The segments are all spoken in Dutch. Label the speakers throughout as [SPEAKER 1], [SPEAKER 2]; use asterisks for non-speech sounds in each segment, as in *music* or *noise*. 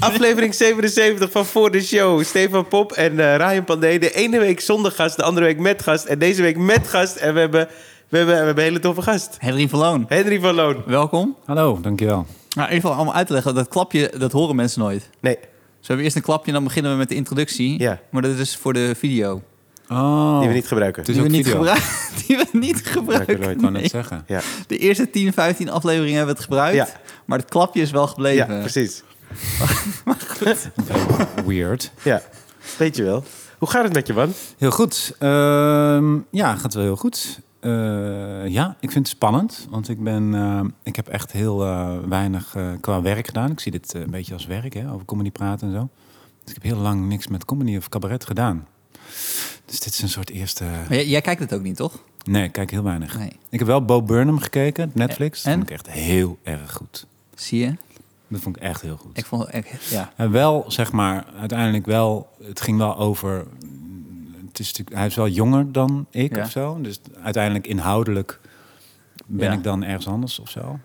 [SPEAKER 1] Aflevering 77 van Voor de Show. Stefan Pop en eh, Ryan Pandey. De ene week zonder gast, de andere week met gast. En deze week met gast. En we hebben, we hebben, we hebben een hele toffe gast.
[SPEAKER 2] Henry Verloon,
[SPEAKER 1] Henry van Loon.
[SPEAKER 2] welkom.
[SPEAKER 3] Hallo, dankjewel.
[SPEAKER 2] Nou, in ieder geval allemaal uit te leggen, dat klapje, dat horen mensen nooit. Dus
[SPEAKER 1] Nee,
[SPEAKER 2] we hebben eerst een klapje en dan beginnen we met de introductie.
[SPEAKER 1] Ja.
[SPEAKER 2] Maar dat is dus voor de video.
[SPEAKER 3] Oh,
[SPEAKER 1] die we niet gebruiken.
[SPEAKER 3] het is
[SPEAKER 2] die,
[SPEAKER 3] ook
[SPEAKER 2] we niet
[SPEAKER 3] video. Ik
[SPEAKER 2] gebruiken, *laughs* die we niet gebruiken.
[SPEAKER 1] nooit.
[SPEAKER 3] kan
[SPEAKER 2] Nee.
[SPEAKER 3] het *laughs* zeggen.
[SPEAKER 1] Ja,
[SPEAKER 2] De eerste 10, 15 afleveringen hebben we het gebruikt.
[SPEAKER 1] Ja.
[SPEAKER 2] Maar het klapje is wel
[SPEAKER 1] ja
[SPEAKER 2] gebleven.
[SPEAKER 1] precies.
[SPEAKER 3] Weird.
[SPEAKER 1] Ja, weet je wel. Hoe gaat het met je, man?
[SPEAKER 3] Heel goed. Ehm, ja, gaat wel heel goed. Eh, ja, ik vind het spannend, want ik ben, eh, ik heb echt heel eh, weinig eh, qua werk gedaan. Ik zie dit eh, een beetje als werk, hè, over comedy praten en zo. Dus ik heb heel lang niks met comedy of cabaret gedaan. Dus dit is een soort eerste.
[SPEAKER 2] Maar jij, jij kijkt het ook niet, toch?
[SPEAKER 3] Nee, ik kijk heel weinig.
[SPEAKER 2] Nee.
[SPEAKER 3] Ik heb wel Bo Burnham gekeken, Netflix. Dat
[SPEAKER 2] En?
[SPEAKER 3] vond ik echt heel erg goed.
[SPEAKER 2] Zie je?
[SPEAKER 3] Dat vond ik echt heel goed.
[SPEAKER 2] Ik vond ik, ja.
[SPEAKER 3] En wel, zeg maar, uiteindelijk wel, het ging wel over. Het is natuurlijk, hij is wel jonger dan ik
[SPEAKER 2] Ja.
[SPEAKER 3] of zo. Dus uiteindelijk inhoudelijk ben
[SPEAKER 2] Ja.
[SPEAKER 3] ik dan ergens anders of zo.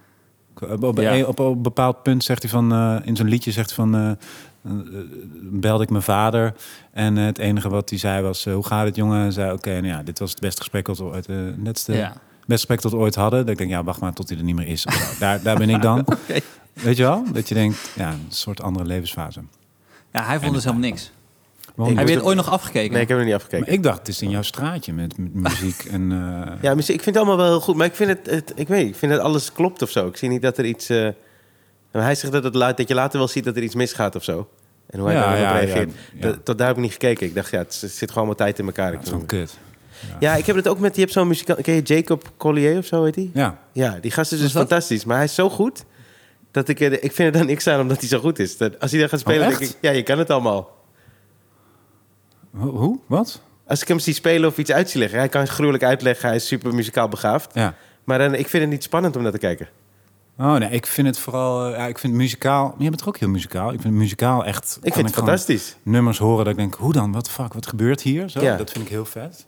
[SPEAKER 3] Ik- Op, op,
[SPEAKER 2] Ja.
[SPEAKER 3] op een bepaald punt zegt hij van, eh, in zijn liedje zegt hij van, eh, eh, belde ik mijn vader. En eh, het enige wat hij zei was, eh, hoe gaat het jongen? En zei, oké, nou ja, dit was het beste gesprek dat we ooit, eh, het netste
[SPEAKER 2] Ja.
[SPEAKER 3] beste gesprek dat we ooit hadden. Dat ik denk, ja, wacht maar tot hij er niet meer is. of zo. daar, daar ben ik
[SPEAKER 2] *laughs*
[SPEAKER 3] dan. Weet je wel? Dat je denkt, ja, een soort andere levensfase.
[SPEAKER 2] ja, hij vond dus helemaal niks.
[SPEAKER 3] Waarom?
[SPEAKER 2] Heb
[SPEAKER 1] moest
[SPEAKER 2] je het
[SPEAKER 1] ook-
[SPEAKER 2] ooit nog afgekeken?
[SPEAKER 1] Nee, ik heb er niet afgekeken.
[SPEAKER 3] Maar ik dacht, het is in jouw straatje met, met
[SPEAKER 1] *laughs*
[SPEAKER 3] muziek en... eh,
[SPEAKER 1] Ja, muziek- ik vind het allemaal wel heel goed. Maar ik vind het, het ik weet, niet, ik vind dat alles klopt of zo. Ik zie niet dat er iets. eh, maar hij zegt dat, het, la- dat je later wel ziet dat er iets misgaat of zo. En hoe hij
[SPEAKER 3] Ja,
[SPEAKER 1] daarop
[SPEAKER 3] ja,
[SPEAKER 1] reageert.
[SPEAKER 3] ja, ja.
[SPEAKER 1] Dat- tot daar heb ik niet gekeken. Ik dacht, ja, het, zit gewoon allemaal tijd in elkaar.
[SPEAKER 3] ja,
[SPEAKER 1] Ik
[SPEAKER 3] het is gewoon
[SPEAKER 1] vind-
[SPEAKER 3] kut.
[SPEAKER 1] ja, ik heb het ook met. Je hebt zo'n muzikant. Ken je Jacob Collier of zo heet hij?
[SPEAKER 3] Ja,
[SPEAKER 1] Ja, die gast is dus
[SPEAKER 2] Is dat-
[SPEAKER 1] fantastisch. Maar hij is zo goed. Dat ik, eh, ik vind er dan niks aan omdat hij zo goed is. Dat, als hij dan gaat spelen,
[SPEAKER 3] Oh,
[SPEAKER 1] denk
[SPEAKER 3] echt?
[SPEAKER 1] ik, ja, je kan het allemaal.
[SPEAKER 3] Ho- hoe? Wat?
[SPEAKER 1] Als ik hem zie spelen of iets uit zie leggen, hij kan gruwelijk uitleggen, hij is super muzikaal begaafd.
[SPEAKER 3] Ja.
[SPEAKER 1] Maar dan, ik vind het niet spannend om naar te kijken.
[SPEAKER 3] Oh nee, ik vind het vooral... eh, ja, ik vind muzikaal... Maar jij bent toch ook heel muzikaal? Ik vind muzikaal echt...
[SPEAKER 1] Ik
[SPEAKER 3] kan
[SPEAKER 1] vind het
[SPEAKER 3] gewoon
[SPEAKER 1] fantastisch.
[SPEAKER 3] Nummers horen dat ik denk, hoe dan? Wat fuck? Wat gebeurt hier? Zo,
[SPEAKER 1] Ja.
[SPEAKER 3] Dat vind ik heel vet.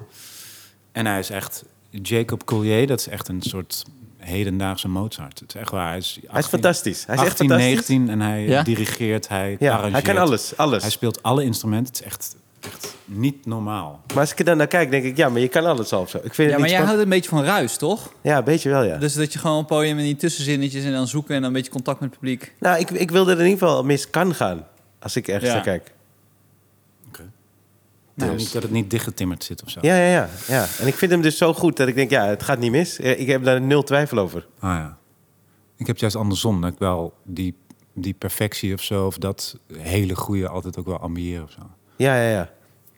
[SPEAKER 3] En hij is echt... Jacob Collier, dat is echt een soort hedendaagse Mozart. Het is echt waar. Hij is, 18,
[SPEAKER 1] Hij is fantastisch. Hij is
[SPEAKER 3] 18,
[SPEAKER 1] echt fantastisch.
[SPEAKER 3] 19 en hij
[SPEAKER 2] Ja?
[SPEAKER 3] dirigeert, hij
[SPEAKER 1] Ja, hij
[SPEAKER 3] arrangeert.
[SPEAKER 1] kan alles, alles.
[SPEAKER 3] Hij speelt alle instrumenten. Het is echt, echt niet normaal.
[SPEAKER 1] Maar als ik er dan naar kijk, denk ik, ja, maar je kan alles al of zo. Ik vind
[SPEAKER 2] Ja,
[SPEAKER 1] het
[SPEAKER 2] maar
[SPEAKER 1] niet
[SPEAKER 2] jij
[SPEAKER 1] spannend.
[SPEAKER 2] houdt een beetje van ruis, toch?
[SPEAKER 1] Ja, een beetje wel, ja.
[SPEAKER 2] Dus dat je gewoon op het podium en die tussenzinnetjes en dan zoeken en dan een beetje contact met het publiek.
[SPEAKER 1] Nou, ik, ik wil dat er in ieder geval mis kan gaan. Als ik ergens
[SPEAKER 2] Ja.
[SPEAKER 1] naar kijk.
[SPEAKER 3] Nou,
[SPEAKER 1] Dus-
[SPEAKER 3] niet dat het niet dichtgetimmerd zit of zo.
[SPEAKER 1] Ja, ja, ja, ja. En ik vind hem dus zo goed dat ik denk, ja, het gaat niet mis. Eh, Ik heb daar nul twijfel over.
[SPEAKER 3] Ah, ja. Ik heb juist andersom. Dat ik wel die, die perfectie of zo... of dat hele goede altijd ook wel ambiëren of zo.
[SPEAKER 1] Ja, ja, ja.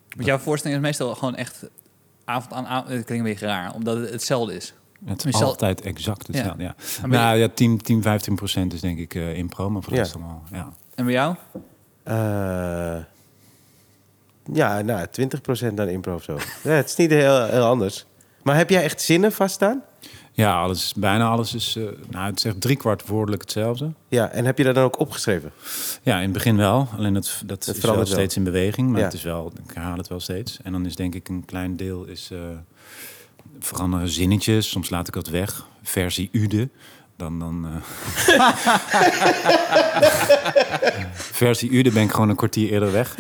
[SPEAKER 2] Want jouw voorstelling is meestal gewoon echt avond aan avond. Het klinkt een beetje raar, omdat het hetzelfde is.
[SPEAKER 3] Het
[SPEAKER 2] Maar
[SPEAKER 3] is
[SPEAKER 2] zal-
[SPEAKER 3] altijd exact hetzelfde, ja.
[SPEAKER 2] Maar ben je-
[SPEAKER 3] Nou ja, 10, 10, 15 procent is denk ik eh impro, maar voor de
[SPEAKER 1] Ja.
[SPEAKER 3] rest allemaal, ja.
[SPEAKER 2] En bij jou?
[SPEAKER 1] Eh, ja, nou, 20% dan improv
[SPEAKER 2] *laughs*
[SPEAKER 1] zo. Ja, het is niet heel, heel anders. Maar heb jij echt zinnen vaststaan?
[SPEAKER 3] Ja, alles, is- bijna alles is, eh, nou het is echt driekwart woordelijk hetzelfde.
[SPEAKER 1] Ja, en heb je dat dan ook opgeschreven?
[SPEAKER 3] Ja, in het begin wel. Alleen dat, dat, is wel
[SPEAKER 1] verandert wel.
[SPEAKER 3] steeds in beweging. Maar
[SPEAKER 1] Ja.
[SPEAKER 3] het is wel, ik herhaal het wel steeds. En dan is denk ik een klein deel is eh, veranderen zinnetjes. Soms laat ik dat weg. Versie Ude. Dan, dan, eh. *laughs* Versie Ude ben ik gewoon een kwartier eerder weg. *laughs*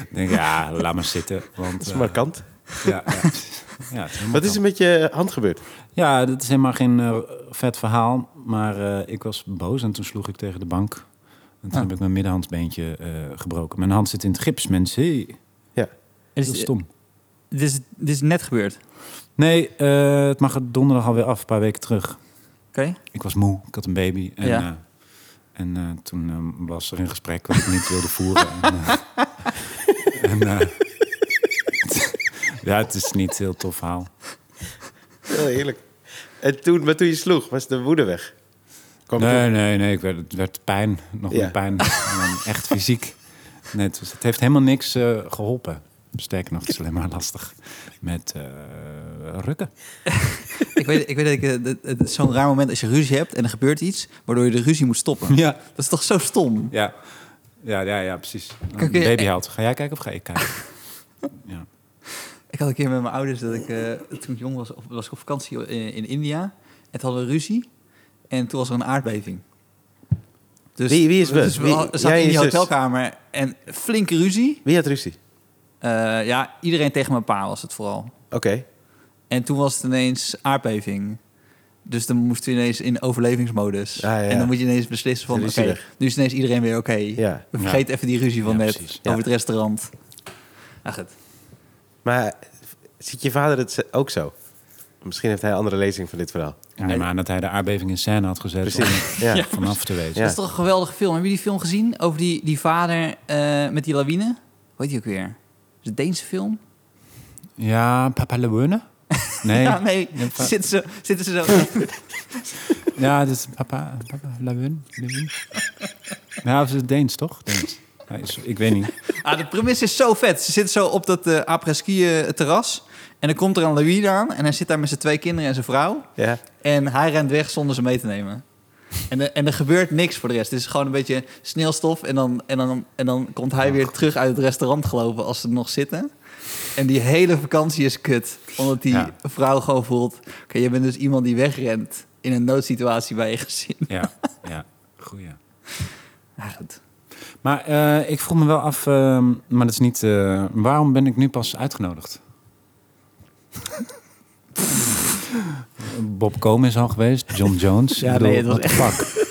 [SPEAKER 3] Ik denk ja, laat maar zitten. Want,
[SPEAKER 1] Dat is
[SPEAKER 3] eh,
[SPEAKER 1] markant.
[SPEAKER 3] ja, ja, het is- ja, het is helemaal
[SPEAKER 1] Wat is
[SPEAKER 3] kan.
[SPEAKER 1] er met je hand gebeurd?
[SPEAKER 3] Ja, dat is helemaal geen eh, vet verhaal. Maar eh, ik was boos en toen sloeg ik tegen de bank. En toen
[SPEAKER 2] Ah.
[SPEAKER 3] heb ik mijn middenhandsbeentje eh, gebroken. Mijn hand zit in het gips, mensen. Hey,
[SPEAKER 1] Ja.
[SPEAKER 3] Dat is stom.
[SPEAKER 2] Dit is, dit is net gebeurd. Oké.
[SPEAKER 3] Nee, eh, het mag er donderdag alweer af, een paar weken terug. Ik was moe, ik had een baby. En,
[SPEAKER 2] Ja.
[SPEAKER 3] eh, en eh, toen eh, was er een gesprek wat ik niet wilde
[SPEAKER 2] *laughs*
[SPEAKER 3] voeren. En, eh, en, eh, *laughs* ja, het is niet heel tof verhaal.
[SPEAKER 1] Heel eerlijk. En toen, maar toen je sloeg, was de woede weg. Kwam
[SPEAKER 3] Nee,
[SPEAKER 1] toen-
[SPEAKER 3] nee, nee. Ik werd, het werd pijn. Nog
[SPEAKER 1] Ja.
[SPEAKER 3] meer pijn. En dan echt fysiek. Nee, het, was- het heeft helemaal niks eh, geholpen. Sterker nog, het is alleen maar lastig met eh, rukken.
[SPEAKER 2] ik, weet, ik weet dat ik, eh, dat- het is zo'n raar moment als je ruzie hebt en er gebeurt iets, waardoor je de ruzie moet
[SPEAKER 1] *laughs*
[SPEAKER 2] stoppen.
[SPEAKER 3] Ja.
[SPEAKER 2] Dat is toch zo stom?
[SPEAKER 3] Ja, ja, ja, ja precies.
[SPEAKER 2] Kijk, eh,
[SPEAKER 3] baby haalt. Ga jij kijken of ga ik kijken? ja.
[SPEAKER 2] Ik had een keer met mijn ouders dat ik, eh, toen ik jong was, op- was ik op eh, vakantie in, in India. En toen hadden we ruzie. En toen was er een aardbeving. Dus,
[SPEAKER 1] Wie- wie is we?
[SPEAKER 2] Dus we
[SPEAKER 1] Wie-
[SPEAKER 2] al- zaten
[SPEAKER 1] jij en
[SPEAKER 2] in
[SPEAKER 1] je
[SPEAKER 2] die
[SPEAKER 1] zus?
[SPEAKER 2] hotelkamer en flinke ruzie.
[SPEAKER 1] Wie had ruzie?
[SPEAKER 2] Eh, ja, iedereen tegen mijn pa was het vooral.
[SPEAKER 1] Oké.
[SPEAKER 2] En toen was het ineens aardbeving. Dus dan moesten we ineens in overlevingsmodus.
[SPEAKER 1] Ah, ja.
[SPEAKER 2] En dan moet je ineens beslissen van,
[SPEAKER 1] Is
[SPEAKER 2] oké,
[SPEAKER 1] het zielig?
[SPEAKER 2] nu is ineens iedereen weer oké.
[SPEAKER 1] Ja.
[SPEAKER 2] We vergeten even die ruzie van
[SPEAKER 3] Ja,
[SPEAKER 2] net
[SPEAKER 3] precies.
[SPEAKER 1] Ja.
[SPEAKER 2] over het restaurant. Ah, goed.
[SPEAKER 1] Maar ziet je vader het ze- ook zo? Misschien heeft hij een andere lezing van dit verhaal.
[SPEAKER 3] Nee, maar dat hij de aardbeving in scène had gezet
[SPEAKER 1] Precies. Ja.
[SPEAKER 3] om er *laughs* vanaf te wezen.
[SPEAKER 1] Ja.
[SPEAKER 2] Dat is toch een geweldige film. Hebben jullie die film gezien over die, die vader eh, met die lawine? Hoe heet die ook weer? Is het een Deense film?
[SPEAKER 3] Ja, Papa Lewone?
[SPEAKER 2] *laughs*
[SPEAKER 3] Nee.
[SPEAKER 2] Ja,
[SPEAKER 3] ja,
[SPEAKER 2] nee.
[SPEAKER 3] Ja, va-
[SPEAKER 2] Zitten ze, zitten ze zo...
[SPEAKER 1] *laughs*
[SPEAKER 3] dat is Papa, papa Lewone. Lewone. Ja, of is het Deens, toch? Deens. Hij is- ik weet niet.
[SPEAKER 2] Ah, de premisse is zo vet. Ze zitten zo op dat eh après-ski eh, terras. En dan komt er een lawine aan. En hij zit daar met zijn twee kinderen en zijn vrouw.
[SPEAKER 1] Ja.
[SPEAKER 2] En hij rent weg zonder ze mee te nemen. En, eh, en er gebeurt niks voor de rest. Het is gewoon een beetje sneeuwstof. En dan, en dan, en dan komt hij
[SPEAKER 3] Oh,
[SPEAKER 2] weer terug uit het restaurant gelopen als ze er nog zitten. En die hele vakantie is kut. Omdat die
[SPEAKER 3] Ja.
[SPEAKER 2] vrouw gewoon voelt... Oké, je bent dus iemand die wegrent in een noodsituatie bij je gezin.
[SPEAKER 3] Ja, ja. Goeie.
[SPEAKER 2] Ah, goed.
[SPEAKER 3] Maar eh, ik vroeg me wel af, eh, maar dat is niet... eh, waarom ben ik nu pas uitgenodigd? Bob Komen is al geweest, John Jones.
[SPEAKER 2] Ja,
[SPEAKER 3] Ik
[SPEAKER 2] nee, het was
[SPEAKER 3] what the fuck?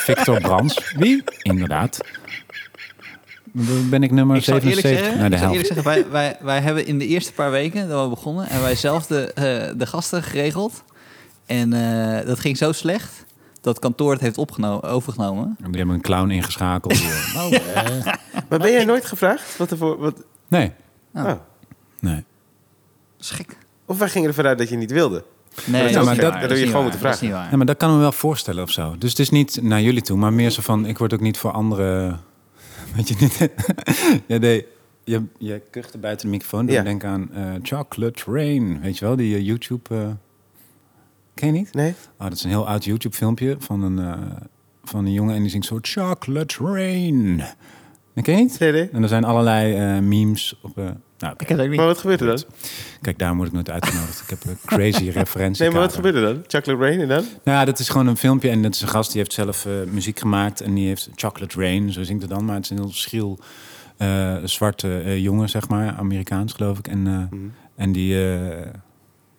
[SPEAKER 3] Victor Brands. Wie? Inderdaad. Ben ik nummer
[SPEAKER 2] Ik zal eerlijk
[SPEAKER 3] 77?
[SPEAKER 2] zeggen,
[SPEAKER 3] Nou, de
[SPEAKER 2] ik zal
[SPEAKER 3] helft.
[SPEAKER 2] eerlijk zeggen wij, wij, wij hebben in de eerste paar weken dat we begonnen... en wij zelf de, eh, de gasten geregeld. En eh, dat ging zo slecht dat het kantoor het heeft opgeno- overgenomen...
[SPEAKER 3] En Die hebben een clown ingeschakeld.
[SPEAKER 2] *laughs*
[SPEAKER 3] Oh, eh.
[SPEAKER 1] Maar ben jij nooit gevraagd? Wat ervoor, wat...
[SPEAKER 3] Nee,
[SPEAKER 2] Ah.
[SPEAKER 1] Oh.
[SPEAKER 3] nee.
[SPEAKER 2] Schik.
[SPEAKER 1] Of wij gingen ervan uit dat je niet wilde?
[SPEAKER 2] Nee, dat,
[SPEAKER 3] Ja, maar
[SPEAKER 2] is
[SPEAKER 3] dat-
[SPEAKER 2] niet waar.
[SPEAKER 3] dat
[SPEAKER 1] doe je
[SPEAKER 2] is
[SPEAKER 1] gewoon
[SPEAKER 2] niet
[SPEAKER 1] moeten vragen.
[SPEAKER 2] waar. Dat is niet
[SPEAKER 3] Ja,
[SPEAKER 2] waar.
[SPEAKER 3] maar dat kan me wel voorstellen of zo. Dus het is niet naar jullie toe, maar meer zo van... Ik word ook niet voor anderen... *laughs* Weet je niet? *laughs* ja, nee. Je, je kuchte buiten de microfoon.
[SPEAKER 1] Ja.
[SPEAKER 3] Ik denk aan eh, Chocolate Rain. Weet je wel, die eh, YouTube... eh, Ken je niet?
[SPEAKER 1] Nee?
[SPEAKER 3] Oh, dat is een heel oud YouTube-filmpje van een, eh, van een jongen... en die zingt zo... Chocolate Rain. Dat Ken je niet?
[SPEAKER 1] Nee, nee.
[SPEAKER 3] En er zijn allerlei eh, memes op... eh, nou, oké.
[SPEAKER 2] Ik heb het ook
[SPEAKER 1] Maar
[SPEAKER 2] niet.
[SPEAKER 1] wat gebeurde dan?
[SPEAKER 3] Kijk, daar word ik nooit uitgenodigd. ik heb een
[SPEAKER 1] *laughs*
[SPEAKER 3] crazy referentie.
[SPEAKER 1] Nee, maar wat gebeurde dan? Chocolate Rain en dan?
[SPEAKER 3] Nou, ja, dat is gewoon een filmpje en dat is een gast die heeft zelf eh, muziek gemaakt en die heeft Chocolate Rain, zo zingt het dan, maar het is een heel schriel eh, zwarte eh, jongen, zeg maar, Amerikaans geloof ik. En, eh, en die, eh,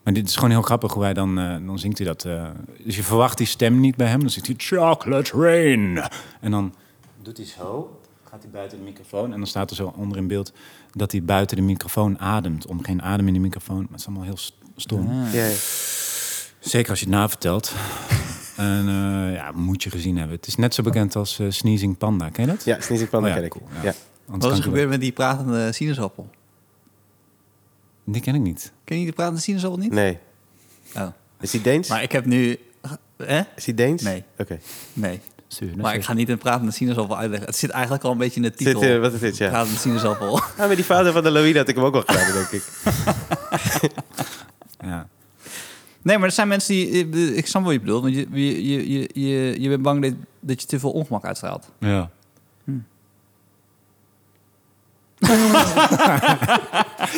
[SPEAKER 3] maar dit is gewoon heel grappig hoe hij dan, eh, dan zingt hij dat. eh, dus je verwacht die stem niet bij hem, dan zingt hij Chocolate Rain. En dan doet hij zo, gaat hij buiten de microfoon en dan staat er zo onder in beeld dat hij buiten de microfoon ademt, om geen adem in de microfoon, maar het is allemaal heel s- stom.
[SPEAKER 1] Ja, ja.
[SPEAKER 3] Zeker als je het navertelt. en eh, ja, moet je gezien hebben. Het is net zo bekend als eh, Sneezing Panda. Ken je dat?
[SPEAKER 1] ja Sneezing Panda
[SPEAKER 3] Oh ja,
[SPEAKER 1] ken ik.
[SPEAKER 3] cool,
[SPEAKER 1] ja.
[SPEAKER 3] ja. Anders
[SPEAKER 2] Wat is
[SPEAKER 3] kan
[SPEAKER 2] er
[SPEAKER 3] ik er
[SPEAKER 2] gebeurd met die pratende sinaasappel?
[SPEAKER 3] wel- Die ken ik niet.
[SPEAKER 2] Ken je die pratende sinaasappel niet?
[SPEAKER 1] Nee.
[SPEAKER 2] Oh.
[SPEAKER 1] Is hij Deens?
[SPEAKER 2] Maar ik heb nu... Hè?
[SPEAKER 1] Is hij Deens?
[SPEAKER 2] Nee.
[SPEAKER 1] Oké.
[SPEAKER 2] Nee.
[SPEAKER 3] Stuur, dat
[SPEAKER 2] Maar
[SPEAKER 3] is-
[SPEAKER 2] ik ga niet een pratende sinaasappel uitleggen. Het zit eigenlijk al een beetje in de
[SPEAKER 1] Zit,
[SPEAKER 2] titel.
[SPEAKER 1] eh, wat is dit, ja.
[SPEAKER 2] Pratende sinaasappel. *laughs*
[SPEAKER 1] Ah, met die vader van de Louis had ik hem ook al gedaan, denk ik.
[SPEAKER 3] Ja.
[SPEAKER 2] Nee, maar er zijn mensen die... Ik snap wat je bedoelt. Want je, je, je, je, je, je bent bang dat, dat je te veel ongemak uitstraalt.
[SPEAKER 3] ja.
[SPEAKER 1] Maar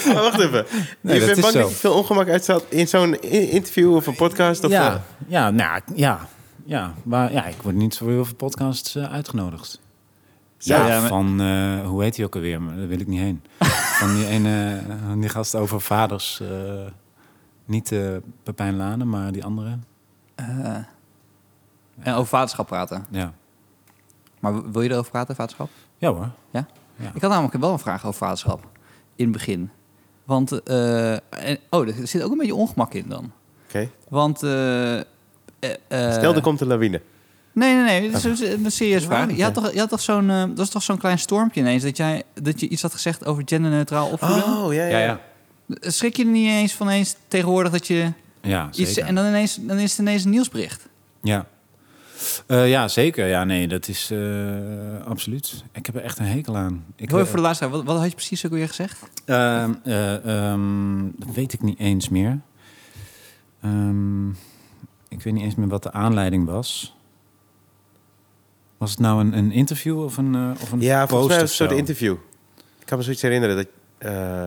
[SPEAKER 1] Oh, wacht even.
[SPEAKER 3] Nee,
[SPEAKER 1] je
[SPEAKER 3] dat
[SPEAKER 1] bent
[SPEAKER 3] is
[SPEAKER 1] bang
[SPEAKER 3] zo.
[SPEAKER 1] dat je veel ongemak uitstelt in zo'n i- interview of een podcast? Of
[SPEAKER 3] ja.
[SPEAKER 1] eh,
[SPEAKER 3] ja, nou ja. Ja, maar ja, ik word niet zo heel veel podcasts eh, uitgenodigd. Ja,
[SPEAKER 2] Ja, maar-
[SPEAKER 3] van, eh, hoe heet hij ook alweer? Maar daar wil ik niet heen. van die ene, eh, van die gast over vaders. eh, niet eh Pepijn Lane, maar die andere.
[SPEAKER 2] Eh, en over vaderschap praten.
[SPEAKER 3] Ja,
[SPEAKER 2] Maar wil je erover praten, vaderschap?
[SPEAKER 3] ja hoor.
[SPEAKER 2] Ja?
[SPEAKER 3] Ja.
[SPEAKER 2] Ik had namelijk wel een vraag over vaderschap in het begin. Want, eh, en, oh, er zit ook een beetje ongemak in dan.
[SPEAKER 1] Oké.
[SPEAKER 2] Want, eh, eh, eh,
[SPEAKER 1] Stel, er komt een lawine.
[SPEAKER 2] Nee, nee, nee, dat is een, een serieuze
[SPEAKER 1] Waarom
[SPEAKER 2] vraag.
[SPEAKER 1] niet,
[SPEAKER 2] Je had
[SPEAKER 1] hè?
[SPEAKER 2] toch, je had toch zo'n, eh, dat is toch zo'n klein stormpje ineens, dat, jij, dat je iets had gezegd over genderneutraal opvoeden?
[SPEAKER 3] Oh.
[SPEAKER 1] Oh, ja,
[SPEAKER 2] Schrik je er niet eens van eens tegenwoordig dat je
[SPEAKER 3] Ja,
[SPEAKER 2] iets...
[SPEAKER 3] zeker.
[SPEAKER 2] En dan, ineens, dan is het ineens een nieuwsbericht.
[SPEAKER 3] Ja. Eh, ja, zeker. Ja, nee, dat is eh, absoluut. Ik heb er echt een hekel aan. Ik,
[SPEAKER 2] Ik hoor
[SPEAKER 3] eh,
[SPEAKER 2] voor de laatste wat, wat had je precies ook weer gezegd?
[SPEAKER 3] ehm, eh, ehm, dat weet ik niet eens meer. Ehm, ik weet niet eens meer wat de aanleiding was. Was het nou een, een interview of een, eh, of een
[SPEAKER 1] Ja, volgens
[SPEAKER 3] post
[SPEAKER 1] mij
[SPEAKER 3] of
[SPEAKER 1] was het een soort
[SPEAKER 3] zo?
[SPEAKER 1] interview. Ik kan me zoiets herinneren. Dat, eh,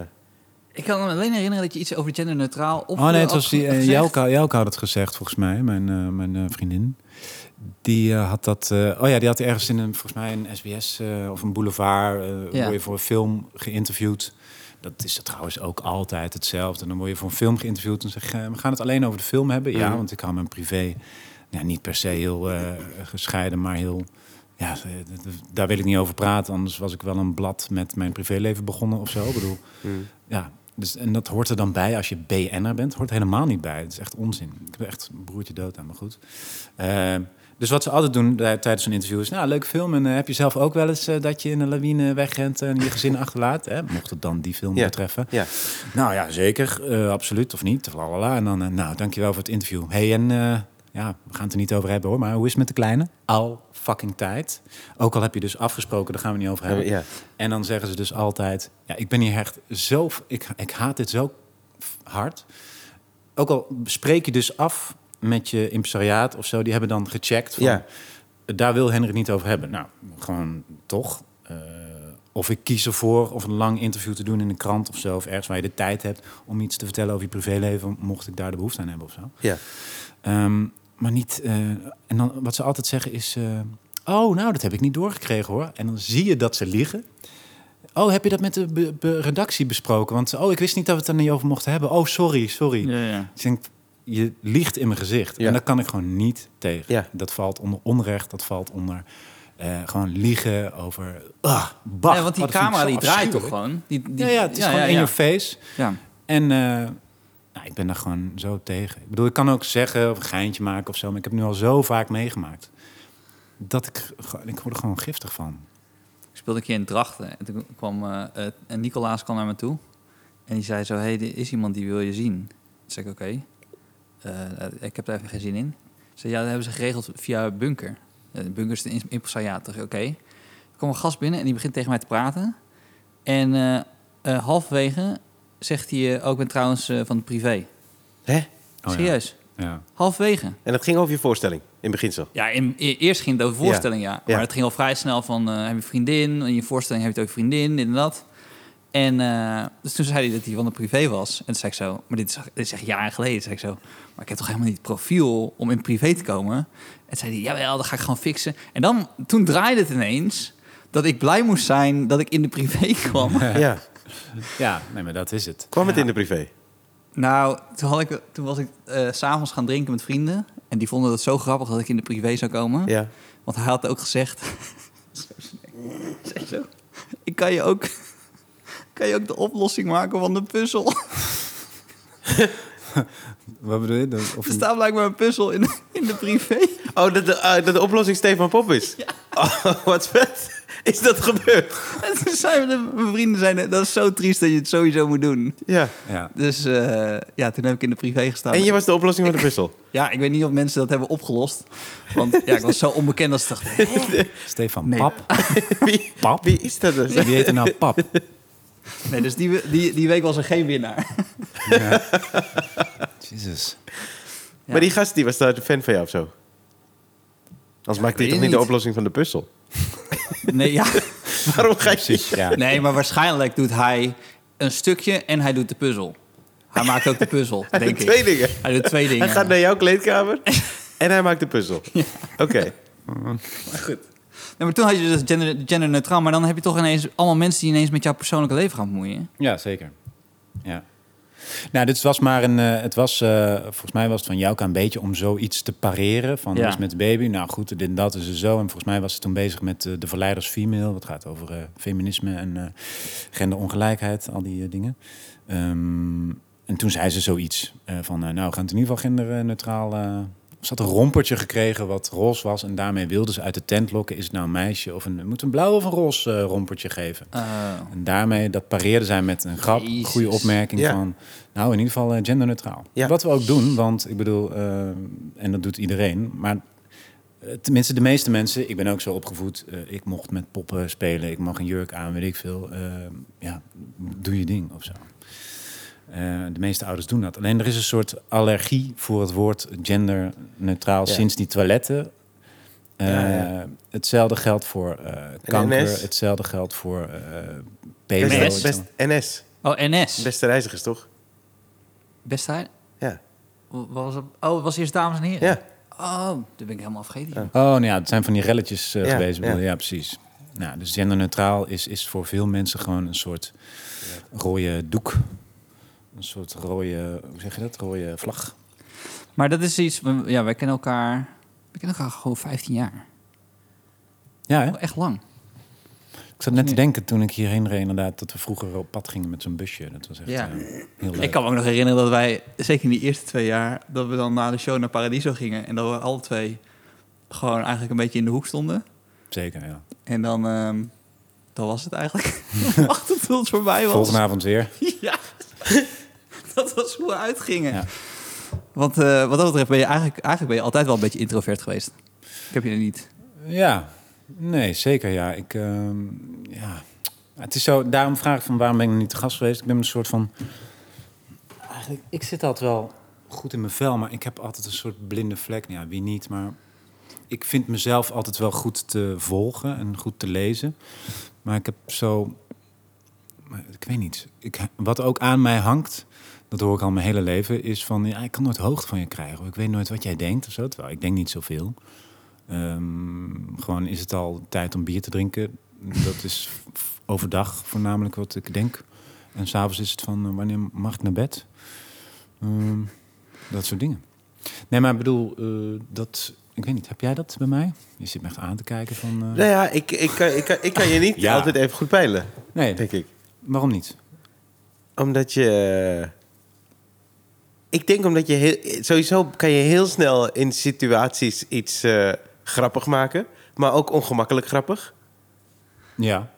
[SPEAKER 2] Ik kan me alleen herinneren dat je iets over genderneutraal op.
[SPEAKER 3] oh nee, het was die, eh, Jelka, Jelka had het gezegd, volgens mij, mijn, eh, mijn eh, vriendin. Die eh, had dat... eh, oh ja, die had ergens in een, volgens mij een SBS eh, of een boulevard... eh,
[SPEAKER 2] Ja.
[SPEAKER 3] word je voor een film geïnterviewd. Dat is trouwens ook altijd hetzelfde. Dan word je voor een film geïnterviewd en zeg je... eh, we gaan het alleen over de film hebben. Ja,
[SPEAKER 1] Mhm.
[SPEAKER 3] want ik hou mijn privé ja, niet per se heel eh, gescheiden, maar heel... Ja, eh, d- d- daar wil ik niet over praten. Anders was ik wel een blad met mijn privéleven begonnen of zo. Ik bedoel, ja, dus, en dat hoort er dan bij als je BN'er bent. Hoort helemaal niet bij. Het is echt onzin. Ik ben echt een broertje dood aan, maar goed. Eh, dus wat ze altijd doen daar- tijdens een interview is... Nou, leuk film. En eh, heb je zelf ook wel eens eh, dat je in een lawine wegrent... en je gezin *laughs* achterlaat? Hè? Mocht het dan die film
[SPEAKER 1] Ja.
[SPEAKER 3] betreffen.
[SPEAKER 1] Ja.
[SPEAKER 3] Nou ja, zeker. eh, absoluut of niet. Lalala. En dan, eh, nou, dankjewel voor het interview. hey, en eh, ja, we gaan het er niet over hebben hoor. Maar hoe is het met de kleine? Al fucking tijd. Ook al heb je dus afgesproken, daar gaan we niet over hebben.
[SPEAKER 1] eh, Ja.
[SPEAKER 3] En dan zeggen ze dus altijd... Ja, ik ben hier echt zo... Ik, ik haat dit zo f- hard. Ook al spreek je dus af met je impresariaat of zo... die hebben dan gecheckt van...
[SPEAKER 1] Ja.
[SPEAKER 3] daar wil Henrik niet over hebben. Nou, gewoon toch. eh, of ik kies ervoor of een lang interview te doen in een krant of zo... of ergens waar je de tijd hebt om iets te vertellen over je privéleven... mocht ik daar de behoefte aan hebben of zo.
[SPEAKER 1] Ja.
[SPEAKER 3] Ehm, maar niet. eh, en dan wat ze altijd zeggen is. eh, oh, nou, dat heb ik niet doorgekregen hoor. En dan zie je dat ze liegen. Oh, heb je dat met de be- be- redactie besproken? Want oh, ik wist niet dat we het er niet over mochten hebben. Oh, sorry, sorry.
[SPEAKER 2] Ja, ja.
[SPEAKER 3] Dus ik denk, je liegt in mijn gezicht.
[SPEAKER 1] Ja.
[SPEAKER 3] En daar kan ik gewoon niet tegen.
[SPEAKER 1] Ja.
[SPEAKER 3] Dat valt onder onrecht, dat valt onder. eh, gewoon liegen over. Ah, bah,
[SPEAKER 2] Ja, want die
[SPEAKER 3] oh, dat vind ik
[SPEAKER 2] camera
[SPEAKER 3] zo
[SPEAKER 2] die draait toch
[SPEAKER 3] afschuwelijk.
[SPEAKER 2] gewoon? Die, die,
[SPEAKER 3] ja, ja, het is gewoon in
[SPEAKER 2] ja.
[SPEAKER 3] your face.
[SPEAKER 2] Ja.
[SPEAKER 3] En eh, nou, ik ben daar gewoon zo tegen. Ik bedoel, ik kan ook zeggen of een geintje maken of zo, maar ik heb nu al zo vaak meegemaakt dat ik, gewoon- ik word er gewoon giftig van.
[SPEAKER 2] Ik speelde een keer in Drachten. En toen kwam eh, eh, en Nicolaas kwam naar me toe. En die zei zo, hey, er is iemand die wil je zien. Toen zei ik, oké. Eh, ik heb daar even geen zin in. Ze zei, ja, dat hebben ze geregeld via Bunker. Eh, bunker is de im- impresariaat. Toen zei ik, oké. Er kwam een gast binnen en die begint tegen mij te praten. En eh, eh, halverwege zegt hij, eh, oh, ik ben trouwens eh, van de privé.
[SPEAKER 1] Hè?
[SPEAKER 3] Oh, ja.
[SPEAKER 2] Serieus,
[SPEAKER 3] Ja.
[SPEAKER 2] halverwege.
[SPEAKER 1] En dat ging over je voorstelling, in beginsel.
[SPEAKER 2] Ja, in, e- eerst ging het over voorstelling, ja. Maar
[SPEAKER 1] Ja.
[SPEAKER 2] het ging al vrij snel van, eh, heb je vriendin? In je voorstelling heb je het ook vriendin, dit en dat. En eh, dus toen zei hij dat hij van de privé was. En toen zei ik zo, maar dit is, dit is echt jaren geleden. Zei ik zo, maar ik heb toch helemaal niet het profiel om in privé te komen? En toen zei hij, jawel, dat ga ik gewoon fixen. En dan, toen draaide het ineens dat ik blij moest zijn dat ik in de privé *laughs* kwam.
[SPEAKER 1] Ja.
[SPEAKER 3] ja, nee, maar dat is het.
[SPEAKER 1] Kwam het in de privé?
[SPEAKER 2] Nou, toen, had ik, toen was ik eh, s s'avonds gaan drinken met vrienden. En die vonden dat zo grappig dat ik in de privé zou komen.
[SPEAKER 1] Ja.
[SPEAKER 2] Want hij had ook gezegd... *laughs* Zo slecht. Zeg zo. Ik kan je ook... *laughs* Kan je ook de oplossing maken van de puzzel? *laughs*
[SPEAKER 3] Wat bedoel je? Dat- Of
[SPEAKER 1] Dus
[SPEAKER 2] Er staat blijkbaar een puzzel in, in de *laughs* privé.
[SPEAKER 1] Oh, dat de, eh, dat de oplossing Stefan Pop is? Oh, wat vet. Is dat gebeurd?
[SPEAKER 2] En toen zeiden de- mijn vrienden, zeiden, dat is zo triest dat je het sowieso moet doen.
[SPEAKER 1] Ja.
[SPEAKER 3] ja.
[SPEAKER 2] Dus eh, ja, toen heb ik in de privé gestaan.
[SPEAKER 1] En je was de oplossing van de puzzel?
[SPEAKER 2] Ja, ik weet niet of mensen dat hebben opgelost. Want ja, ik was zo onbekend als ze dachten, *laughs* "Hè?
[SPEAKER 3] Stefan
[SPEAKER 2] Nee.
[SPEAKER 3] Pap.
[SPEAKER 1] *laughs* Wie,
[SPEAKER 3] Pap?
[SPEAKER 1] wie is dat? dan?
[SPEAKER 3] Wie heet er nou Pap?
[SPEAKER 2] Nee, dus die, die, die week was er geen winnaar.
[SPEAKER 3] Jezus.
[SPEAKER 1] Maar die gast die was daar fan van jou of zo? Anders maakt hij
[SPEAKER 2] weet
[SPEAKER 1] toch
[SPEAKER 2] het
[SPEAKER 1] niet de
[SPEAKER 2] niet.
[SPEAKER 1] oplossing van de puzzel?
[SPEAKER 2] Nee, *laughs* ja.
[SPEAKER 1] Waarom ga je...
[SPEAKER 3] Precies, ja.
[SPEAKER 2] Nee, maar waarschijnlijk doet hij een stukje en hij doet de puzzel. Hij maakt ook de puzzel,
[SPEAKER 1] *laughs* Hij
[SPEAKER 2] denk
[SPEAKER 1] doet twee
[SPEAKER 2] ik.
[SPEAKER 1] dingen.
[SPEAKER 2] Hij doet twee dingen.
[SPEAKER 1] Hij gaat naar jouw kleedkamer en hij maakt de puzzel. Oké.
[SPEAKER 2] Nee, maar toen had je dus gender, genderneutraal, maar dan heb je toch ineens allemaal mensen die ineens met jouw persoonlijke leven gaan bemoeien.
[SPEAKER 3] Ja, zeker. Ja. Nou, dit was maar een. eh, het was, eh, volgens mij was het van jou een beetje om zoiets te pareren. Van
[SPEAKER 2] Ja.
[SPEAKER 3] is met de baby. Nou goed, dit en dat is er zo. En volgens mij was ze toen bezig met eh, de verleiders female. Wat gaat over eh, feminisme en eh, genderongelijkheid, al die eh, dingen. Ehm, en toen zei ze zoiets eh, van, eh, nou, we gaan het in ieder geval genderneutraal... eh ze had een rompertje gekregen wat roze was en daarmee wilde ze uit de tent lokken. Is het nou een meisje of een... Moet een blauw of een roze eh, rompertje geven?
[SPEAKER 2] Eh,
[SPEAKER 3] En daarmee, dat pareerde zij met een grap,
[SPEAKER 2] Jezus.
[SPEAKER 3] goede opmerking
[SPEAKER 1] Ja.
[SPEAKER 3] van... nou, in ieder geval eh, genderneutraal.
[SPEAKER 1] Ja.
[SPEAKER 3] Wat we ook doen, want ik bedoel, eh, en dat doet iedereen... maar eh, tenminste de meeste mensen, ik ben ook zo opgevoed... eh, ik mocht met poppen spelen, ik mag een jurk aan, weet ik veel. eh, ja, doe je ding of zo. Eh, de meeste ouders doen dat. Alleen er is een soort allergie voor het woord genderneutraal
[SPEAKER 1] Ja.
[SPEAKER 3] sinds die toiletten. Eh,
[SPEAKER 1] Ja, ja.
[SPEAKER 3] Hetzelfde geldt voor eh, kanker,
[SPEAKER 1] NS?
[SPEAKER 3] hetzelfde geldt voor eh, pedo.
[SPEAKER 1] Best,
[SPEAKER 3] weet je
[SPEAKER 1] best NS.
[SPEAKER 2] Oh, NS.
[SPEAKER 1] Beste reizigers, toch?
[SPEAKER 2] Beste hij.
[SPEAKER 1] Ja.
[SPEAKER 2] Wat was het? Oh, het was eerst dames en heren.
[SPEAKER 1] Ja.
[SPEAKER 2] Oh, dat ben ik helemaal vergeten.
[SPEAKER 1] Ja.
[SPEAKER 3] Oh, nou ja, het zijn van die relletjes eh,
[SPEAKER 1] Ja,
[SPEAKER 3] geweest. bedoel
[SPEAKER 1] ja.
[SPEAKER 3] je. Ja, precies. Nou, dus genderneutraal is, is voor veel mensen gewoon een soort rode doek. Een soort rode, hoe zeg je dat? Rode vlag.
[SPEAKER 2] Maar dat is iets... we- Ja, wij kennen elkaar... We kennen elkaar gewoon 15 jaar.
[SPEAKER 3] Ja, hè?
[SPEAKER 2] Wel Echt lang.
[SPEAKER 3] ik zat net te denken toen ik hierheen reed inderdaad... dat we vroeger op pad gingen met zo'n busje. Dat was echt
[SPEAKER 2] Ja.
[SPEAKER 3] eh, heel leuk.
[SPEAKER 2] Ik kan me ook nog herinneren dat wij, zeker in die eerste twee jaar... dat we dan na de show naar Paradiso gingen. En dat we alle twee gewoon eigenlijk een beetje in de hoek stonden.
[SPEAKER 3] Zeker, ja.
[SPEAKER 2] En dan... ehm dat was het
[SPEAKER 3] *laughs*
[SPEAKER 2] eigenlijk. Wachten tot het voorbij was.
[SPEAKER 3] Volgende avond weer.
[SPEAKER 2] Ja, *laughs* dat was hoe we uitgingen.
[SPEAKER 3] Ja.
[SPEAKER 2] Want eh, wat dat betreft ben je eigenlijk, eigenlijk ben je altijd wel een beetje introvert geweest. Ik heb je er niet.
[SPEAKER 3] Ja, nee, zeker ja. Ik, ehm, ja. Het is zo, daarom vraag ik van waarom ben ik nog niet te gast geweest. Ik ben een soort van... Eigenlijk, ik zit altijd wel goed in mijn vel, maar ik heb altijd een soort blinde vlek. Nou Ja, wie niet, maar ik vind mezelf altijd wel goed te volgen en goed te lezen. Maar ik heb zo... maar Ik weet niet. Ik, wat ook aan mij hangt, dat hoor ik al mijn hele leven, is van... Ja, ik kan nooit hoogte van je krijgen. of Ik weet nooit wat jij denkt of zo. Terwijl ik denk niet zoveel. Ehm, gewoon is het al tijd om bier te drinken. Dat is v- overdag voornamelijk wat ik denk. En s'avonds is het van eh, wanneer mag ik naar bed? Ehm, dat soort dingen. Nee, maar ik bedoel, eh, dat, ik weet niet, heb jij dat bij mij? Je zit me echt aan te kijken van... eh,
[SPEAKER 1] Nou ja, ik, ik, kan, ik, kan, ik kan je niet
[SPEAKER 3] Ja.
[SPEAKER 1] altijd even goed peilen,
[SPEAKER 3] nee,
[SPEAKER 1] denk ik.
[SPEAKER 3] waarom niet?
[SPEAKER 1] Omdat je... eh, Ik denk omdat je heel... Sowieso kan je heel snel in situaties iets eh, grappig maken. Maar ook ongemakkelijk grappig.
[SPEAKER 3] Ja.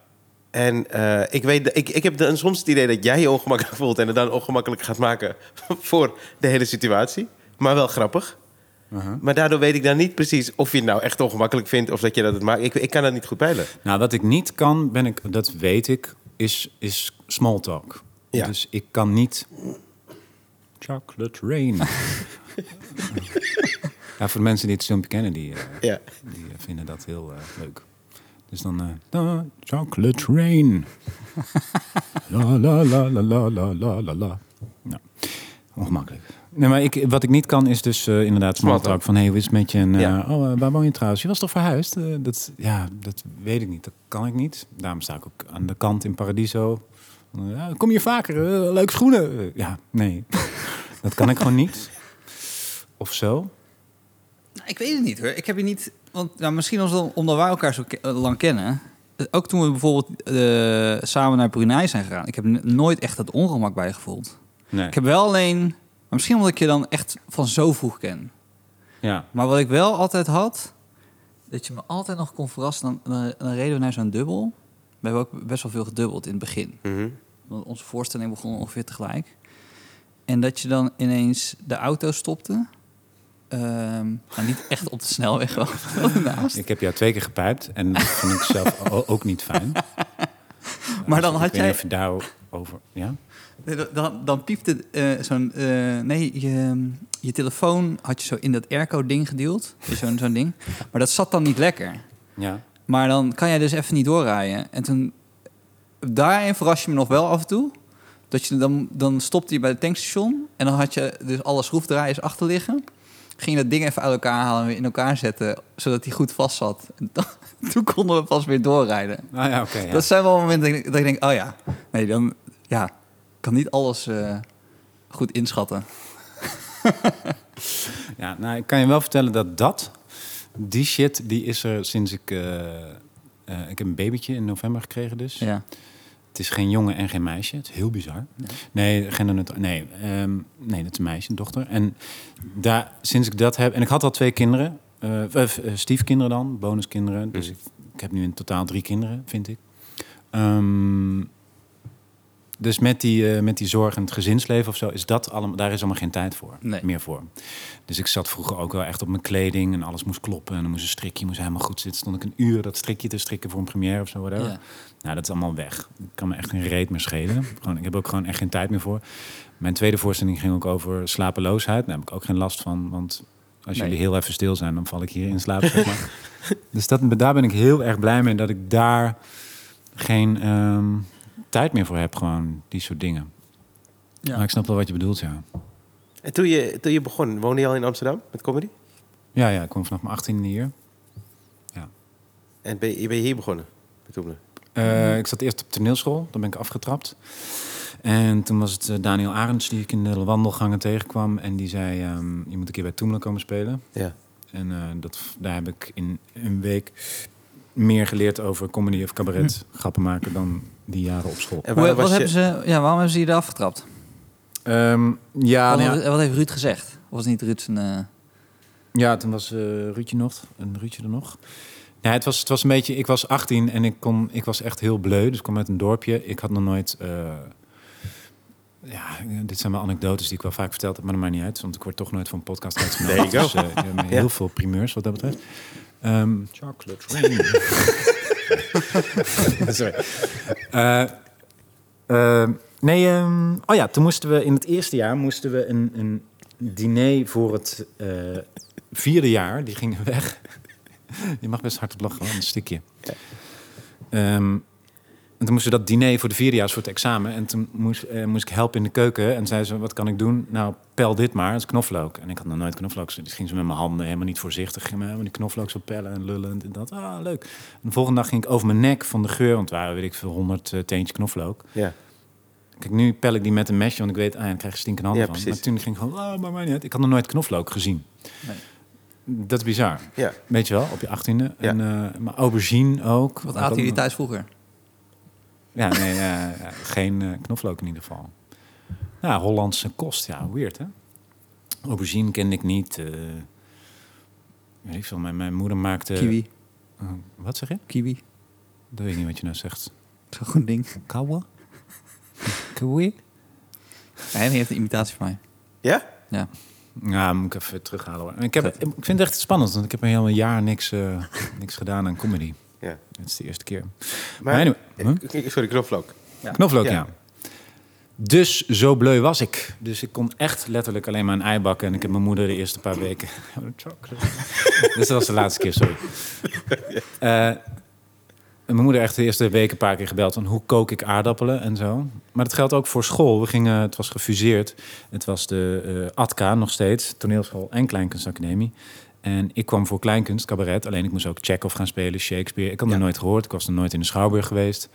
[SPEAKER 1] En eh, ik, weet, dat- ik, ik heb dan soms het idee dat jij je ongemakkelijk voelt... en het dan ongemakkelijk gaat maken *laughs* voor de hele situatie. Maar wel grappig.
[SPEAKER 3] Uh-huh.
[SPEAKER 1] Maar daardoor weet ik dan niet precies of je het nou echt ongemakkelijk vindt... of dat je dat het maakt. Ik, ik kan dat niet goed peilen.
[SPEAKER 3] Nou, wat ik niet kan, ben ik, dat weet ik, is, is small talk.
[SPEAKER 1] Ja.
[SPEAKER 3] Dus ik kan niet... Chocolate rain. *laughs* ja, voor de mensen die het filmpje kennen, die, eh,
[SPEAKER 1] Ja.
[SPEAKER 3] die eh, vinden dat heel eh, leuk. Dus dan... eh, da, chocolate rain. la la la la la la la la la. Nou, ongemakkelijk. Nee, maar ik, wat ik niet kan is dus eh, inderdaad small
[SPEAKER 1] Small
[SPEAKER 3] talk. Van, hé, hey, hoe is het met je? En, eh,
[SPEAKER 1] Ja.
[SPEAKER 3] oh, eh, waar woon je trouwens? Je was toch verhuisd? Eh, dat, ja, dat weet ik niet. Dat kan ik niet. Daarom sta ik ook aan de kant in Paradiso. Eh, ja, kom je vaker? Eh, leuke schoenen? Eh, ja, nee. *laughs* dat kan ik gewoon niet. Of zo.
[SPEAKER 2] Nou, ik weet het niet hoor. Ik heb je niet. Want nou, misschien als- omdat wij elkaar zo ke- eh, lang kennen. eh, Ook toen we bijvoorbeeld eh, samen naar Brunei zijn gegaan. Ik heb n- nooit echt dat ongemak bij je gevoeld.
[SPEAKER 3] Nee.
[SPEAKER 2] Ik heb wel alleen. Maar misschien omdat ik je dan echt van zo vroeg ken.
[SPEAKER 3] Ja.
[SPEAKER 2] Maar wat ik wel altijd had, dat je me altijd nog kon verrassen. Dan, dan, dan reden we naar zo'n dubbel. We hebben ook best wel veel gedubbeld in het begin.
[SPEAKER 1] Mhm.
[SPEAKER 2] Want onze voorstelling begon ongeveer tegelijk. En dat je dan ineens de auto stopte. Ehm, nou, niet echt op de snelweg, *laughs* wel ernaast.
[SPEAKER 3] Ik heb jou twee keer gepijpt en dat vond ik zelf *laughs* o- ook niet fijn.
[SPEAKER 2] Maar dan
[SPEAKER 3] ik
[SPEAKER 2] had
[SPEAKER 3] weet
[SPEAKER 2] jij-
[SPEAKER 3] niet of je daarover... Ja?
[SPEAKER 2] Nee, dan- Dan, dan piepte eh, zo'n... eh, nee, je, je telefoon had je zo in dat airco-ding geduwd. Dus Zo'n zo'n ding. Maar dat zat dan niet lekker.
[SPEAKER 3] Ja.
[SPEAKER 2] Maar dan kan jij dus even niet doorrijden. En toen, daarin verras je me nog wel af en toe. Dat je dan, dan stopte je bij het tankstation. En dan had je dus alle schroefdraaiers achter liggen. Ging je dat ding even uit elkaar halen en weer in elkaar zetten. Zodat hij goed vast zat. En dan, *laughs* toen konden we pas weer doorrijden.
[SPEAKER 3] Ah ja, oké. ja.
[SPEAKER 2] Dat zijn wel momenten dat ik- dat ik denk, oh ja. Nee, dan ja, ik kan niet alles eh, goed inschatten.
[SPEAKER 3] Ja, nou, ik kan je wel vertellen dat dat, die shit, die is er sinds ik... eh, eh, ik heb een babytje in november gekregen dus.
[SPEAKER 2] Ja.
[SPEAKER 3] Het is geen jongen en geen meisje. Het is heel bizar. Nee, genderneutraal. Nee, ehm, nee, dat is een meisje, een dochter. En daar, sinds ik dat heb... En ik had al twee kinderen. eh, of, eh, stiefkinderen dan, bonuskinderen. Dus
[SPEAKER 2] Mm.
[SPEAKER 3] ik, ik heb nu in totaal drie kinderen, vind ik. Ehm, dus met die, eh, met die zorg en het gezinsleven of zo... Is dat allemaal, daar is allemaal geen tijd voor.
[SPEAKER 2] Nee.
[SPEAKER 3] Meer voor. Dus ik zat vroeger ook wel echt op mijn kleding. En alles moest kloppen. En dan moest een strikje moest helemaal goed zitten. Stond ik een uur dat strikje te strikken voor een première of zo. Whatever.
[SPEAKER 2] Ja.
[SPEAKER 3] Nou, dat is allemaal weg. Ik kan me echt geen reet meer schelen. Gewoon, ik heb ook gewoon echt geen tijd meer voor. Mijn tweede voorstelling ging ook over slapeloosheid. Daar heb ik ook geen last van, want als
[SPEAKER 2] Nee.
[SPEAKER 3] jullie heel even stil zijn, dan val ik hier in
[SPEAKER 2] *laughs*
[SPEAKER 3] slaap. zeg maar. dus dat, daar ben ik heel erg blij mee dat ik daar geen ehm, tijd meer voor heb, gewoon die soort dingen.
[SPEAKER 2] Ja.
[SPEAKER 3] Maar ik snap wel wat je bedoelt, ja.
[SPEAKER 1] En toen je, toen je begon, woonde je al in Amsterdam met comedy?
[SPEAKER 3] Ja, ja, ik kom vanaf mijn 18e hier.
[SPEAKER 1] En ben je, ben je hier begonnen? met Oemelen?
[SPEAKER 3] Eh, ik zat eerst op toneelschool, dan ben ik afgetrapt. En toen was het eh, Daniel Arends die ik in de wandelgangen tegenkwam. En die zei, ehm, je moet een keer bij Toemelen komen spelen.
[SPEAKER 1] Ja.
[SPEAKER 3] En eh, dat, daar heb ik in een week meer geleerd over comedy of cabaret. Grappen maken dan die jaren op school.
[SPEAKER 1] En
[SPEAKER 2] Hoe,
[SPEAKER 1] waar was
[SPEAKER 2] wat
[SPEAKER 1] je, Ah,
[SPEAKER 2] hebben ze, ja, waarom hebben ze je eraf getrapt?
[SPEAKER 3] Ehm, ja,
[SPEAKER 2] wat,
[SPEAKER 3] nou ja,
[SPEAKER 2] wat heeft Ruud gezegd? Of was niet Ruud zijn... eh,
[SPEAKER 3] Ja, toen was eh Ruudje nog. En Ruudje er nog. Ja, het, was, het was een beetje... Ik was 18 en ik, kon, ik was echt heel bleu. Dus ik kwam uit een dorpje. Ik had nog nooit... eh, ja, dit zijn wel anekdotes die ik wel vaak verteld heb. Maar dat maakt niet uit. Want ik word toch nooit van een podcast
[SPEAKER 1] There you
[SPEAKER 3] uitgenodigd.
[SPEAKER 1] go.
[SPEAKER 3] Dus eh,
[SPEAKER 1] *laughs*
[SPEAKER 3] ik heb heel
[SPEAKER 1] Ja.
[SPEAKER 3] veel primeurs wat dat betreft. Ehm, *laughs*
[SPEAKER 4] Chocolate rain.
[SPEAKER 3] Sorry. Eh, eh, nee, ehm, oh ja, toen moesten we in het eerste jaar moesten we een, een diner voor het eh, vierde jaar. Die gingen weg. *laughs* Je mag best hard op lachen, hoor, een stukje. Ehm, en toen moesten we dat diner voor de vierdejaars voor het examen. En toen moest, eh, moest ik helpen in de keuken. En zei ze, wat kan ik doen? Nou, pel dit maar, dat is knoflook. En ik had nog nooit knoflook. Dus ging ze met mijn handen helemaal niet voorzichtig. Ging me helemaal die knoflook zo pellen en lullen en dit en dat. Ah, leuk. En de volgende dag ging ik over mijn nek van de geur. Want het waren, weet ik veel, honderd eh, teentjes knoflook.
[SPEAKER 1] Ja.
[SPEAKER 3] Kijk, nu pel ik die met een mesje. Want ik weet, ah, ja, dan krijg ik stinkende handen
[SPEAKER 1] Ja,
[SPEAKER 3] van.
[SPEAKER 1] precies.
[SPEAKER 3] Maar toen ging ik gewoon, ah, maar mij niet uit. Ik had nog nooit knoflook gezien.
[SPEAKER 2] Nee.
[SPEAKER 3] Dat is bizar.
[SPEAKER 1] Ja.
[SPEAKER 3] Weet je wel, op je achttiende. En, eh, maar aubergine ook.
[SPEAKER 2] wat
[SPEAKER 3] Ook
[SPEAKER 2] aten jullie
[SPEAKER 3] nog-
[SPEAKER 2] thuis vroeger?
[SPEAKER 3] ja, nee, eh, ja, geen eh, knoflook in ieder geval. Nou, Hollandse kost, ja, weird hè. Aubergine kende ik niet. eh weet ik veel, mijn, mijn moeder maakte...
[SPEAKER 2] Kiwi.
[SPEAKER 3] Oh, wat zeg je?
[SPEAKER 2] Kiwi.
[SPEAKER 3] Dat weet ik niet wat je nou zegt.
[SPEAKER 2] Zo'n goed ding.
[SPEAKER 3] Kawa? Kiwi?
[SPEAKER 2] Henny heeft een imitatie van mij.
[SPEAKER 1] Ja?
[SPEAKER 2] Ja.
[SPEAKER 3] Ja, moet ik even terughalen. hoor. Ik, heb, ik vind het echt spannend, want ik heb een heel jaar niks, eh, niks gedaan aan comedy.
[SPEAKER 1] Ja.
[SPEAKER 3] Het is de eerste keer.
[SPEAKER 1] Maar,
[SPEAKER 3] anyway,
[SPEAKER 1] eh,
[SPEAKER 3] huh?
[SPEAKER 1] k- k- Sorry, knoflook.
[SPEAKER 3] Knoflook,
[SPEAKER 1] Ja.
[SPEAKER 3] ja. Dus zo bleu was ik. Dus ik kon echt letterlijk alleen maar een ei bakken. En ik heb mijn moeder de eerste paar weken... *laughs* Oh, Chocolate. dus dat was de laatste keer, sorry. *laughs* Eh, en mijn moeder echt de eerste weken een paar keer gebeld... van hoe kook ik aardappelen en zo. Maar dat geldt ook voor school. We gingen, het was gefuseerd. Het was de eh, ATKA nog steeds. Toneelschool en Kleinkunstacademie. En ik kwam voor kleinkunst, cabaret. Alleen ik moest ook Chekhov gaan spelen, Shakespeare. Ik had nog nooit gehoord. Ik was nog nooit in de Schouwburg geweest.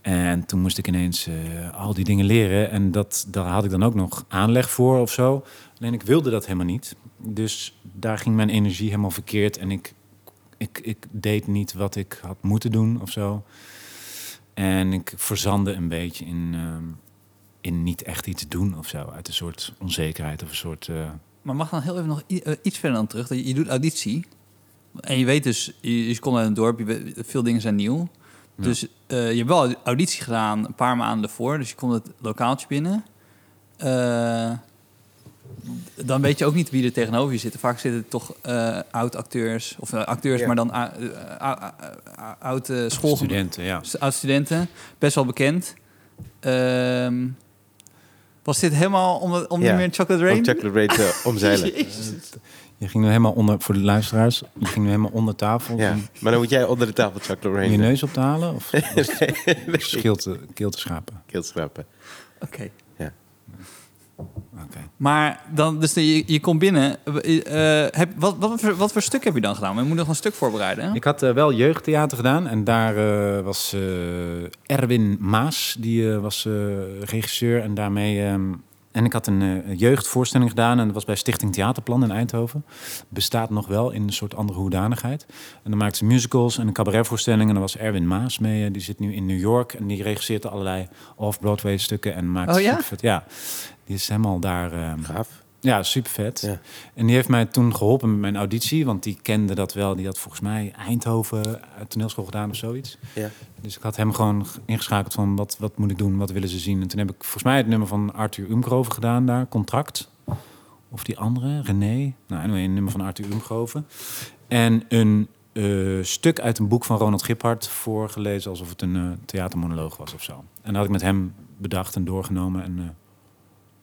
[SPEAKER 3] En toen moest ik ineens eh, al die dingen leren. En dat, daar had ik dan ook nog aanleg voor of zo. Alleen ik wilde dat helemaal niet. Dus daar ging mijn energie helemaal verkeerd. En ik, ik, ik deed niet wat ik had moeten doen of zo. En ik verzandde een beetje in, ehm, in niet echt iets doen of zo. Uit een soort onzekerheid of een soort... eh,
[SPEAKER 2] Maar mag dan heel even nog i- eh, iets verder dan terug. Dat Je, je doet auditie. En je weet dus, je, je komt uit een dorp, je weet- veel dingen zijn nieuw. Dus eh, je hebt wel auditie gedaan een paar maanden ervoor. Dus je komt het lokaaltje binnen. Eh, dan weet je ook niet wie er tegenover je zit. Vaak zitten toch eh, oud-acteurs, of eh, acteurs,
[SPEAKER 1] Ja.
[SPEAKER 2] maar dan a- eh, a- a- a- oud eh school,
[SPEAKER 3] Studenten, ja.
[SPEAKER 2] Dus oud studenten, best wel bekend. Ehm, was dit helemaal om, om
[SPEAKER 1] Ja.
[SPEAKER 2] niet meer Chocolate Rain?
[SPEAKER 1] Om chocolate rate eh, omzeilen.
[SPEAKER 3] Je ging nu helemaal onder, voor de luisteraars, je ging nu helemaal onder tafel
[SPEAKER 1] ja.
[SPEAKER 3] om
[SPEAKER 1] Maar dan moet jij onder de tafel chocolate
[SPEAKER 3] je
[SPEAKER 1] rain eh,
[SPEAKER 3] neus op te halen of was het om je schil te, keel te schapen.
[SPEAKER 1] keel schrapen.
[SPEAKER 2] Oké.
[SPEAKER 1] Ja.
[SPEAKER 3] Oké.
[SPEAKER 2] Maar dan, dus je, je komt binnen. Eh, eh, heb, wat, wat, voor, wat voor stuk heb je dan gedaan? Want Je moet nog een stuk voorbereiden. hè?
[SPEAKER 3] Ik had eh, wel jeugdtheater gedaan en daar eh, was eh, Erwin Maas, die eh, was eh, regisseur en daarmee... ehm, en ik had een eh, jeugdvoorstelling gedaan en dat was bij Stichting Theaterplan in Eindhoven. Bestaat nog wel in een soort andere hoedanigheid. En dan maakte ze musicals en een cabaretvoorstelling en daar was Erwin Maas mee. eh, die zit nu in New York en die regisseert allerlei off-Broadway stukken en maakt
[SPEAKER 2] Oh ja?
[SPEAKER 3] supervet- Ja, die is helemaal daar... ehm,
[SPEAKER 1] Gaaf.
[SPEAKER 3] Ja, super vet.
[SPEAKER 1] Ja.
[SPEAKER 3] En die heeft mij toen geholpen met mijn auditie, want die kende dat wel. Die had volgens mij Eindhoven eh, toneelschool gedaan of zoiets.
[SPEAKER 1] Ja.
[SPEAKER 3] Dus ik had hem gewoon g- ingeschakeld van wat, wat moet ik doen, wat willen ze zien. En toen heb ik volgens mij het nummer van Arthur Umgroven gedaan daar, Contract. Of die andere, René. Nou, anyway, een nummer van Arthur Umgroven. En een eh, stuk uit een boek van Ronald Giphart voorgelezen alsof het een eh, theatermonoloog was of zo. En dat had ik met hem bedacht en doorgenomen. En, eh,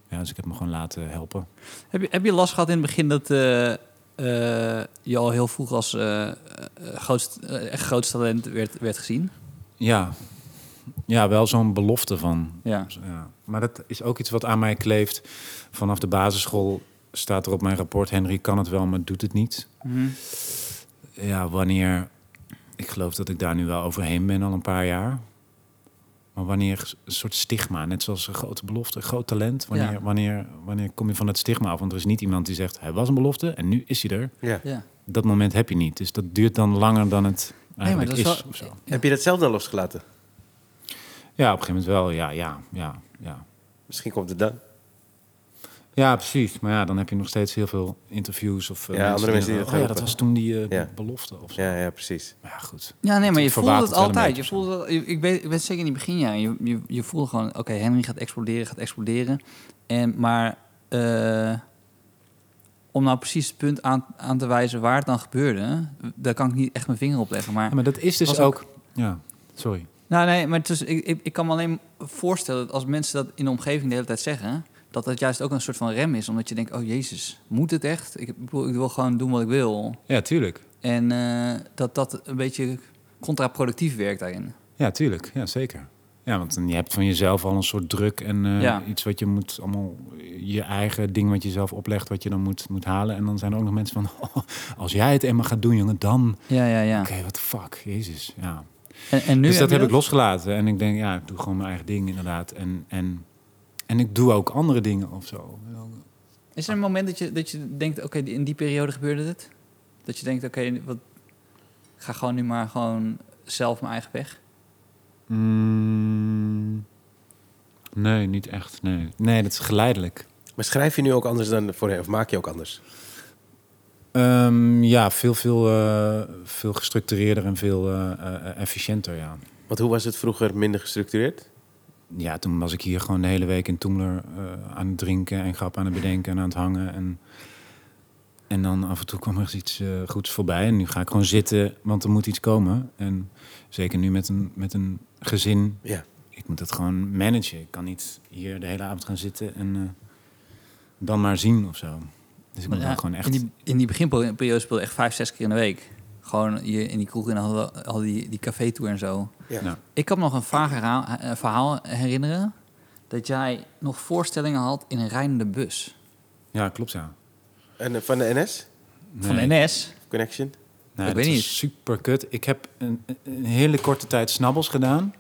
[SPEAKER 3] ja, dus ik heb me gewoon laten helpen.
[SPEAKER 2] Heb, je, heb je last gehad in het begin dat eh, eh, je al heel vroeg als eh eh, grootst, eh, echt grootste talent werd, werd gezien?
[SPEAKER 3] Ja, Ja, wel zo'n belofte van.
[SPEAKER 2] Ja.
[SPEAKER 3] Ja. Maar dat is ook iets wat aan mij kleeft. Vanaf de basisschool staat er op mijn rapport... Henry kan het wel, maar doet het niet.
[SPEAKER 2] Mhm.
[SPEAKER 3] Ja, wanneer... Ik geloof dat ik daar nu wel overheen ben al een paar jaar. Maar wanneer een soort stigma, net zoals een grote belofte, een groot talent. Wanneer,
[SPEAKER 2] Ja.
[SPEAKER 3] wanneer, wanneer kom je van dat stigma af? Want er is niet iemand die zegt, hij was een belofte en nu is hij er.
[SPEAKER 1] Ja.
[SPEAKER 2] ja.
[SPEAKER 3] Dat moment heb je niet. Dus dat duurt dan langer dan het eigenlijk
[SPEAKER 2] dat is
[SPEAKER 3] is.
[SPEAKER 2] wel-
[SPEAKER 3] of zo.
[SPEAKER 1] Heb je dat zelf dan losgelaten?
[SPEAKER 3] Ja, op een gegeven moment wel. Ja, ja, ja, ja.
[SPEAKER 1] Misschien komt het dan.
[SPEAKER 3] Ja, precies. Maar ja, dan heb je nog steeds heel veel interviews of eh,
[SPEAKER 1] Ja, andere mensen die dat
[SPEAKER 3] zeggen, oh, ja,
[SPEAKER 1] roepen.
[SPEAKER 3] dat was toen die eh,
[SPEAKER 1] Ja.
[SPEAKER 3] belofte of zo.
[SPEAKER 1] Ja, ja precies.
[SPEAKER 3] Maar ja, goed.
[SPEAKER 2] Ja, nee, maar je
[SPEAKER 3] Het
[SPEAKER 2] voelde het
[SPEAKER 3] verwatert wel
[SPEAKER 2] altijd.
[SPEAKER 3] een
[SPEAKER 2] Je
[SPEAKER 3] beetje
[SPEAKER 2] voelde dat, ik, ik weet, ik weet zeker in die beginjaren. Je, je, je voelde gewoon, oké, Henry gaat exploderen, gaat exploderen. En, maar eh, om nou precies het punt aan, aan te wijzen waar het dan gebeurde... daar kan ik niet echt mijn vinger op leggen. Maar,
[SPEAKER 3] Ja, maar dat is dus
[SPEAKER 2] Was
[SPEAKER 3] ook...
[SPEAKER 2] ook-
[SPEAKER 3] Ja, sorry.
[SPEAKER 2] nou, nee, maar het is, ik, ik, ik kan me alleen voorstellen... dat als mensen dat in de omgeving de hele tijd zeggen... dat dat juist ook een soort van rem is. Omdat je denkt, oh jezus, moet het echt? Ik, bedoel, ik wil gewoon doen wat ik wil.
[SPEAKER 3] Ja, tuurlijk.
[SPEAKER 2] En eh, dat dat een beetje contraproductief werkt daarin.
[SPEAKER 3] Ja, tuurlijk. Ja, zeker. Ja, want dan- je hebt van jezelf al een soort druk en eh,
[SPEAKER 2] Ja.
[SPEAKER 3] iets wat je moet allemaal... Je eigen ding wat je zelf oplegt, wat je dan moet, moet halen. En dan zijn er ook nog mensen van... *laughs* "Oh, als jij het Emma gaat doen, jongen, dan...
[SPEAKER 2] Ja, ja, ja.
[SPEAKER 3] Oké, wat fuck. Jezus, ja.
[SPEAKER 2] En, en nu
[SPEAKER 3] dus dat
[SPEAKER 2] je
[SPEAKER 3] heb ik
[SPEAKER 2] dat?
[SPEAKER 3] losgelaten. En ik denk, ja, ik doe gewoon mijn eigen ding inderdaad. En, en, en ik doe ook andere dingen of zo.
[SPEAKER 2] Is er een moment dat je, dat je denkt, oké, die- in die periode gebeurde dit? Dat je denkt, oké, wat ik ga gewoon nu maar gewoon zelf mijn eigen weg.
[SPEAKER 3] Mm, nee, niet echt. Nee. nee, dat is geleidelijk.
[SPEAKER 1] Maar schrijf je nu ook anders dan voorheen? Of maak je ook anders?
[SPEAKER 3] Ehm, ja, veel, veel, eh, veel gestructureerder en veel eh, eh, efficiënter, ja.
[SPEAKER 1] Want hoe was het vroeger minder gestructureerd?
[SPEAKER 3] Ja, toen was ik hier gewoon de hele week in Toemler eh, aan het drinken en grap aan het bedenken en aan het hangen. En, en dan af en toe kwam er eens iets eh, goeds voorbij. En nu ga ik gewoon zitten, want er moet iets komen. En zeker nu met een, met een gezin.
[SPEAKER 1] Ja.
[SPEAKER 3] Ik moet dat gewoon managen. Ik kan niet hier de hele avond gaan zitten en eh, dan maar zien of zo. Dus ik moet
[SPEAKER 2] Maar
[SPEAKER 3] wel
[SPEAKER 2] ja,
[SPEAKER 3] gewoon echt...
[SPEAKER 2] In die, in die beginperiode speelde ik echt vijf, zes keer in de week. Gewoon je in die kroeg en dan hadden we al die, die café-tour en zo.
[SPEAKER 1] Ja.
[SPEAKER 3] Ja.
[SPEAKER 2] Ik kan me nog een vaag herhaal- eh, verhaal herinneren... dat jij nog voorstellingen had in een rijdende bus.
[SPEAKER 3] Ja, klopt ja.
[SPEAKER 1] En eh, van de NS?
[SPEAKER 2] Van de
[SPEAKER 3] Nee.
[SPEAKER 2] NS.
[SPEAKER 1] Connection?
[SPEAKER 3] Nee,
[SPEAKER 2] Ik
[SPEAKER 3] dat
[SPEAKER 2] weet
[SPEAKER 3] is Super kut. Ik heb een, een hele korte tijd snabbels
[SPEAKER 2] *laughs*
[SPEAKER 3] gedaan.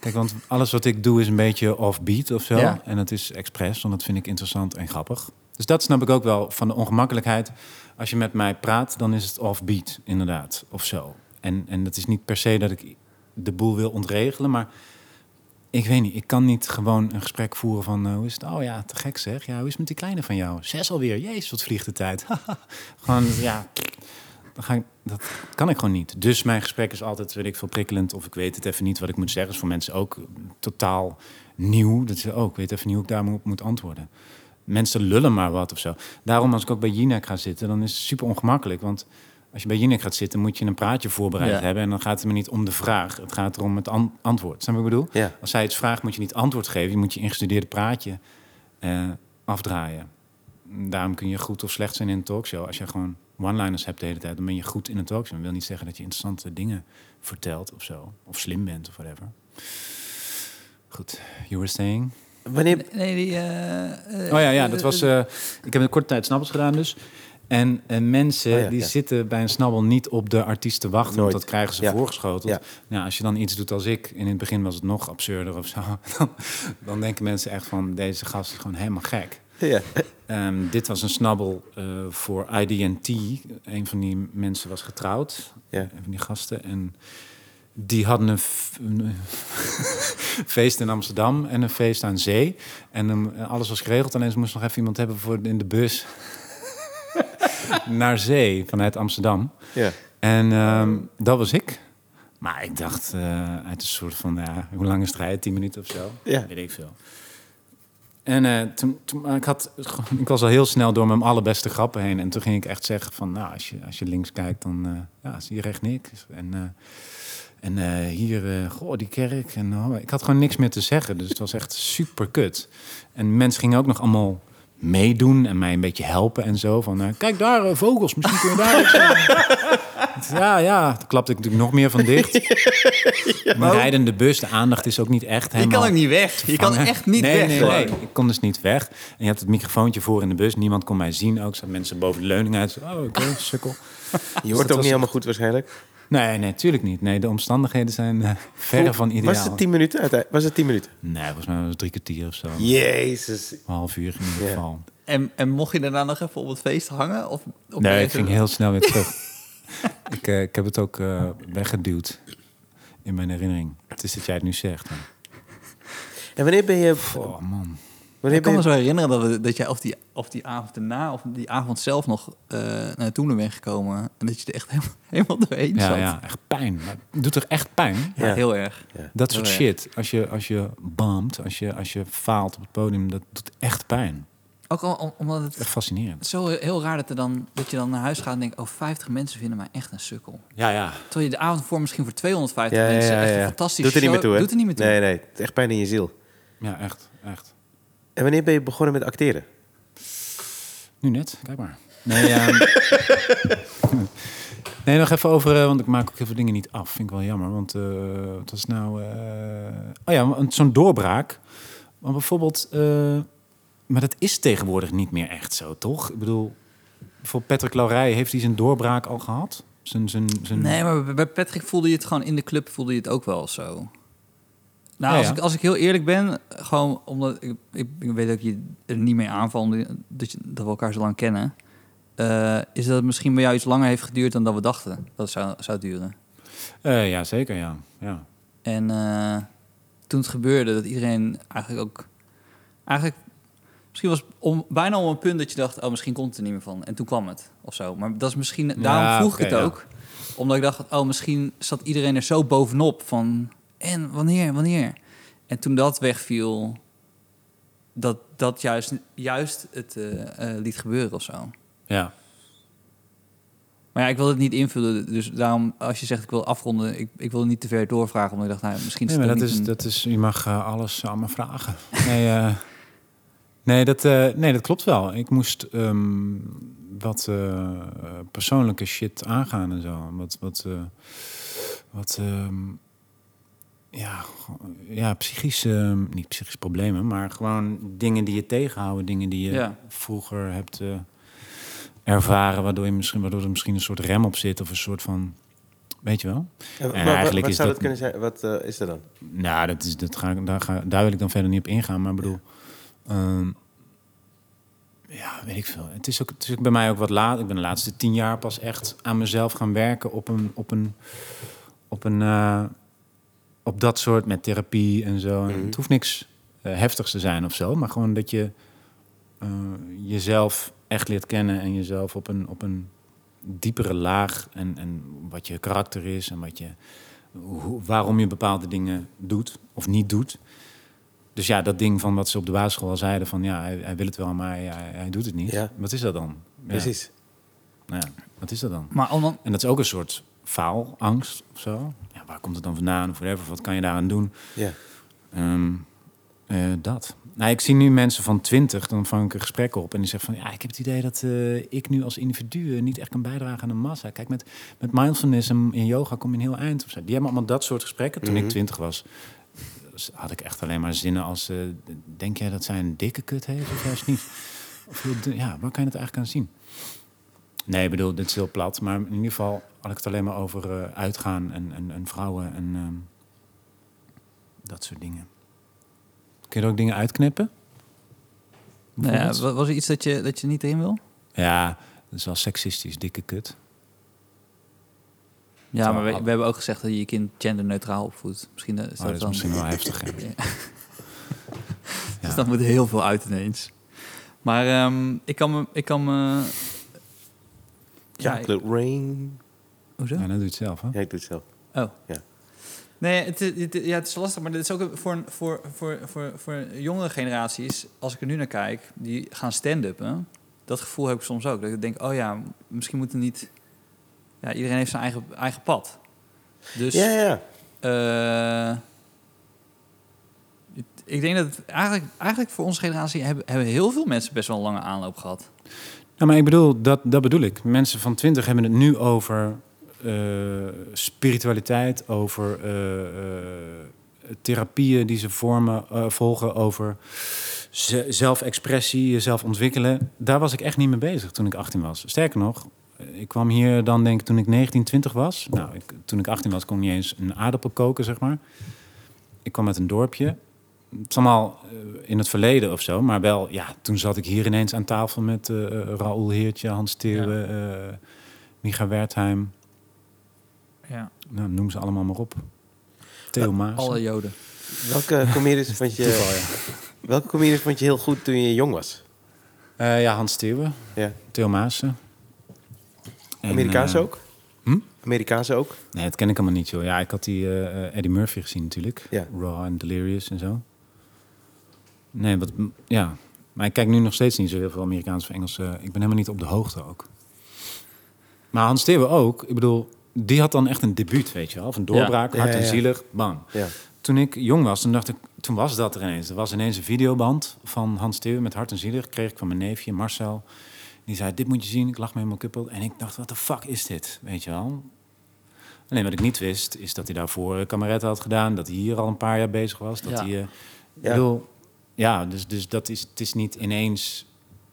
[SPEAKER 3] Kijk, want alles wat ik doe is een beetje offbeat of zo.
[SPEAKER 2] Ja.
[SPEAKER 3] En dat is expres, want dat vind ik interessant en grappig. Dus dat snap ik ook wel van de ongemakkelijkheid. Als je met mij praat, dan is het offbeat, inderdaad, of zo. En, en dat is niet per se dat ik de boel wil ontregelen, maar ik weet niet. Ik kan niet gewoon een gesprek voeren van eh, hoe is het? Oh ja, te gek zeg. Ja, hoe is het met die kleine van jou? Zes alweer. Jezus, wat vliegt de tijd. *laughs* gewoon, ja. Dan ga ik, dat kan ik gewoon niet. Dus mijn gesprek is altijd, weet ik veel, prikkelend. Of ik weet het even niet wat ik moet zeggen. is voor mensen ook totaal nieuw. Dat ze ook, ik weet even niet hoe ik daarop moet antwoorden. Mensen lullen maar wat of zo. Daarom als ik ook bij Jinek ga zitten, dan is het super ongemakkelijk. Want als je bij Jinek gaat zitten, moet je een praatje voorbereid
[SPEAKER 2] Ja.
[SPEAKER 3] hebben. En dan gaat het me niet om de vraag. Het gaat erom het an- antwoord. Snap je wat ik bedoel?
[SPEAKER 1] Ja.
[SPEAKER 3] Als zij iets vraagt, moet je niet antwoord geven. Je moet je ingestudeerde praatje eh, afdraaien. Daarom kun je goed of slecht zijn in een talkshow. Als je gewoon one-liners hebt de hele tijd, dan ben je goed in een talkshow. Dat wil niet zeggen dat je interessante dingen vertelt of zo. Of slim bent of whatever. Goed, you were saying?
[SPEAKER 1] Wanneer...
[SPEAKER 2] Nee, die... eh, eh,
[SPEAKER 3] Oh ja, ja dat was... eh, ik heb een korte tijd snabbels gedaan dus. En, en mensen
[SPEAKER 1] Oh ja,
[SPEAKER 3] die
[SPEAKER 1] ja.
[SPEAKER 3] zitten bij een snabbel niet op de artiest te wachten.
[SPEAKER 1] Nooit.
[SPEAKER 3] Want dat krijgen ze
[SPEAKER 1] Ja.
[SPEAKER 3] voorgeschoten.
[SPEAKER 1] Ja.
[SPEAKER 3] Nou, als je dan iets doet als ik, in het begin was het nog absurder of zo. *laughs* Dan, dan denken mensen echt van, deze gast is gewoon helemaal gek.
[SPEAKER 1] Ja.
[SPEAKER 3] Ehm, dit was een snabbel eh, voor IDT. Een van die mensen was getrouwd.
[SPEAKER 1] Ja.
[SPEAKER 3] Een van die gasten. En die hadden een, f- een eh, *laughs* feest in Amsterdam en een feest aan zee. En ehm, alles was geregeld. Alleen ze moesten nog even iemand hebben voor in de bus *laughs* naar zee vanuit Amsterdam.
[SPEAKER 1] *laughs* ja.
[SPEAKER 3] En ehm, dat was ik. Maar ik dacht eh, uit een soort van, ja, hoe lang is het rijden? Tien minuten of zo?
[SPEAKER 1] Ja.
[SPEAKER 3] Weet ik veel. En eh, toen, toen, maar ik, had, *laughs* ik was al heel snel door mijn allerbeste grappen heen. En toen ging ik echt zeggen van, nou, als je, als je links kijkt, dan eh, ja, zie je recht niks. En, eh, en eh, hier, eh, goh, die kerk. En, oh, ik had gewoon niks meer te zeggen, dus het was echt super kut. En mensen gingen ook nog allemaal meedoen en mij een beetje helpen en zo. Van, eh, kijk daar, eh, vogels, misschien kun je daar... iets aan doen." *laughs* Ja, ja. Dan klapte ik natuurlijk nog meer van
[SPEAKER 2] *laughs*
[SPEAKER 3] dicht. Mijn
[SPEAKER 2] ook-
[SPEAKER 3] rijdende bus, de aandacht is ook niet echt
[SPEAKER 2] Je
[SPEAKER 3] helemaal...
[SPEAKER 2] Oh. kan ook niet weg. Je kan
[SPEAKER 3] vangen.
[SPEAKER 2] echt niet
[SPEAKER 3] nee,
[SPEAKER 2] weg.
[SPEAKER 3] Nee,
[SPEAKER 2] gewoon.
[SPEAKER 3] nee, ik kon dus niet weg. En je had het microfoontje voor in de bus. Niemand kon mij zien ook. Zaten mensen boven de leuning uit. Oh, oké, sukkel.
[SPEAKER 1] Je hoort ook
[SPEAKER 3] was-
[SPEAKER 1] niet helemaal goed waarschijnlijk.
[SPEAKER 3] Nee, nee, tuurlijk niet. Nee, de omstandigheden zijn eh, verre van ideaal.
[SPEAKER 1] Was het tien minuten? uiteindelijk? Was het tien minuten?
[SPEAKER 3] Nee, volgens mij was het drie kwartier of zo.
[SPEAKER 1] Jezus.
[SPEAKER 3] Een half uur in ieder
[SPEAKER 1] Ja.
[SPEAKER 3] geval.
[SPEAKER 2] En, en mocht je daarna nog even op het feest hangen? Of op
[SPEAKER 3] nee,
[SPEAKER 2] je-
[SPEAKER 3] ik ging heel snel weer terug. ik, eh, ik heb het ook eh, weggeduwd in mijn herinnering. Het is dat jij het nu zegt. hè.
[SPEAKER 1] En wanneer ben je...
[SPEAKER 3] Oh man.
[SPEAKER 1] Wanneer
[SPEAKER 2] Ik
[SPEAKER 1] ben
[SPEAKER 2] kan me
[SPEAKER 1] je
[SPEAKER 2] zo herinneren dat, we, dat jij of die, of die avond daarna of die avond zelf nog eh naar toen bent gekomen. En dat je er echt helemaal, *laughs* helemaal doorheen
[SPEAKER 3] Ja,
[SPEAKER 2] zat.
[SPEAKER 3] ja, echt pijn. Maar Het doet toch echt pijn?
[SPEAKER 2] Ja,
[SPEAKER 1] Ja.
[SPEAKER 2] heel erg.
[SPEAKER 3] Dat soort
[SPEAKER 2] Oh, ja.
[SPEAKER 3] shit. Als je, als je boomt, als je, als je faalt op het podium, dat doet echt pijn.
[SPEAKER 2] Ook al om- omdat het
[SPEAKER 3] Echt fascinerend.
[SPEAKER 2] zo heel raar dat, er dan, dat je dan naar huis gaat en denkt... oh, 50 mensen vinden mij echt een sukkel.
[SPEAKER 3] Ja, ja.
[SPEAKER 2] Terwijl je de avond voor misschien voor 250
[SPEAKER 1] ja,
[SPEAKER 2] mensen
[SPEAKER 1] ja,
[SPEAKER 2] echt
[SPEAKER 1] ja,
[SPEAKER 2] een
[SPEAKER 1] ja.
[SPEAKER 2] fantastische
[SPEAKER 1] Doet er niet
[SPEAKER 2] show-
[SPEAKER 1] meer toe, hè?
[SPEAKER 2] Doet er niet meer toe.
[SPEAKER 1] Nee, nee. Het is echt pijn in je ziel.
[SPEAKER 3] Ja, echt. echt.
[SPEAKER 1] En wanneer ben je begonnen met acteren?
[SPEAKER 3] Nu net, kijk maar. Nee, ehm, nee nog even over, eh, want ik maak ook heel veel dingen niet af. Vind ik wel jammer, want eh wat was nou... eh, Oh ja, want zo'n doorbraak. Maar bijvoorbeeld... eh, maar dat is tegenwoordig niet meer echt zo, toch? Ik bedoel, voor Patrick Laurij, heeft hij zijn doorbraak al gehad? Zijn, zijn, zijn...
[SPEAKER 2] Nee, maar bij- bij Patrick voelde je het gewoon in de club, voelde je het ook wel zo. Nou,
[SPEAKER 3] Ja,
[SPEAKER 2] als,
[SPEAKER 3] ja.
[SPEAKER 2] Ik, als ik heel eerlijk ben, gewoon omdat ik, ik, ik weet dat ik je er niet mee aanval, omdat dat, je, dat we elkaar zo lang kennen, eh, is dat het misschien bij jou iets langer heeft geduurd dan dat we dachten dat het zou, zou duren.
[SPEAKER 3] Eh, ja, zeker, ja. ja.
[SPEAKER 2] En eh, toen het gebeurde, dat iedereen eigenlijk ook. Eigenlijk, misschien was het om, bijna om een punt dat je dacht: oh, misschien komt het er niet meer van. En toen kwam het of zo. Maar dat is misschien. daarom vroeg ik
[SPEAKER 3] oké,
[SPEAKER 2] het
[SPEAKER 3] ja.
[SPEAKER 2] ook. Omdat ik dacht: oh, misschien zat iedereen er zo bovenop van. En wanneer, wanneer? En toen dat wegviel, dat, dat juist, juist het eh, eh, liet gebeuren of zo.
[SPEAKER 3] Ja.
[SPEAKER 2] Maar ja, ik wil het niet invullen. Dus daarom, als je zegt ik wil afronden, ik, ik wil niet te ver doorvragen. Omdat ik dacht, nou, misschien
[SPEAKER 3] Nee,
[SPEAKER 2] het
[SPEAKER 3] maar
[SPEAKER 2] ook
[SPEAKER 3] dat
[SPEAKER 2] niet
[SPEAKER 3] is,
[SPEAKER 2] een-
[SPEAKER 3] dat is, je mag eh, alles aan me vragen. Nee, eh, nee, dat, eh, nee, dat klopt wel. Ik moest ehm, wat eh, eh, persoonlijke shit aangaan en zo. Wat, wat, eh, wat ehm, ja, go- ja, psychisch, ehm, niet psychische problemen, maar gewoon dingen die je tegenhouden, dingen die je
[SPEAKER 2] Ja.
[SPEAKER 3] vroeger hebt eh, ervaren, waardoor, je misschien, waardoor er misschien een soort rem op zit of een soort van, weet je wel?
[SPEAKER 1] En,
[SPEAKER 3] Ja,
[SPEAKER 1] wat-
[SPEAKER 3] eigenlijk
[SPEAKER 1] wat
[SPEAKER 3] is
[SPEAKER 1] zou
[SPEAKER 3] dat-
[SPEAKER 1] dat kunnen zijn? Wat eh, is er dan?
[SPEAKER 3] Nou, dat is, dat ga, ik- daar, ga, daar wil ik dan verder niet op ingaan. Maar ik bedoel, ehm, ja, weet ik veel. Het is, ook, het is ook bij mij ook wat laat. Ik ben de laatste tien jaar pas echt aan mezelf gaan werken op een, op een, op een, eh, op dat soort met therapie en zo. En
[SPEAKER 1] Mhm.
[SPEAKER 3] Het hoeft niks eh, heftigs te zijn of zo, maar gewoon dat je eh, jezelf echt leert kennen en jezelf op een, op een diepere laag en, en wat je karakter is en wat je hoe- waarom je bepaalde dingen doet of niet doet. Dus ja, dat ding van wat ze op de basisschool al zeiden: van ja, hij, hij wil het wel, maar hij, hij- hij doet het niet.
[SPEAKER 1] Ja.
[SPEAKER 3] Wat is dat dan? Ja,
[SPEAKER 1] Precies.
[SPEAKER 3] Nou ja, wat is dat dan?
[SPEAKER 2] Maar om dan,
[SPEAKER 3] En dat is ook een soort faalangst of zo. Ja, waar komt het dan vandaan of whatever? Wat kan je daaraan doen?
[SPEAKER 1] Ja.
[SPEAKER 3] Ehm, eh, dat. Nou, ik zie nu mensen van 20, dan vang ik een gesprek op en die zeggen van ja, ik heb het idee dat eh, ik nu als individu eh, niet echt kan bijdragen aan de massa. Kijk, met, met mindfulness en, en yoga kom je een heel eind. Of zo. Die hebben allemaal dat soort gesprekken. Toen ik 20 was, Dus had ik echt alleen maar zinnen als eh, denk jij dat zij een dikke kut heeft of juist niet? Of heel dun- ja, waar kan je het eigenlijk aan zien? Nee, ik bedoel, dit is heel plat. Maar in ieder geval had ik het alleen maar over eh, uitgaan en, en, en vrouwen en ehm, dat soort dingen. Kun je er ook dingen uitknippen?
[SPEAKER 2] nou ja,
[SPEAKER 3] Bijvoorbeeld?
[SPEAKER 2] wa- was er iets dat je, dat je niet erin wil?
[SPEAKER 3] ja, dat is wel seksistisch, dikke kut.
[SPEAKER 2] Ja, maar
[SPEAKER 3] maar
[SPEAKER 2] we,
[SPEAKER 3] we-
[SPEAKER 2] hebben ook gezegd dat je je kind genderneutraal opvoedt. Misschien eh, is
[SPEAKER 3] Oh, dat is
[SPEAKER 2] dan...
[SPEAKER 3] misschien wel heftig. hè?
[SPEAKER 2] *laughs* Dus
[SPEAKER 3] Ja.
[SPEAKER 2] dat moet heel veel uit ineens. Maar ehm, ik kan me... Ik kan me ja, ik-
[SPEAKER 1] Chocolate rain.
[SPEAKER 2] hoezo?
[SPEAKER 3] Ja, dat doe je het zelf, hè?
[SPEAKER 1] Ja, ik doe het zelf.
[SPEAKER 2] Oh.
[SPEAKER 1] Ja.
[SPEAKER 2] Nee, het, is- het is- ja, het is lastig, maar dit is ook een- voor, een- voor, voor, voor, voor jongere generaties, als ik er nu naar kijk, die gaan stand-uppen. Dat gevoel heb ik soms ook. Dat ik denk, oh ja, misschien moeten niet. Ja, iedereen heeft zijn eigen, eigen pad. Dus
[SPEAKER 1] Ja, ja, ja.
[SPEAKER 2] eh, het- ik denk dat het eigenlijk, eigenlijk voor onze generatie hebben, hebben heel veel mensen best wel een lange aanloop gehad.
[SPEAKER 3] Nou, maar ik bedoel, dat, dat bedoel ik. Mensen van 20 hebben het nu over eh, spiritualiteit, over eh, eh, therapieën die ze vormen, eh, volgen, over ze- zelfexpressie, jezelf ontwikkelen. Daar was ik echt niet mee bezig toen ik 18 was. Sterker nog, eh, ik kwam hier dan denk ik toen ik 19, 20 was. Nou, ik, toen ik 18 was kon ik niet eens een aardappel koken, zeg maar. Ik kwam uit een dorpje. Het is allemaal eh, in het verleden of zo, maar wel, ja, toen zat ik hier ineens aan tafel met eh eh, Raoul Heertje, Hans Theeuwen, eh, Micha Wertheim.
[SPEAKER 2] Ja.
[SPEAKER 3] Nou, noem ze allemaal maar op. Theo Maas.
[SPEAKER 2] Alle joden.
[SPEAKER 3] *laughs*
[SPEAKER 1] Welke comedians vond je, welke comedians vond je heel goed toen je jong was?
[SPEAKER 3] Eh, ja, Hans Theeuwen.
[SPEAKER 1] Ja.
[SPEAKER 3] Theo Maassen. En,
[SPEAKER 1] Amerikaans
[SPEAKER 3] eh,
[SPEAKER 1] ook?
[SPEAKER 3] hm?
[SPEAKER 1] Amerikaans ook?
[SPEAKER 3] Nee, dat ken ik allemaal niet, joh. Ja, ik had die eh, eh, Eddie Murphy gezien natuurlijk.
[SPEAKER 1] Ja.
[SPEAKER 3] Raw en Delirious en zo. Nee, wat, m- ja. Maar ik kijk nu nog steeds niet zo heel veel Amerikaans of Engels. eh, ik ben helemaal niet op de hoogte ook. Maar Hans Theeuwen ook. Ik bedoel, die had dan echt een debuut, weet je wel. Of een doorbraak,
[SPEAKER 1] Ja.
[SPEAKER 3] hard
[SPEAKER 1] Ja,
[SPEAKER 3] en
[SPEAKER 1] ja.
[SPEAKER 3] zielig, bam.
[SPEAKER 1] Ja.
[SPEAKER 3] Toen ik jong was, toen dacht ik, toen was dat er ineens. Er was ineens een videoband van Hans Theeuwen met Hart en Zielig. Kreeg ik van mijn neefje Marcel. Die zei, dit moet je zien. Ik lag me helemaal kuppel. En ik dacht, wat de fuck is dit? Weet je wel? Alleen wat ik niet wist, is dat hij daarvoor eh, kameretten had gedaan. Dat hij hier al een paar jaar bezig was. Dat
[SPEAKER 2] Ja.
[SPEAKER 3] hij... eh, ik
[SPEAKER 1] Ja.
[SPEAKER 3] bedoel, ja, dus, dus dat is, het is niet ineens...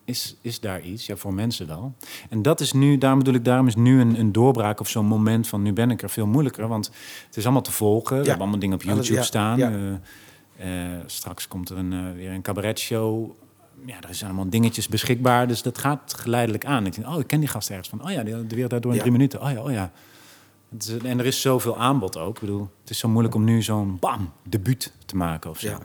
[SPEAKER 3] Is, is daar iets? Ja, voor mensen wel. En dat is nu, daarom bedoel ik, daarom is nu een, een doorbraak of zo'n moment van nu ben ik er veel moeilijker. Want het is allemaal te volgen. We hebben allemaal dingen op
[SPEAKER 1] Alles-
[SPEAKER 3] YouTube
[SPEAKER 1] ja,
[SPEAKER 3] staan.
[SPEAKER 1] ja.
[SPEAKER 3] Eh, eh, straks komt er een, eh, weer een cabaretshow. Ja, er zijn allemaal dingetjes beschikbaar. Dus dat gaat geleidelijk aan. Ik denk, oh, ik ken die gast ergens van. Oh ja, die de wereld daardoor in
[SPEAKER 1] Ja.
[SPEAKER 3] drie minuten. Oh ja, oh ja. Het is- en er is zoveel aanbod ook. Ik bedoel, het is zo moeilijk om nu zo'n bam, debuut te maken of zo.
[SPEAKER 1] Ja.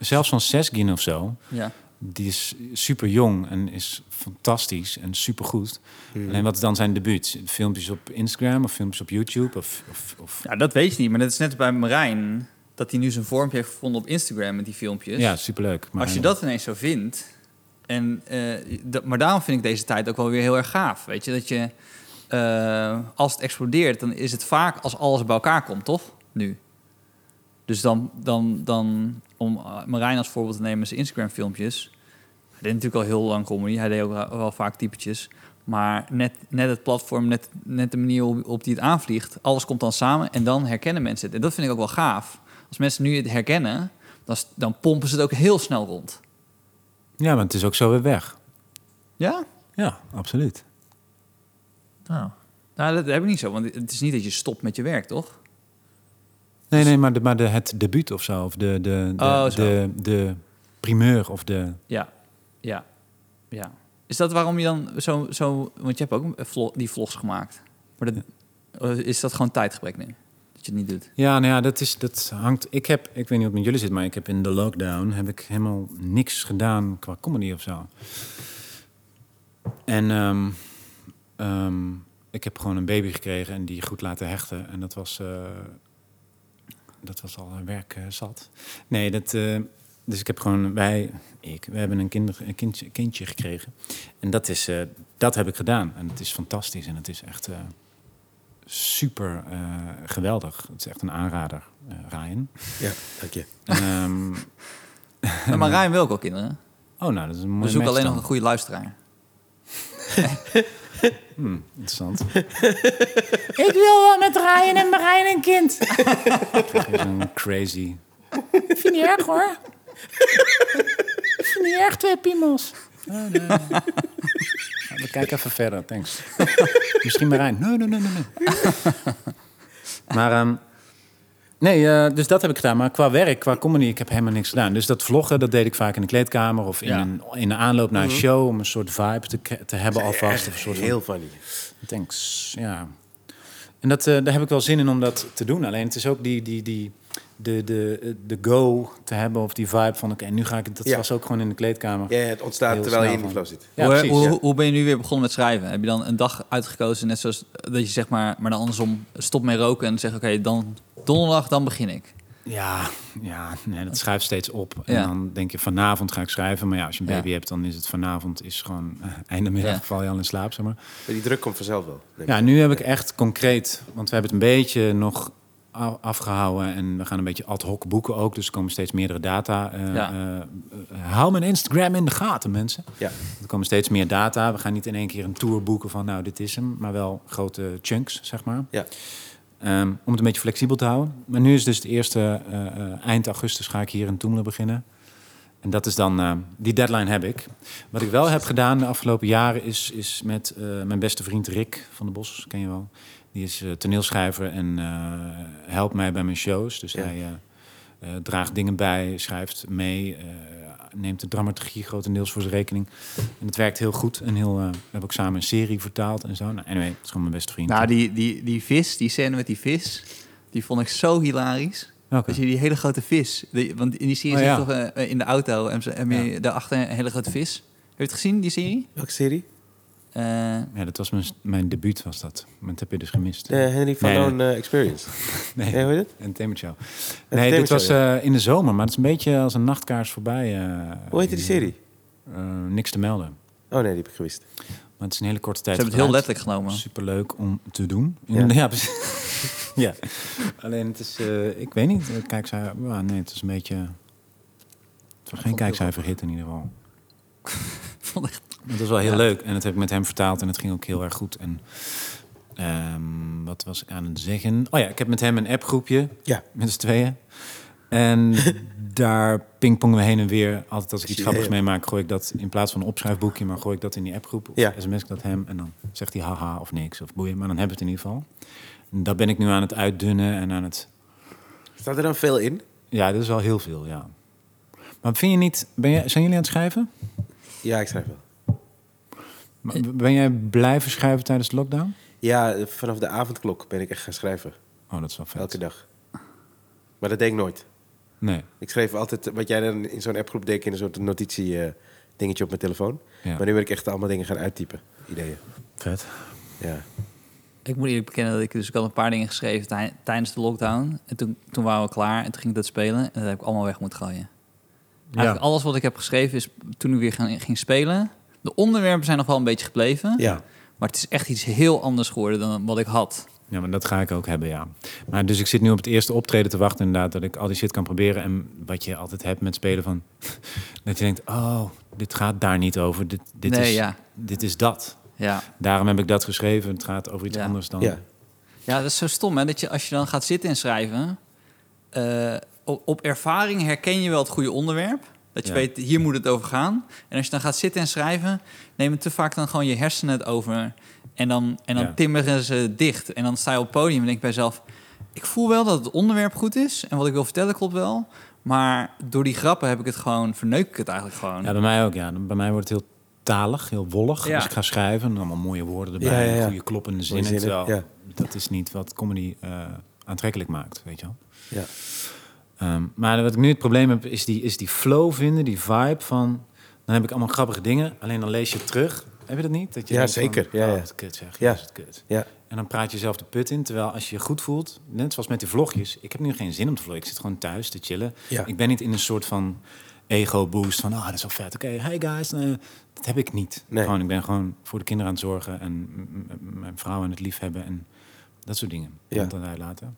[SPEAKER 3] Zelfs van Sesgin of zo.
[SPEAKER 2] Ja.
[SPEAKER 3] Die is super jong en is fantastisch en super goed. Alleen wat is dan zijn debuut? Filmpjes op Instagram of filmpjes op YouTube? Of, of, of...
[SPEAKER 2] ja, dat weet je niet. Maar dat is net bij Marijn. Dat hij nu zijn vormpje heeft gevonden op Instagram met die filmpjes.
[SPEAKER 3] Ja, superleuk. Maar
[SPEAKER 2] Als je dat ineens zo vindt. En, eh, dat- maar daarom vind ik deze tijd ook wel weer heel erg gaaf. Weet je, dat je eh, als het explodeert, dan is het vaak als alles bij elkaar komt, toch? Nu. Dus dan, dan, dan om eh, Marijn als voorbeeld te nemen, zijn Instagram-filmpjes. Hij deed natuurlijk al heel lang comedy. Hij deed ook wel- wel vaak typetjes. Maar net, net het platform, net, net de manier op, op die het aanvliegt. Alles komt dan samen en dan herkennen mensen het. En dat vind ik ook wel gaaf. Als mensen nu het herkennen, dan, s- dan pompen ze het ook heel snel rond.
[SPEAKER 3] Ja, maar het is ook zo weer weg.
[SPEAKER 2] Ja?
[SPEAKER 3] Ja, absoluut.
[SPEAKER 2] Nou, nou dat heb ik niet zo. Want het is niet dat je stopt met je werk, toch?
[SPEAKER 3] Nee, nee, maar, de, maar de, het debuut of zo. Of de, de, de,
[SPEAKER 2] Oh, zo.
[SPEAKER 3] de, de primeur of de...
[SPEAKER 2] Ja. Ja. Ja. Is dat waarom je dan zo... zo want je hebt ook een vlog- die vlogs gemaakt. Maar dat, eh, is dat gewoon tijdgebrek nu? Dat je het niet *laughs* doet?
[SPEAKER 3] Ja, nou ja, dat, is, dat hangt... Ik heb, ik weet niet hoe het met jullie zit, maar ik heb in de lockdown... heb ik helemaal niks gedaan qua comedy of zo. En ehm, ehm, ik heb gewoon een baby gekregen en die goed laten hechten. En dat was, eh, dat was al een werk eh, zat. Nee, dat, eh, dus ik heb gewoon... Wij, ik, we hebben een, kinder, een kindje, kindje gekregen. En dat, is, eh, dat heb ik gedaan. En het is fantastisch en het is echt... eh, super eh, geweldig. Het is echt een aanrader, eh Ryan.
[SPEAKER 1] Ja, dank je.
[SPEAKER 3] En, ehm, *laughs*
[SPEAKER 2] Nou, Maar Marijn wil ook al kinderen.
[SPEAKER 3] oh, nou, dat is een
[SPEAKER 2] We
[SPEAKER 3] mooi
[SPEAKER 2] zoeken alleen nog een
[SPEAKER 3] match
[SPEAKER 2] goede luisteraar.
[SPEAKER 3] dan. Hmm,
[SPEAKER 4] *laughs*
[SPEAKER 3] interessant. Ik wil wel met Ryan en Marijn een kind. Zo'n crazy.
[SPEAKER 4] vind je niet erg hoor. Ik vind niet erg twee piemels.
[SPEAKER 3] Oh, *laughs* Nou, we kijken even verder, *laughs* thanks. Misschien Marijn. Nee, nee, nee, nee. nee. *laughs* maar, ehm, nee, eh, dus dat heb ik gedaan. Maar qua werk, qua comedy, ik heb helemaal niks gedaan. Dus dat vloggen, dat deed ik vaak in de kleedkamer of in,
[SPEAKER 2] Ja.
[SPEAKER 3] een, in de aanloop naar een show. Om een soort vibe te, k- te hebben alvast. Of een soort van-
[SPEAKER 1] Heel funny.
[SPEAKER 3] Thanks, ja. En dat, eh, daar heb ik wel zin in om dat te doen. Alleen het is ook die, die, die, de, de, eh, de go te hebben of die vibe van... oké, nu ga ik... het- Dat
[SPEAKER 1] Ja.
[SPEAKER 3] was ook gewoon in de kleedkamer.
[SPEAKER 1] Ja, het ontstaat
[SPEAKER 3] Heel
[SPEAKER 1] terwijl je
[SPEAKER 3] snel
[SPEAKER 1] in die
[SPEAKER 3] van.
[SPEAKER 1] flow zit.
[SPEAKER 3] Ja,
[SPEAKER 2] hoe,
[SPEAKER 3] precies,
[SPEAKER 2] hoe,
[SPEAKER 3] ja.
[SPEAKER 2] hoe ben je nu weer begonnen met schrijven? Heb je dan een dag uitgekozen, net zoals dat je zeg maar, maar dan andersom stop met roken en zeg oké, dan donderdag, dan begin ik.
[SPEAKER 3] Ja, ja nee, dat schuift steeds op. En
[SPEAKER 2] Ja.
[SPEAKER 3] dan denk je, vanavond ga ik schrijven. Maar ja, als je een
[SPEAKER 2] Ja.
[SPEAKER 3] baby hebt, dan is het vanavond is gewoon... eh, einde middag
[SPEAKER 2] Ja.
[SPEAKER 3] val je al in slaap, zeg maar.
[SPEAKER 1] Maar die druk komt vanzelf wel.
[SPEAKER 3] Ja, nu heb ik echt concreet, want we hebben het een beetje nog eh, a- afgehouden. En we gaan een beetje ad hoc boeken ook. Dus er komen steeds meerdere data. Eh,
[SPEAKER 2] Ja.
[SPEAKER 3] eh, eh, hou mijn Instagram in de gaten, mensen.
[SPEAKER 1] Ja.
[SPEAKER 3] Er komen steeds meer data. We gaan niet in één keer een tour boeken van... nou, dit is hem. Maar wel grote chunks, zeg maar.
[SPEAKER 1] Ja.
[SPEAKER 3] Ehm, om het een beetje flexibel te houden. Maar nu is dus het eerste... eh, eh, eind augustus ga ik hier in Toemelen beginnen. En dat is dan, eh, die deadline heb ik. Wat ik wel heb gedaan de afgelopen jaren is, is met eh, mijn beste vriend Rick van de Bos, ken je wel. Die is eh, toneelschrijver en eh, helpt mij bij mijn shows. Dus
[SPEAKER 1] Ja.
[SPEAKER 3] hij eh, eh, draagt dingen bij, schrijft mee, eh, neemt de dramaturgie grotendeels voor zijn rekening. En dat werkt heel goed. En heel, eh, we hebben ook samen een serie vertaald en zo. Nou, anyway, het is gewoon mijn beste vriend.
[SPEAKER 2] Nou, die, die, die vis, die scène met die vis, die vond ik zo hilarisch.
[SPEAKER 3] Welke?
[SPEAKER 2] Dat je die hele grote vis, die- want in die serie
[SPEAKER 3] Oh,
[SPEAKER 2] zit
[SPEAKER 3] ja.
[SPEAKER 2] toch eh, in de auto en ze- en je daarachter een hele grote vis. Heb je het gezien, die serie?
[SPEAKER 1] Welke serie?
[SPEAKER 2] Eh,
[SPEAKER 3] Ja, dat was mijn, mijn debuut was dat. Maar dat heb je dus gemist.
[SPEAKER 1] De Henry van
[SPEAKER 3] Nee,
[SPEAKER 1] Loon eh, Experience.
[SPEAKER 3] *laughs* Nee.
[SPEAKER 1] Nee, hoe heet het?
[SPEAKER 3] Entertainment Show. Nee,
[SPEAKER 1] Entertainment
[SPEAKER 3] dit was
[SPEAKER 1] Show,
[SPEAKER 3] eh, in de zomer, maar het is een beetje als een nachtkaars voorbij. eh,
[SPEAKER 1] Hoe heette die serie?
[SPEAKER 3] eh, niks te melden.
[SPEAKER 1] Oh nee, die heb ik gewist.
[SPEAKER 3] Maar het is een hele korte tijd.
[SPEAKER 2] ze hebben het heel
[SPEAKER 3] gedraaid.
[SPEAKER 2] letterlijk genomen.
[SPEAKER 3] Superleuk om te doen.
[SPEAKER 1] Ja.
[SPEAKER 3] *laughs* Ja, precies. ja. alleen het is, eh, ik weet niet, het kijkcijfer, ja, nee, het is een beetje... Het was geen
[SPEAKER 2] heel
[SPEAKER 3] kijkcijferhit in ieder geval.
[SPEAKER 2] Vond *laughs* ik-
[SPEAKER 3] Maar Het was wel heel
[SPEAKER 2] Ja.
[SPEAKER 3] leuk en dat heb ik met hem vertaald en het ging ook heel erg goed. En ehm, wat was ik aan het zeggen? Oh ja, ik heb met hem een appgroepje
[SPEAKER 1] Ja.
[SPEAKER 3] Met z'n tweeën.
[SPEAKER 1] *laughs*
[SPEAKER 3] En daar pingpongen we heen en weer. Altijd als ik iets
[SPEAKER 1] Precies.
[SPEAKER 3] grappigs meemaak, gooi ik dat in plaats van een opschrijfboekje, maar gooi ik dat in die appgroep. Of
[SPEAKER 1] Ja.
[SPEAKER 3] sms ik dat hem en dan zegt hij haha of niks of boeien. Maar dan hebben we het in ieder geval. En dat ben ik nu aan het uitdunnen en aan het...
[SPEAKER 1] Staat er dan veel in?
[SPEAKER 3] Ja, dat is wel heel veel, ja. Maar vind je niet... Ben jij, zijn jullie aan het schrijven?
[SPEAKER 1] Ja, ik schrijf wel.
[SPEAKER 3] Maar Ben jij blijven schrijven tijdens de lockdown?
[SPEAKER 1] Ja, eh, vanaf de avondklok ben ik echt gaan schrijven.
[SPEAKER 3] Oh, dat is wel vet.
[SPEAKER 1] Elke dag. Maar dat deed ik nooit.
[SPEAKER 3] Nee.
[SPEAKER 1] Ik schreef altijd eh, wat jij dan in zo'n appgroep deed in een soort notitie eh, dingetje op mijn telefoon.
[SPEAKER 3] Ja.
[SPEAKER 1] Maar nu ben ik echt allemaal dingen gaan uittypen. Ideeën.
[SPEAKER 3] Vet.
[SPEAKER 1] Ja.
[SPEAKER 2] Ik moet eerlijk bekennen dat ik dus ook al een paar dingen geschreven tij- tijdens de lockdown. En toen, toen waren we klaar en toen ging ik dat spelen. En dat heb ik allemaal weg moeten gooien. Eigenlijk alles wat ik heb geschreven is toen ik weer gaan- ging spelen. De onderwerpen zijn nog wel een beetje gebleven.
[SPEAKER 1] Ja.
[SPEAKER 2] Maar het is echt iets heel anders geworden dan wat ik had.
[SPEAKER 3] Ja, maar dat ga ik ook hebben, ja. Maar dus ik zit nu op het eerste optreden te wachten inderdaad... dat ik al die shit kan proberen. En wat je altijd hebt met spelen van... *laughs* dat je denkt, oh, dit gaat daar niet over. Dit, dit,
[SPEAKER 2] nee,
[SPEAKER 3] is,
[SPEAKER 2] ja.
[SPEAKER 3] dit is dat.
[SPEAKER 2] Ja.
[SPEAKER 3] Daarom heb ik dat geschreven. Het gaat over iets
[SPEAKER 2] Ja.
[SPEAKER 3] anders dan...
[SPEAKER 1] Ja.
[SPEAKER 2] ja, dat is zo stom hè. Dat je als je dan gaat zitten en schrijven... eh, op, op ervaring herken je wel het goede onderwerp. Dat je
[SPEAKER 3] Ja.
[SPEAKER 2] weet, hier moet het over gaan. En als je dan gaat zitten en schrijven... nemen te vaak dan gewoon je hersenen het over. En dan, en dan
[SPEAKER 3] Ja.
[SPEAKER 2] timmeren ze dicht. En dan sta je op het podium en denk je bij jezelf... ik voel wel dat het onderwerp goed is. En wat ik wil vertellen klopt wel. Maar door die grappen heb ik het gewoon... verneuk ik het eigenlijk gewoon.
[SPEAKER 3] Ja, bij mij ook, ja. Bij mij wordt het heel talig, heel wollig.
[SPEAKER 2] Ja.
[SPEAKER 3] Als ik ga schrijven, en allemaal mooie woorden erbij.
[SPEAKER 1] Ja, ja, ja.
[SPEAKER 3] Goede kloppende zinnen.
[SPEAKER 1] zinnen,
[SPEAKER 3] terwijl
[SPEAKER 1] ja.
[SPEAKER 3] dat is niet wat comedy eh, aantrekkelijk maakt, weet je wel.
[SPEAKER 1] Ja.
[SPEAKER 3] Ehm, maar wat ik nu het probleem heb, is die, is die flow vinden, die vibe van... Dan heb ik allemaal grappige dingen, alleen dan lees je het terug. Heb je dat niet? Dat je
[SPEAKER 1] Ja,
[SPEAKER 3] denkt van,
[SPEAKER 1] zeker. Ja,
[SPEAKER 3] oh,
[SPEAKER 1] ja.
[SPEAKER 3] wat kut zeg.
[SPEAKER 1] Ja.
[SPEAKER 3] Ja. is het kut.
[SPEAKER 1] Ja.
[SPEAKER 3] En dan praat je zelf de put in. Terwijl als je je goed voelt, net zoals met die vlogjes... Ik heb nu geen zin om te vloggen. Ik zit gewoon thuis te chillen.
[SPEAKER 1] Ja.
[SPEAKER 3] Ik ben niet in een soort van ego-boost van... Ah, dat is wel vet. Oké, hey guys. eh, dat heb ik niet.
[SPEAKER 1] Nee.
[SPEAKER 3] Gewoon, ik ben gewoon voor de kinderen aan het zorgen... en m- m- mijn vrouw aan het liefhebben en dat soort dingen.
[SPEAKER 1] Ja.
[SPEAKER 3] Ja. Dan uitlaten.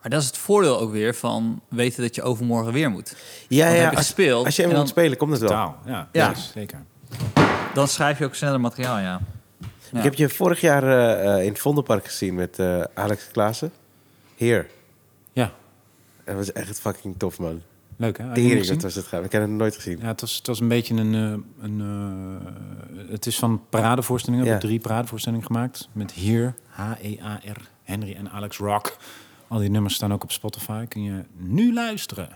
[SPEAKER 2] Maar dat is het voordeel ook weer van weten dat je overmorgen weer moet.
[SPEAKER 1] Ja,
[SPEAKER 2] Want
[SPEAKER 1] ja.
[SPEAKER 2] heb je
[SPEAKER 1] Als,
[SPEAKER 2] gespeeld,
[SPEAKER 1] als je
[SPEAKER 2] en
[SPEAKER 1] even
[SPEAKER 2] dan-
[SPEAKER 1] moet spelen, komt het wel.
[SPEAKER 3] Taal, ja.
[SPEAKER 2] Ja.
[SPEAKER 3] ja. zeker.
[SPEAKER 2] Dan schrijf je ook sneller materiaal, ja. Ja.
[SPEAKER 1] Ik heb je vorig jaar eh, eh, in het Vondelpark gezien met eh, Alex Klaassen. Heer.
[SPEAKER 3] Ja,
[SPEAKER 1] Dat was echt fucking tof, man.
[SPEAKER 3] leuk hè? Had je hem
[SPEAKER 1] Tering,
[SPEAKER 3] gezien?
[SPEAKER 1] dat was het gaan. Ik heb het nooit gezien.
[SPEAKER 3] Ja, het was, het was een beetje een... eh, een eh, het is van paradevoorstellingen. We
[SPEAKER 1] Ja.
[SPEAKER 3] hebben drie paradevoorstellingen gemaakt. Met hier, H-E-A-R, Henry en Alex Rock. Al die nummers staan ook op Spotify. Kun je nu luisteren.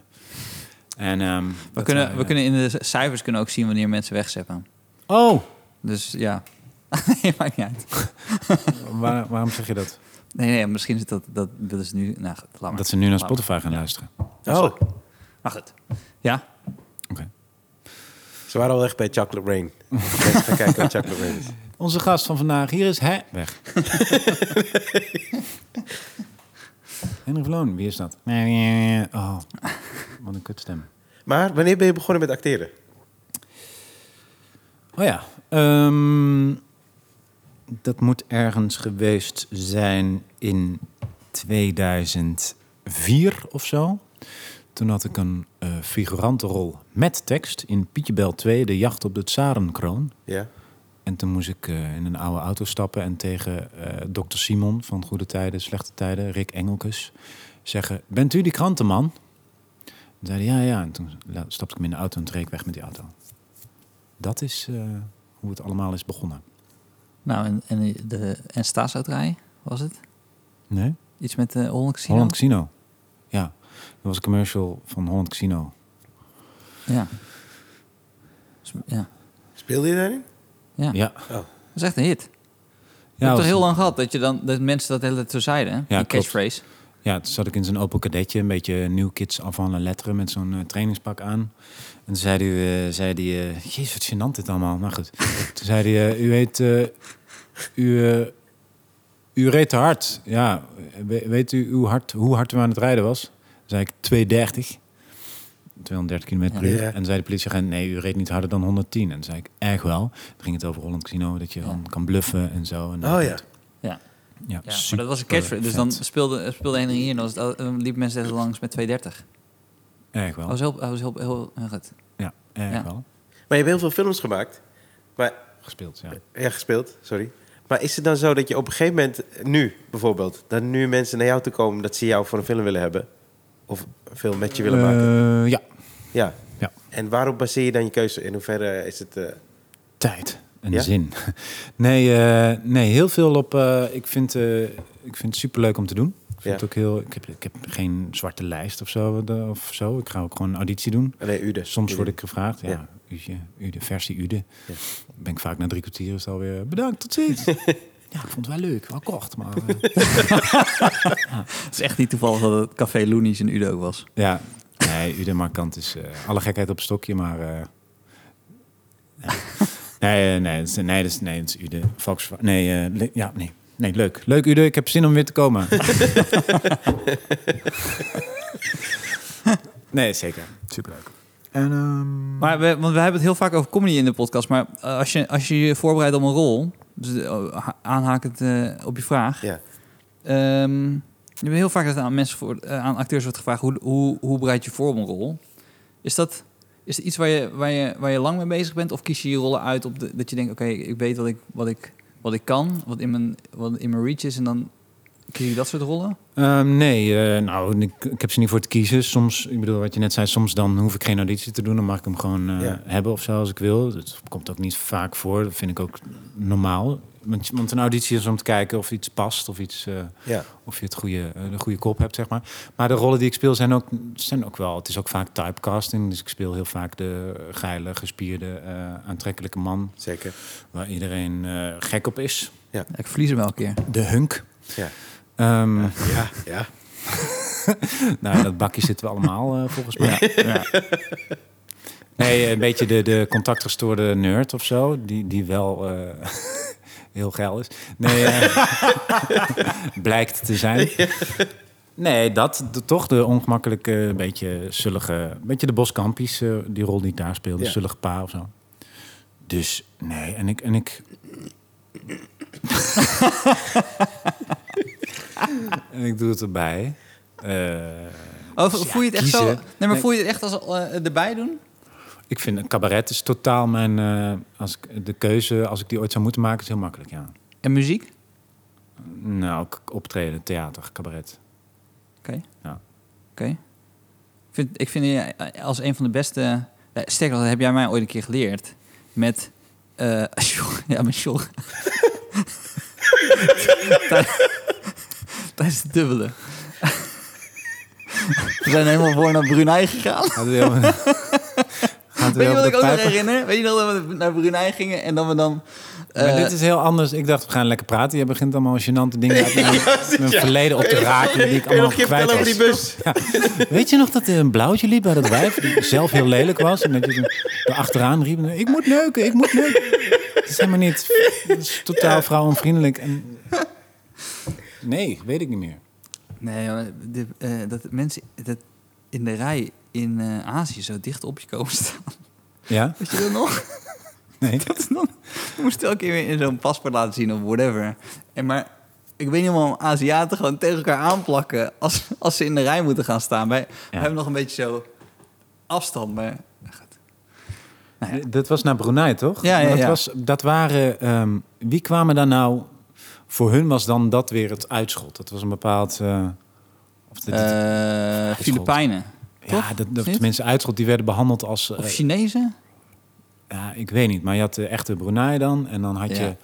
[SPEAKER 3] En, ehm,
[SPEAKER 2] We
[SPEAKER 3] dat
[SPEAKER 2] kunnen,
[SPEAKER 3] wij,
[SPEAKER 2] we
[SPEAKER 3] eh,
[SPEAKER 2] kunnen in de c- cijfers kunnen ook zien wanneer mensen wegzeppen.
[SPEAKER 3] Oh,
[SPEAKER 2] Dus ja. *laughs* nee, maakt niet uit.
[SPEAKER 3] waar- waarom zeg je dat?
[SPEAKER 2] Nee, nee, misschien is dat, dat, dat is nu... Nou, goed, laat maar.
[SPEAKER 3] Dat ze nu naar
[SPEAKER 2] Laat maar.
[SPEAKER 3] Spotify gaan luisteren.
[SPEAKER 1] Oh,
[SPEAKER 2] Maar Nou goed. Ja?
[SPEAKER 3] Oké.
[SPEAKER 1] ze waren al echt bij Chocolate Rain. Mensen gaan kijken wat Chocolate Rain is.
[SPEAKER 3] Onze gast van vandaag, hier is hij. Weg. Henry Vloon, wie is dat? Oh, wat een kutstem.
[SPEAKER 1] Maar wanneer ben je begonnen met acteren?
[SPEAKER 3] Oh ja, ehm, dat moet ergens geweest zijn in 2004 of zo. Toen had ik een eh figurantenrol met tekst in Pietje Bel 2, De Jacht op de Tsarenkroon.
[SPEAKER 1] Ja.
[SPEAKER 3] En toen moest ik eh, in een oude auto stappen en tegen eh dokter Simon van Goede Tijden, Slechte Tijden, Rick Engelkes, zeggen: Bent u die krantenman? Toen zei hij, ja, ja. En toen la- stapte ik hem in de auto en reed ik weg met die auto. Dat is eh, hoe het allemaal is begonnen.
[SPEAKER 2] Nou, en, en, de, en staatsuitrij was het?
[SPEAKER 3] Nee?
[SPEAKER 2] Iets met de Holland Casino?
[SPEAKER 3] Holland Casino. Ja, dat was een commercial van Holland Casino.
[SPEAKER 2] Ja. Dus- Ja.
[SPEAKER 1] Speelde je daarin?
[SPEAKER 2] ja.
[SPEAKER 3] Ja,
[SPEAKER 2] Dat is echt een hit.
[SPEAKER 3] ja,
[SPEAKER 2] ik heb
[SPEAKER 3] was-
[SPEAKER 2] toch heel lang gehad dat, je dan, dat mensen dat de hele tijd zo zeiden. hè? die
[SPEAKER 3] klopt.
[SPEAKER 2] catchphrase.
[SPEAKER 3] Ja, toen zat ik in zijn Opel Kadetje, een beetje New Kids avant la lettre met zo'n eh, trainingspak aan. En toen zei hij, eh, zei die, eh, jezus, wat gênant dit allemaal. Maar
[SPEAKER 1] *laughs*
[SPEAKER 3] goed, toen zei hij, eh, u heet, eh, u, eh, u reed te hard. Ja, we- weet u hoe hard, hoe hard u aan het rijden was? Toen zei ik, 230. 230 km per
[SPEAKER 1] Ja.
[SPEAKER 3] uur.
[SPEAKER 1] Ja.
[SPEAKER 3] En toen zei de politieagent, nee, u reed niet harder dan 110. En toen zei ik, echt wel. Toen ging het over Holland Casino, dat je
[SPEAKER 2] Ja.
[SPEAKER 3] dan kan bluffen en zo. En
[SPEAKER 1] Oh ja.
[SPEAKER 2] Ja. ja.
[SPEAKER 3] Ja,
[SPEAKER 2] Maar dat was een
[SPEAKER 3] super
[SPEAKER 2] catchphrase. Dus dan
[SPEAKER 3] vet.
[SPEAKER 2] speelde, speelde een hier en dan was het, eh, liepen mensen tegen langs met 230.
[SPEAKER 3] Erg
[SPEAKER 2] Dat
[SPEAKER 3] wel.
[SPEAKER 2] was heel, dat was heel, heel, heel goed.
[SPEAKER 3] Ja, erg
[SPEAKER 2] Oh. Ja.
[SPEAKER 3] wel.
[SPEAKER 1] Maar je hebt heel veel films gemaakt. Maar
[SPEAKER 3] Gespeeld, ja.
[SPEAKER 1] Ja, gespeeld, sorry. Maar is het dan zo dat je op een gegeven moment, nu bijvoorbeeld, dat nu mensen naar jou toe komen dat ze jou voor een film willen hebben? Of een film met je willen maken?
[SPEAKER 3] Eh, ja,
[SPEAKER 1] Ja.
[SPEAKER 3] ja.
[SPEAKER 1] En waarop baseer je dan je keuze? In hoeverre is het. eh,
[SPEAKER 3] tijd en
[SPEAKER 1] Ja?
[SPEAKER 3] zin. *laughs* Nee, eh, nee, heel veel op... eh, ik, vind, eh, ik vind het superleuk om te doen. Ik, vind
[SPEAKER 1] Ja.
[SPEAKER 3] het ook heel, ik, heb, ik heb geen zwarte lijst of zo, eh, of zo. Ik ga ook gewoon een auditie doen.
[SPEAKER 1] nee, u dus.
[SPEAKER 3] Soms word ik gevraagd, ja,
[SPEAKER 1] Ja.
[SPEAKER 3] Uutje, Ude, versie Ude.
[SPEAKER 1] Ja.
[SPEAKER 3] Ben ik vaak na drie kwartier is het alweer, bedankt, tot
[SPEAKER 1] *laughs*
[SPEAKER 3] ziens. ja, ik vond het wel leuk, wel kort, maar... eh,
[SPEAKER 2] Het is echt niet toevallig dat het Café Loenies in Udo ook was.
[SPEAKER 3] Ja, nee, Ude Markant is eh, alle gekheid op een stokje, maar... eh, nee, eh, nee, het is- nee, dat is, nee, dat is Ude. Fox, nee, eh, le- ja, nee. Nee, leuk. Leuk, Ude. Ik heb zin om weer te *laughs* komen. nee, zeker. Superleuk. En, ehm,
[SPEAKER 2] Maar we, want we hebben het heel vaak over comedy in de podcast. Maar eh, als, je, als je je voorbereidt op een rol, dus eh, ha- aanhakend eh, op je vraag.
[SPEAKER 1] Ja.
[SPEAKER 2] Ehm, je hebt heel vaak dat aan mensen voor, eh, aan acteurs wordt gevraagd hoe, hoe, hoe bereid je voor op een rol? Is dat is het iets waar je, waar, je, waar je lang mee bezig bent? Of kies je je rollen uit op de, dat je denkt, oké, ik weet wat ik, wat, ik, wat ik kan, wat in, mijn, wat in mijn reach is en dan kies je dat soort rollen?
[SPEAKER 3] Ehm, nee, eh, nou, ik, ik heb ze niet voor te kiezen. Soms, ik bedoel, wat je net zei, soms dan hoef ik geen auditie te doen. Dan mag ik hem gewoon eh,
[SPEAKER 1] Ja.
[SPEAKER 3] hebben of zo, als ik wil. Dat komt ook niet vaak voor. Dat vind ik ook normaal. Want, want een auditie is om te kijken of iets past of iets... eh,
[SPEAKER 1] Ja.
[SPEAKER 3] of je het goede, eh, de goede kop hebt, zeg maar. Maar de rollen die ik speel zijn ook, zijn ook wel... Het is ook vaak typecasting. Dus ik speel heel vaak de geile, gespierde, eh, aantrekkelijke man...
[SPEAKER 1] Zeker.
[SPEAKER 3] waar iedereen eh, gek op is.
[SPEAKER 2] Ik verlies hem elke keer.
[SPEAKER 3] De hunk.
[SPEAKER 1] Ja.
[SPEAKER 3] Ehm,
[SPEAKER 1] Ja, ja.
[SPEAKER 3] Nou, in dat bakje zitten we allemaal, eh, volgens mij. Nee, een beetje de, de contactgestoorde nerd of zo, die, die wel eh, *laughs* heel geil is. Nee, eh, *laughs* blijkt te zijn. Nee, dat de- toch de ongemakkelijke, beetje zullige, beetje de boskampies, eh, die rol die ik daar speelde,
[SPEAKER 1] Ja.
[SPEAKER 3] zullige pa of zo. Dus nee, en ik, en ik. en ik doe het erbij. Eh,
[SPEAKER 2] Oh, vo- voel je het echt zo? Nee,
[SPEAKER 3] kiezen.
[SPEAKER 2] maar
[SPEAKER 3] Nee.
[SPEAKER 2] voel je het echt als eh, erbij doen?
[SPEAKER 3] Ik vind een cabaret is totaal mijn. eh, als ik, de keuze, als ik die ooit zou moeten maken, is heel makkelijk, ja.
[SPEAKER 2] En muziek? Oké.
[SPEAKER 3] Nou, ook optreden, theater, cabaret. Ja.
[SPEAKER 2] Oké. Ik vind, ik vind je als een van de beste... eh, Sterker nog, dat heb jij mij ooit een keer geleerd. Met... eh, *laughs* Sjoerd- ja, met Sjoerd. *laughs* Tijd- Tijdens het dubbele. We zijn helemaal voor naar Brunei gegaan.
[SPEAKER 3] Gaat het
[SPEAKER 2] *laughs*
[SPEAKER 3] weer over- Gaat
[SPEAKER 2] Weet
[SPEAKER 3] het weer
[SPEAKER 2] je wat
[SPEAKER 3] over de
[SPEAKER 2] ik ook nog
[SPEAKER 3] pijper?
[SPEAKER 2] herinner? Weet je nog dat we naar Brunei gingen en dat we dan...
[SPEAKER 3] Maar
[SPEAKER 2] eh,
[SPEAKER 3] dit is heel anders. Ik dacht, we gaan lekker praten. Je begint allemaal gênante
[SPEAKER 2] *laughs*
[SPEAKER 3] dingen uit mijn, mijn verleden op te raken. Die ik
[SPEAKER 1] Kun je
[SPEAKER 3] allemaal
[SPEAKER 1] nog je
[SPEAKER 3] kwijt
[SPEAKER 1] vertellen over
[SPEAKER 3] was.
[SPEAKER 1] die bus?
[SPEAKER 3] Weet je nog dat er een blauwtje liep bij dat wijf? Die zelf heel lelijk was. En dat je er- er achteraan riep. Ik moet neuken, ik moet neuken. Het is helemaal niet... Het is totaal vrouwonvriendelijk. En... Nee, weet ik niet meer.
[SPEAKER 2] Nee, maar de, eh, dat mensen dat in de rij in eh, Azië zo dicht op je komen staan.
[SPEAKER 3] Ja?
[SPEAKER 2] Weet je dat nog?
[SPEAKER 3] Nee.
[SPEAKER 2] *laughs* Dat is dan, je moest elke keer weer in zo'n paspoort laten zien of whatever. En maar ik weet niet waarom Aziaten gewoon tegen elkaar aanplakken als, als ze in de rij moeten gaan staan. Wij, wij hebben nog een beetje zo afstand, maar Ja.
[SPEAKER 3] D- Dat was naar Brunei, toch?
[SPEAKER 2] Ja, ja,
[SPEAKER 3] dat,
[SPEAKER 2] ja.
[SPEAKER 3] Was, dat waren... ehm, wie kwamen daar nou... Voor hun was dan dat weer het uitschot. Dat was een bepaald... eh, of dat-
[SPEAKER 2] eh Filipijnen. toch?
[SPEAKER 3] ja, dat,
[SPEAKER 2] Of
[SPEAKER 3] dat,
[SPEAKER 2] niet?
[SPEAKER 3] tenminste, uitschot die werden behandeld als... eh,
[SPEAKER 2] Of Chinezen?
[SPEAKER 3] ja, ik weet niet, maar je had de echte Brunei dan. En dan had je
[SPEAKER 2] Ja.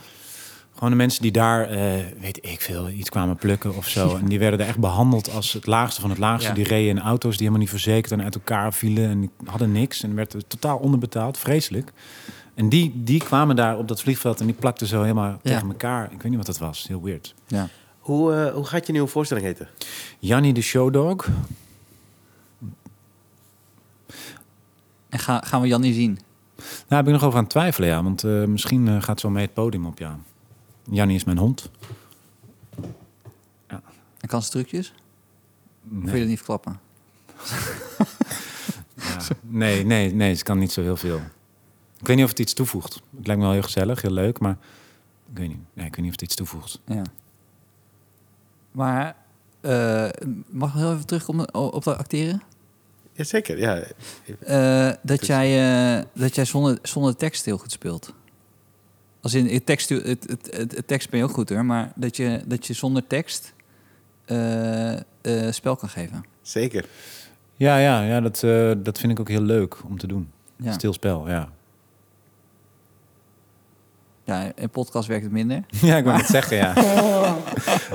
[SPEAKER 3] gewoon de mensen die daar, eh, weet ik veel, iets kwamen plukken of
[SPEAKER 2] *laughs*
[SPEAKER 3] zo. En die werden er echt behandeld als het laagste van het laagste.
[SPEAKER 2] Ja.
[SPEAKER 3] Die reden in auto's die helemaal niet verzekerd en uit elkaar vielen. En die hadden niks en werden totaal onderbetaald. Vreselijk. En die, die kwamen daar op dat vliegveld en die plakten zo helemaal
[SPEAKER 2] Ja.
[SPEAKER 3] tegen elkaar. Ik weet niet wat dat was. Heel weird.
[SPEAKER 2] Ja.
[SPEAKER 1] Hoe, eh, hoe gaat je nieuwe voorstelling heten?
[SPEAKER 3] Jannie de Showdog.
[SPEAKER 2] En ga, gaan we Jannie zien?
[SPEAKER 3] Daar ben Nou, ik nog over aan het twijfelen, ja. Want eh, misschien eh, gaat zo mee het podium op, ja. Jannie is mijn hond.
[SPEAKER 2] En kan ze trucjes? Of
[SPEAKER 3] Nee.
[SPEAKER 2] Wil je dat niet verklappen?
[SPEAKER 3] Ja. Nee, nee, nee, ze kan niet zo heel veel. Ik weet niet of het iets toevoegt. Het lijkt me wel heel gezellig, heel leuk, maar ik weet niet, nee, ik weet niet of het iets toevoegt.
[SPEAKER 2] Ja. Maar eh, mag ik nog heel even terugkomen op, op dat acteren?
[SPEAKER 1] Jazeker, ja.
[SPEAKER 2] Eh, dat, jij, eh, dat jij zonder, zonder tekst heel goed speelt. Als in het tekst, het, het, het, het tekst ben je ook goed hoor, maar dat je, dat je zonder tekst eh, eh, spel kan geven.
[SPEAKER 1] Zeker.
[SPEAKER 3] Ja, ja, ja dat, eh, dat vind ik ook heel leuk om te doen.
[SPEAKER 2] Ja.
[SPEAKER 3] Stil spel, ja.
[SPEAKER 2] Ja, in podcast werkt het minder.
[SPEAKER 3] *laughs* Ja, ik wil het zeggen, ja.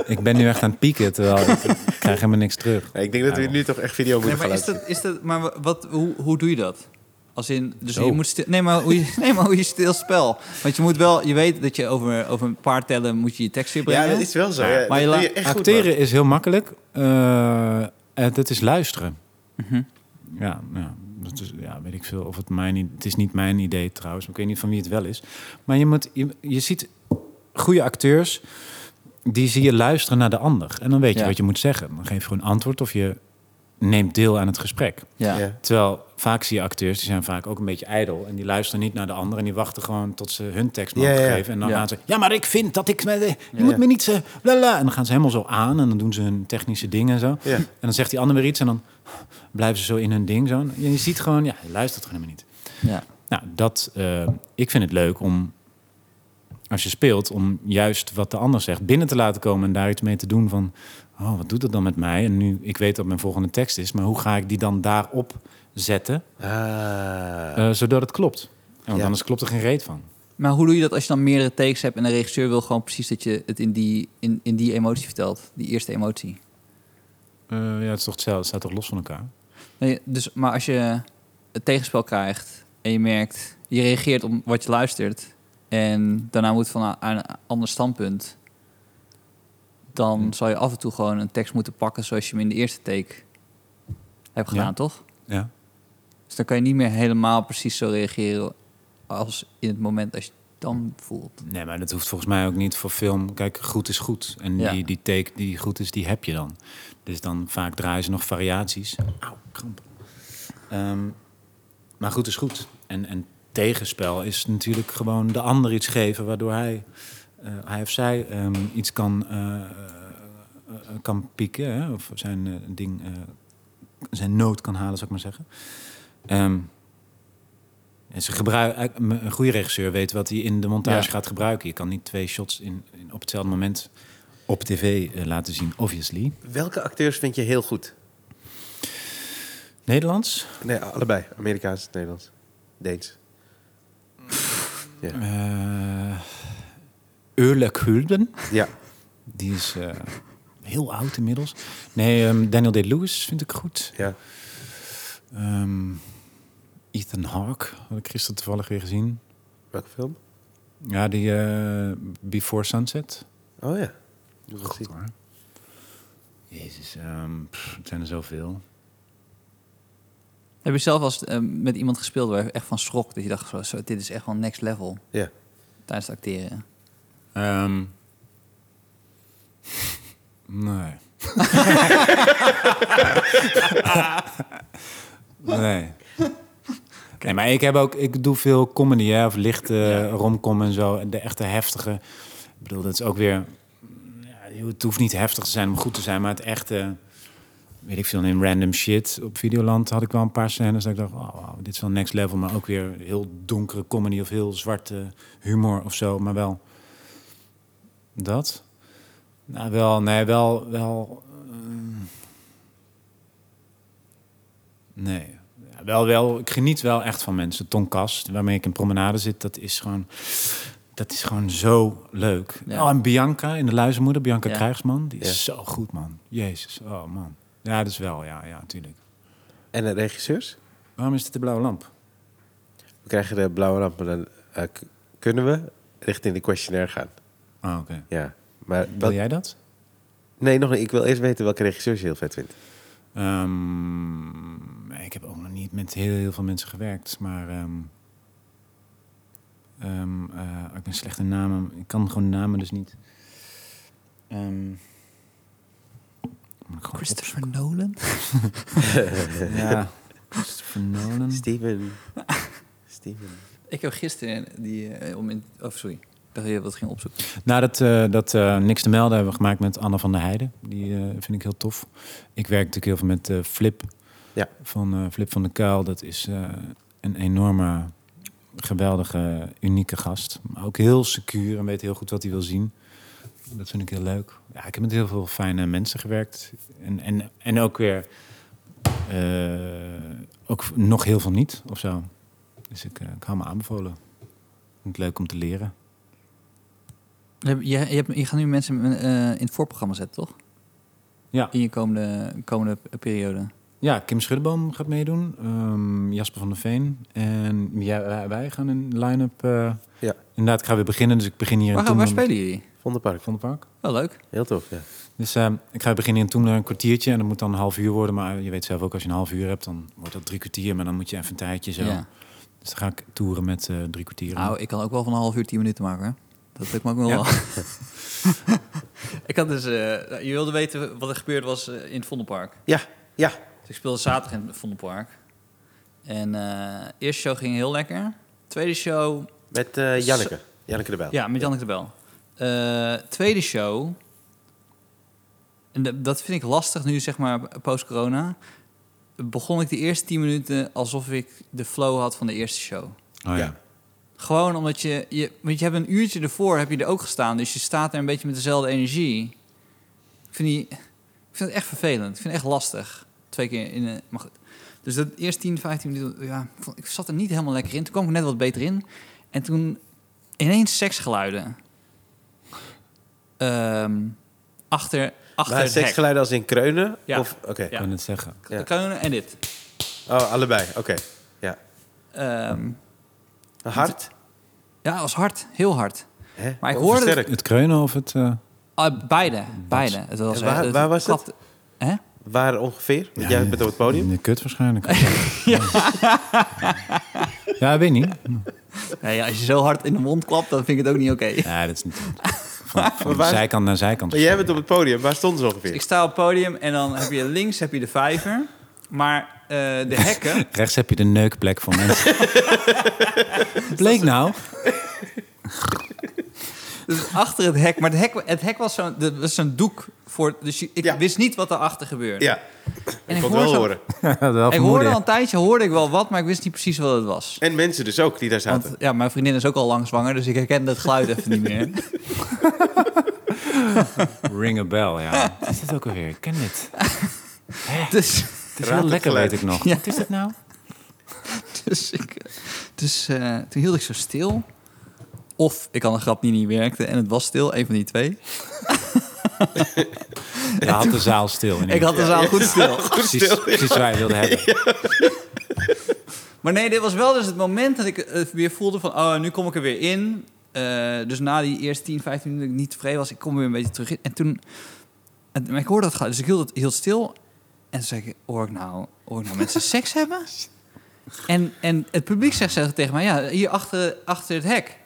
[SPEAKER 3] ik ben nu echt aan het pieken, terwijl ik, ik krijg helemaal niks terug.
[SPEAKER 1] Nou, Ik denk dat we
[SPEAKER 3] Ja.
[SPEAKER 1] nu toch echt video
[SPEAKER 2] Nee,
[SPEAKER 1] moeten gaan
[SPEAKER 2] maar is
[SPEAKER 1] laten
[SPEAKER 2] dat, is dat, maar wat, hoe, hoe doe je dat? Als in, dus
[SPEAKER 3] Zo.
[SPEAKER 2] je moet stil, nee, maar hoe je, *laughs* nee, maar hoe je stil spel. Want je moet wel, je weet dat je over, over een paar tellen moet je je tekst weer
[SPEAKER 1] zien.
[SPEAKER 2] brengen.
[SPEAKER 1] Ja, dat is wel zo.
[SPEAKER 3] Ja,
[SPEAKER 1] Ja,
[SPEAKER 2] maar je
[SPEAKER 1] dat doe
[SPEAKER 2] laat-
[SPEAKER 1] je echt goed, man.
[SPEAKER 3] Acteren is heel makkelijk. Eh het is luisteren.
[SPEAKER 2] Mhm.
[SPEAKER 3] Ja, ja, dat is, ja, weet ik veel. Of het, mijn, i- het is niet mijn idee trouwens. maar Ik weet niet van wie het wel is. Maar je, moet, je, je ziet goede acteurs... die zie je luisteren naar de ander. En dan weet je
[SPEAKER 2] Ja.
[SPEAKER 3] wat je moet zeggen. Dan geef je gewoon antwoord of je neemt deel aan het gesprek.
[SPEAKER 2] Ja.
[SPEAKER 1] Ja.
[SPEAKER 3] Terwijl vaak zie je acteurs, die zijn vaak ook een beetje ijdel... en die luisteren niet naar de ander... en die wachten gewoon tot ze hun tekst mogen
[SPEAKER 1] Ja, ja, ja.
[SPEAKER 3] geven. En dan
[SPEAKER 2] Ja.
[SPEAKER 3] gaan ze... Ja, maar ik vind dat ik... Je
[SPEAKER 1] Ja.
[SPEAKER 3] moet me niet... eh, bla, bla." En dan gaan ze helemaal zo aan... en dan doen ze hun technische dingen en zo.
[SPEAKER 1] Ja.
[SPEAKER 3] En dan zegt die ander weer iets... en dan blijven ze zo in hun ding. Zo. En je ziet gewoon... Ja, hij luistert gewoon helemaal niet.
[SPEAKER 2] Ja.
[SPEAKER 3] Nou, dat... eh, ik vind het leuk om... als je speelt... om juist wat de ander zegt binnen te laten komen... en daar iets mee te doen van... oh, wat doet dat dan met mij? En nu, ik weet dat mijn volgende tekst is... maar hoe ga ik die dan daarop zetten...
[SPEAKER 1] Ah.
[SPEAKER 3] Eh, zodat het klopt. Ja, want
[SPEAKER 1] Ja.
[SPEAKER 3] anders klopt er geen reet van.
[SPEAKER 2] Maar hoe doe je dat als je dan meerdere takes hebt en de regisseur wil gewoon precies dat je het in die, in, in die emotie vertelt, die eerste emotie?
[SPEAKER 3] Eh, ja, het is toch hetzelfde. Het staat toch los van elkaar?
[SPEAKER 2] Nee, dus, maar als je het tegenspel krijgt en je merkt, je reageert op wat je luistert en daarna moet van een, aan een ander standpunt, dan zal je af en toe gewoon een tekst moeten pakken zoals je hem in de eerste take hebt gedaan,
[SPEAKER 3] Ja.
[SPEAKER 2] toch?
[SPEAKER 3] Ja.
[SPEAKER 2] Dus dan kan je niet meer helemaal precies zo reageren als in het moment als je het dan voelt.
[SPEAKER 3] Nee, maar dat hoeft volgens mij ook niet voor film. Kijk, goed is goed. En
[SPEAKER 2] Ja.
[SPEAKER 3] die, die take die goed is, die heb je dan. Dus dan vaak draaien ze nog variaties. Auw, kramp. Ehm, maar goed is goed. En, en tegenspel is natuurlijk gewoon de ander iets geven... waardoor hij, eh, hij of zij ehm, iets kan, eh, eh, eh, kan pieken. Hè? Of zijn eh, ding, eh, zijn nood kan halen, zou ik maar zeggen. Ehm, en ze gebruiken, een goede regisseur weet wat hij in de montage
[SPEAKER 2] Ja.
[SPEAKER 3] gaat gebruiken. Je kan niet twee shots in, in- op hetzelfde moment op tv eh, laten zien, obviously.
[SPEAKER 1] Welke acteurs vind je heel goed?
[SPEAKER 3] Nederlands?
[SPEAKER 1] Nee, allebei. Amerikaans, Nederlands, Deens.
[SPEAKER 3] Eh Urlek Hulden.
[SPEAKER 1] Ja.
[SPEAKER 3] Die is eh, heel oud inmiddels. Nee, ehm, Daniel Day-Lewis vind ik goed.
[SPEAKER 1] ja.
[SPEAKER 3] Ehm, Ethan Hawke had ik gisteren toevallig weer gezien.
[SPEAKER 1] Welke film?
[SPEAKER 3] Ja, die eh, Before Sunset.
[SPEAKER 1] Oh ja. Moet ik zien.
[SPEAKER 3] hoor. Jezus, ehm, pff, het zijn er zoveel.
[SPEAKER 2] Heb je zelf als met iemand gespeeld waar je echt van schrok dat je dacht zo, zo, dit is echt wel next level
[SPEAKER 1] Ja.
[SPEAKER 2] tijdens het acteren?
[SPEAKER 3] Ehm, nee. nee. Nee, maar ik heb ook, ik doe veel comedy, hè, of lichte romcom en zo, en de echte heftige. Ik bedoel, dat is ook weer, ja, joh, het hoeft niet heftig te zijn om goed te zijn, maar het echte, weet ik veel, in random shit op Videoland had ik wel een paar scènes dat ik dacht, wow, wow, dit is wel next level, maar ook weer heel donkere comedy of heel zwarte humor of zo, maar wel dat. Nou, wel, nee, wel, wel. ehm, nee. Ja, wel, wel, ik geniet wel echt van mensen. Tonkast, waarmee ik in promenade zit, dat is gewoon, dat is gewoon zo leuk.
[SPEAKER 2] Ja.
[SPEAKER 3] Oh, en Bianca in de Luizenmoeder, Bianca
[SPEAKER 2] Ja.
[SPEAKER 3] Krijgsman, die is
[SPEAKER 1] Ja.
[SPEAKER 3] zo goed, man. Jezus, oh man. Ja, dat is wel, ja, ja, tuurlijk.
[SPEAKER 1] En de regisseurs?
[SPEAKER 3] Waarom is dit de blauwe lamp?
[SPEAKER 1] We krijgen de blauwe lamp, maar dan eh, k- kunnen we richting de questionnaire gaan.
[SPEAKER 3] Ah, oké.
[SPEAKER 1] Ja. Maar
[SPEAKER 3] Wil
[SPEAKER 1] wat-
[SPEAKER 3] jij dat?
[SPEAKER 1] nee, nog niet. Ik wil eerst weten welke regisseurs je heel vet vindt.
[SPEAKER 3] Ehm, ik heb ook nog niet met heel, heel veel mensen gewerkt, maar ehm, ehm, eh, ik ben slecht in namen. Ik kan gewoon namen dus niet.
[SPEAKER 1] *laughs*
[SPEAKER 3] Ehm, moet ik gewoon
[SPEAKER 2] Christopher Nolan?
[SPEAKER 3] op- Ja. Christopher
[SPEAKER 1] Mm.
[SPEAKER 3] Nolan.
[SPEAKER 1] Steven. *laughs* Steven.
[SPEAKER 2] Ik heb gisteren die... eh, om in, oh, sorry. Ik dacht dat je wat ging opzoeken.
[SPEAKER 3] Nou, dat, eh, dat eh, Niks te melden hebben we gemaakt met Anna van der Heijden. Die eh, vind ik heel tof. Ik werk natuurlijk heel veel met eh, Flip.
[SPEAKER 1] Ja.
[SPEAKER 3] Van eh, Flip van de Kuil. Dat is eh, een enorme, geweldige, unieke gast. Maar ook heel secuur en weet heel goed wat hij wil zien. Dat vind ik heel leuk. Ja, ik heb met heel veel fijne mensen gewerkt. En, en, en ook weer... eh, ook nog heel veel niet, of zo. Dus ik, eh, ik hou me aanbevolen. Ik vind het leuk om te leren.
[SPEAKER 2] Je, hebt- je, hebt- je gaat nu mensen eh, in het voorprogramma zetten, toch?
[SPEAKER 3] Ja.
[SPEAKER 2] In je komende, komende p- periode.
[SPEAKER 3] Ja, Kim Schuddeboom gaat meedoen. ehm, Jasper van der Veen. En jij- wij- wij gaan een line-up... eh,
[SPEAKER 1] Ja.
[SPEAKER 3] Inderdaad, ik ga weer beginnen. Dus ik begin hier
[SPEAKER 2] Waar,
[SPEAKER 3] in
[SPEAKER 2] waar
[SPEAKER 3] Toemler-
[SPEAKER 2] spelen jullie?
[SPEAKER 1] Vondelpark.
[SPEAKER 3] Van het park.
[SPEAKER 2] Wel leuk.
[SPEAKER 1] Heel tof, ja.
[SPEAKER 3] Dus ehm, ik ga beginnen in Toemler een kwartiertje. En dat moet dan een half uur worden. Maar je weet zelf ook, als je een half uur hebt, dan wordt dat drie kwartier. Maar dan moet je even een tijdje zo.
[SPEAKER 2] Ja.
[SPEAKER 3] Dus dan ga ik toeren met eh, drie kwartieren.
[SPEAKER 2] Nou, ik kan ook wel van een half uur tien minuten maken. Hè? Dat lukt me ook wel.
[SPEAKER 3] Ja. *laughs*
[SPEAKER 2] *laughs* ik had dus... eh, nou, je wilde weten wat er gebeurd was eh, in het Vondelpark.
[SPEAKER 1] Ja, ja.
[SPEAKER 2] Dus ik speelde zaterdag in het Vondelpark. En eh eerste show ging heel lekker. Tweede show...
[SPEAKER 1] Met eh, Janneke. Janneke de Bijl.
[SPEAKER 2] Ja, met Janneke de Bel. Eh, tweede show... En da- dat vind ik lastig nu, zeg maar, post-corona. Begon ik de eerste tien minuten alsof ik de flow had van de eerste show.
[SPEAKER 3] oh, ja.
[SPEAKER 1] ja.
[SPEAKER 2] Gewoon omdat je, je... Want je hebt een uurtje ervoor heb je er ook gestaan. Dus je staat er een beetje met dezelfde energie. Ik vind, die, ik vind het echt vervelend. Ik vind het echt lastig. Twee keer in... een- Maar goed. Dus dat eerst 10, 15 minuten... Ja, ik vond- ik zat er niet helemaal lekker in. Toen kwam ik net wat beter in. En toen ineens seksgeluiden. Ehm, achter achter
[SPEAKER 1] Maar
[SPEAKER 2] het hek.
[SPEAKER 1] seksgeluiden als in kreunen?
[SPEAKER 2] Ja.
[SPEAKER 1] Of, oké.
[SPEAKER 3] Ik kan het zeggen.
[SPEAKER 1] ja.
[SPEAKER 2] Kreunen en dit.
[SPEAKER 1] Oh, allebei. Oké. Ja.
[SPEAKER 2] Ehm,
[SPEAKER 1] Hard?
[SPEAKER 2] ja, het was hard. Heel hard.
[SPEAKER 1] Hè?
[SPEAKER 2] Maar ik
[SPEAKER 1] Oh,
[SPEAKER 2] hoorde-
[SPEAKER 1] versterkt.
[SPEAKER 3] Het kreunen of het... eh,
[SPEAKER 2] Ah, beide. Beide. Het was,
[SPEAKER 1] En waar-
[SPEAKER 2] het
[SPEAKER 1] waar was het?
[SPEAKER 2] klapte- Hè?
[SPEAKER 1] Waar ongeveer? Want
[SPEAKER 3] ja,
[SPEAKER 1] jij bent op het podium.
[SPEAKER 3] In de kut waarschijnlijk. ja. ja, weet niet.
[SPEAKER 2] Nee, ja, als je zo hard in de mond klapt, dan vind ik het ook niet
[SPEAKER 1] *laughs*
[SPEAKER 2] oké.
[SPEAKER 3] Ja, dat is niet goed. Van, van
[SPEAKER 1] waar-
[SPEAKER 3] zijkant naar zijkant.
[SPEAKER 1] Maar jij bent op het podium. Waar stonden ze ongeveer?
[SPEAKER 2] Ik sta op het podium en dan heb je links heb je de vijver, maar eh, de
[SPEAKER 1] *laughs*
[SPEAKER 2] hekken...
[SPEAKER 3] Rechts heb je de neukplek voor *laughs* mensen. Bleek nou.
[SPEAKER 2] Dus achter het hek, maar het hek, het hek was zo'n dat was zo'n doek voor... Dus je- ik
[SPEAKER 1] Ja.
[SPEAKER 2] wist niet wat daarachter gebeurde.
[SPEAKER 1] Ja. ik
[SPEAKER 2] en
[SPEAKER 1] kon het
[SPEAKER 2] ik, hoor
[SPEAKER 1] wel
[SPEAKER 2] zo-
[SPEAKER 1] horen.
[SPEAKER 3] Dat had wel
[SPEAKER 2] ik hoorde
[SPEAKER 3] vermoeden.
[SPEAKER 2] al een tijdje, hoorde ik wel wat, maar ik wist niet precies wat het was.
[SPEAKER 1] En mensen dus ook die daar zaten.
[SPEAKER 2] Want ja, mijn vriendin is ook al lang zwanger, dus ik herken dat geluid even niet meer.
[SPEAKER 1] *laughs*
[SPEAKER 3] Ring a bell, ja. Wat *laughs* is dit ook alweer? Ik ken dit. Hè?
[SPEAKER 2] Dus,
[SPEAKER 3] Het is
[SPEAKER 1] Raad
[SPEAKER 3] heel
[SPEAKER 1] het
[SPEAKER 3] lekker,
[SPEAKER 1] geluid.
[SPEAKER 3] weet ik nog.
[SPEAKER 2] Ja.
[SPEAKER 3] Wat is dit nou?
[SPEAKER 2] *laughs* dus, ik, dus eh, toen hield ik zo stil. Of ik had een grap die niet werkte en het was stil, een van die twee.
[SPEAKER 3] Je had de zaal stil. in
[SPEAKER 2] Ik had de zaal goed stil.
[SPEAKER 3] precies, precies waar je wilde hebben.
[SPEAKER 2] *laughs* Maar nee, dit was wel dus het moment dat ik eh, weer voelde van... oh, nu kom ik er weer in. Eh, dus na die eerste 10, 15 minuten dat ik niet tevreden was... ik kom weer een beetje terug in. En toen... en- maar ik hoorde dat geluid, dus ik hield, het, hield stil. En toen zei ik, hoor ik nou, hoor ik nou *laughs* mensen seks hebben? En, en het publiek zegt zelf tegen mij, ja, hier achter, achter het hek.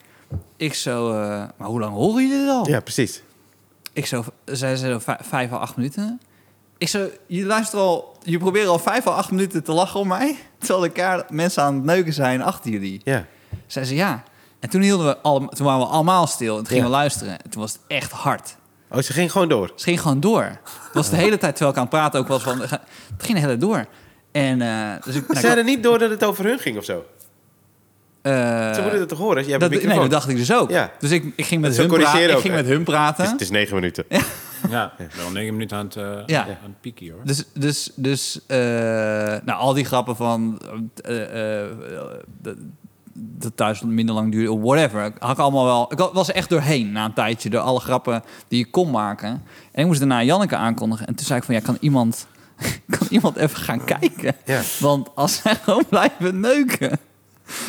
[SPEAKER 2] Ik zo, eh, maar hoe lang horen jullie dit al?
[SPEAKER 1] Ja, precies.
[SPEAKER 2] Ik zo, zij zei zo vij- vijf à acht minuten. Ik zo, je luistert al, je probeert al vijf à acht minuten te lachen om mij. Terwijl elkaar mensen aan het neuken zijn achter jullie.
[SPEAKER 1] Ja.
[SPEAKER 2] Zij zei ja. En toen hielden we allemaal, toen waren we allemaal stil en toen gingen
[SPEAKER 1] Ja.
[SPEAKER 2] we luisteren. En toen was het echt hard.
[SPEAKER 1] Oh, ze ging gewoon door.
[SPEAKER 2] Dus het ging gewoon door. Het was de hele tijd, terwijl ik aan het praten ook was van... Het ging de hele tijd door. En eh, dus ik... nou,
[SPEAKER 1] Ze
[SPEAKER 2] ik had-
[SPEAKER 1] hadden niet door dat het over hun ging of zo.
[SPEAKER 2] eh,
[SPEAKER 1] Ze moeten het toch horen als je hebt
[SPEAKER 2] dat,
[SPEAKER 1] een
[SPEAKER 2] nee, dat
[SPEAKER 1] microfoon.
[SPEAKER 2] dacht ik dus ook.
[SPEAKER 1] Ja.
[SPEAKER 2] Dus ik, ik ging met
[SPEAKER 1] Zo
[SPEAKER 2] hun praten.
[SPEAKER 1] corrigeren
[SPEAKER 2] Ik
[SPEAKER 1] ook,
[SPEAKER 2] ging
[SPEAKER 1] hè?
[SPEAKER 2] met hun praten.
[SPEAKER 1] Het is negen minuten.
[SPEAKER 3] Ja, wel negen minuten aan het, eh,
[SPEAKER 2] Ja.
[SPEAKER 3] aan het pieken hoor.
[SPEAKER 2] Dus, dus, dus eh, nou, al die grappen van eh, eh, eh, dat, dat thuis minder lang duurde, whatever. Ik Had ik allemaal wel. Ik was er echt doorheen na een tijdje door alle grappen die ik kon maken. En ik moest daarna Janneke aankondigen. En toen zei ik van ja, kan iemand, *laughs* kan iemand even gaan kijken?
[SPEAKER 1] Ja.
[SPEAKER 2] Want als zij gewoon blijven neuken.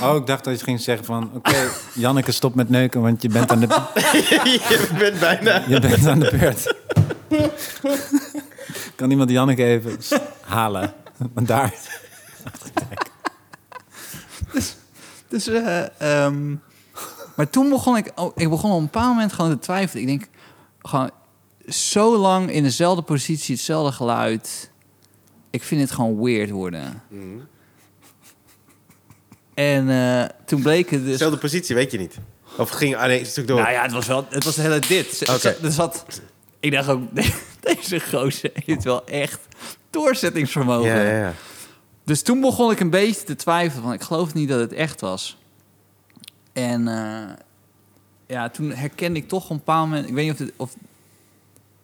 [SPEAKER 3] Oh, ik dacht dat je ging zeggen van... Oké, Janneke, stop met neuken, want je bent aan
[SPEAKER 1] *laughs*
[SPEAKER 3] de,
[SPEAKER 1] je bent
[SPEAKER 2] *laughs* Dus-
[SPEAKER 1] bijna...
[SPEAKER 3] je bent aan de beurt. kan iemand Janneke even s- halen? Want daar...
[SPEAKER 2] Dus, eh, ehm, maar toen begon ik, oh, ik begon op een bepaald moment gewoon te twijfelen. Ik denk, gewoon zo lang in dezelfde positie, hetzelfde geluid. Ik vind het gewoon weird worden.
[SPEAKER 1] Mhm.
[SPEAKER 2] En eh, toen bleek het dus...
[SPEAKER 1] Dezelfde positie, weet je niet. Of ging ah, alleen een stuk door.
[SPEAKER 2] Nou ja, het was wel, het was de hele dit. Z-
[SPEAKER 1] Oké.
[SPEAKER 2] z- Er zat, ik dacht ook, *laughs* deze gozer heeft wel echt doorzettingsvermogen.
[SPEAKER 1] ja, ja, ja.
[SPEAKER 2] Dus toen begon ik een beetje te twijfelen. Van, ik geloof niet dat het echt was. En eh, ja, toen herkende ik toch op een bepaald moment... Ik weet niet of... Dit, of